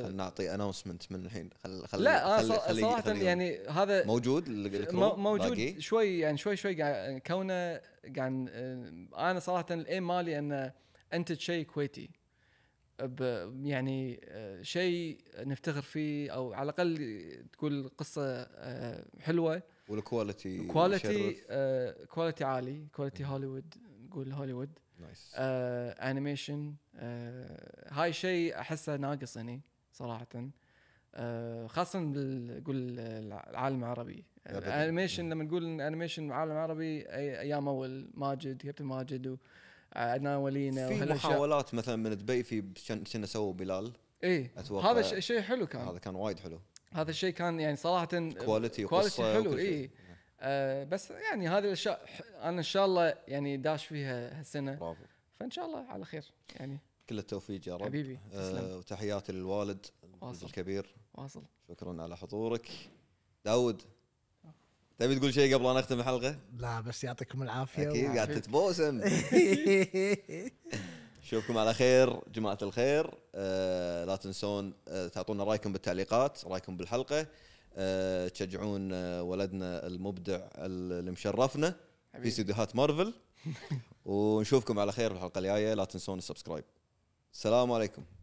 [SPEAKER 1] خلنا نعطي اناونسمنت من الحين خل خل
[SPEAKER 2] آه، لا
[SPEAKER 1] خل-
[SPEAKER 2] انا ص-
[SPEAKER 1] خل-
[SPEAKER 2] صراحه
[SPEAKER 1] خليهم.
[SPEAKER 2] يعني هذا
[SPEAKER 1] موجود
[SPEAKER 2] مو-
[SPEAKER 1] الكرو
[SPEAKER 2] موجود
[SPEAKER 1] باقي؟
[SPEAKER 2] شوي يعني شوي شوي قاعد كونه قاعد آه، انا صراحه الايم مالي ان انتج شيء كويتي ب- يعني آه، شيء نفتخر فيه او على الاقل تقول قصه آه، حلوه
[SPEAKER 1] والكواليتي
[SPEAKER 2] كواليتي
[SPEAKER 1] يشرف.
[SPEAKER 2] آه، كواليتي عالي كواليتي هوليوود نقول هوليوود
[SPEAKER 1] نايس
[SPEAKER 2] آه، انيميشن آه، هاي شيء احسه ناقص هني صراحه آه، خاصه بال- قول العالم العربي
[SPEAKER 1] أبداً.
[SPEAKER 2] الانيميشن لما نقول إن انيميشن العالم العربي أي- ايام اول ماجد كابتن ماجد وعدنان ولينا
[SPEAKER 1] في محاولات مثلا من دبي في شن- شنو سووا بلال
[SPEAKER 2] اي
[SPEAKER 1] أتوقع
[SPEAKER 2] هذا ش- شيء حلو كان
[SPEAKER 1] هذا كان وايد حلو
[SPEAKER 2] هذا الشيء كان يعني صراحه
[SPEAKER 1] كواليتي وقصه
[SPEAKER 2] كواليتي Uh, حلو
[SPEAKER 1] وكل شيء.
[SPEAKER 2] اي آه بس يعني هذه الاشياء ح- انا ان شاء الله يعني داش فيها هالسنه
[SPEAKER 1] برافو
[SPEAKER 2] فان شاء الله على خير يعني
[SPEAKER 1] كل التوفيق يا رب
[SPEAKER 2] حبيبي
[SPEAKER 1] آه
[SPEAKER 2] تسلم
[SPEAKER 1] وتحياتي للوالد المخرج
[SPEAKER 2] واصل.
[SPEAKER 1] الكبير
[SPEAKER 2] واصل
[SPEAKER 1] شكرا على حضورك داود
[SPEAKER 2] Oh.
[SPEAKER 1] تبي تقول شيء قبل ان اختم الحلقه؟
[SPEAKER 3] لا بس يعطيكم العافيه
[SPEAKER 1] اكيد قاعد تتبوسم نشوفكم على خير جماعة الخير آه لا تنسون آه تعطونا رايكم بالتعليقات رايكم بالحلقة آه، تشجعون آه، ولدنا المبدع ال- اللي مشرفنا في استديوهات (laughs) مارفل ونشوفكم على خير الحلقه الجايه لا تنسون السبسكرايب السلام عليكم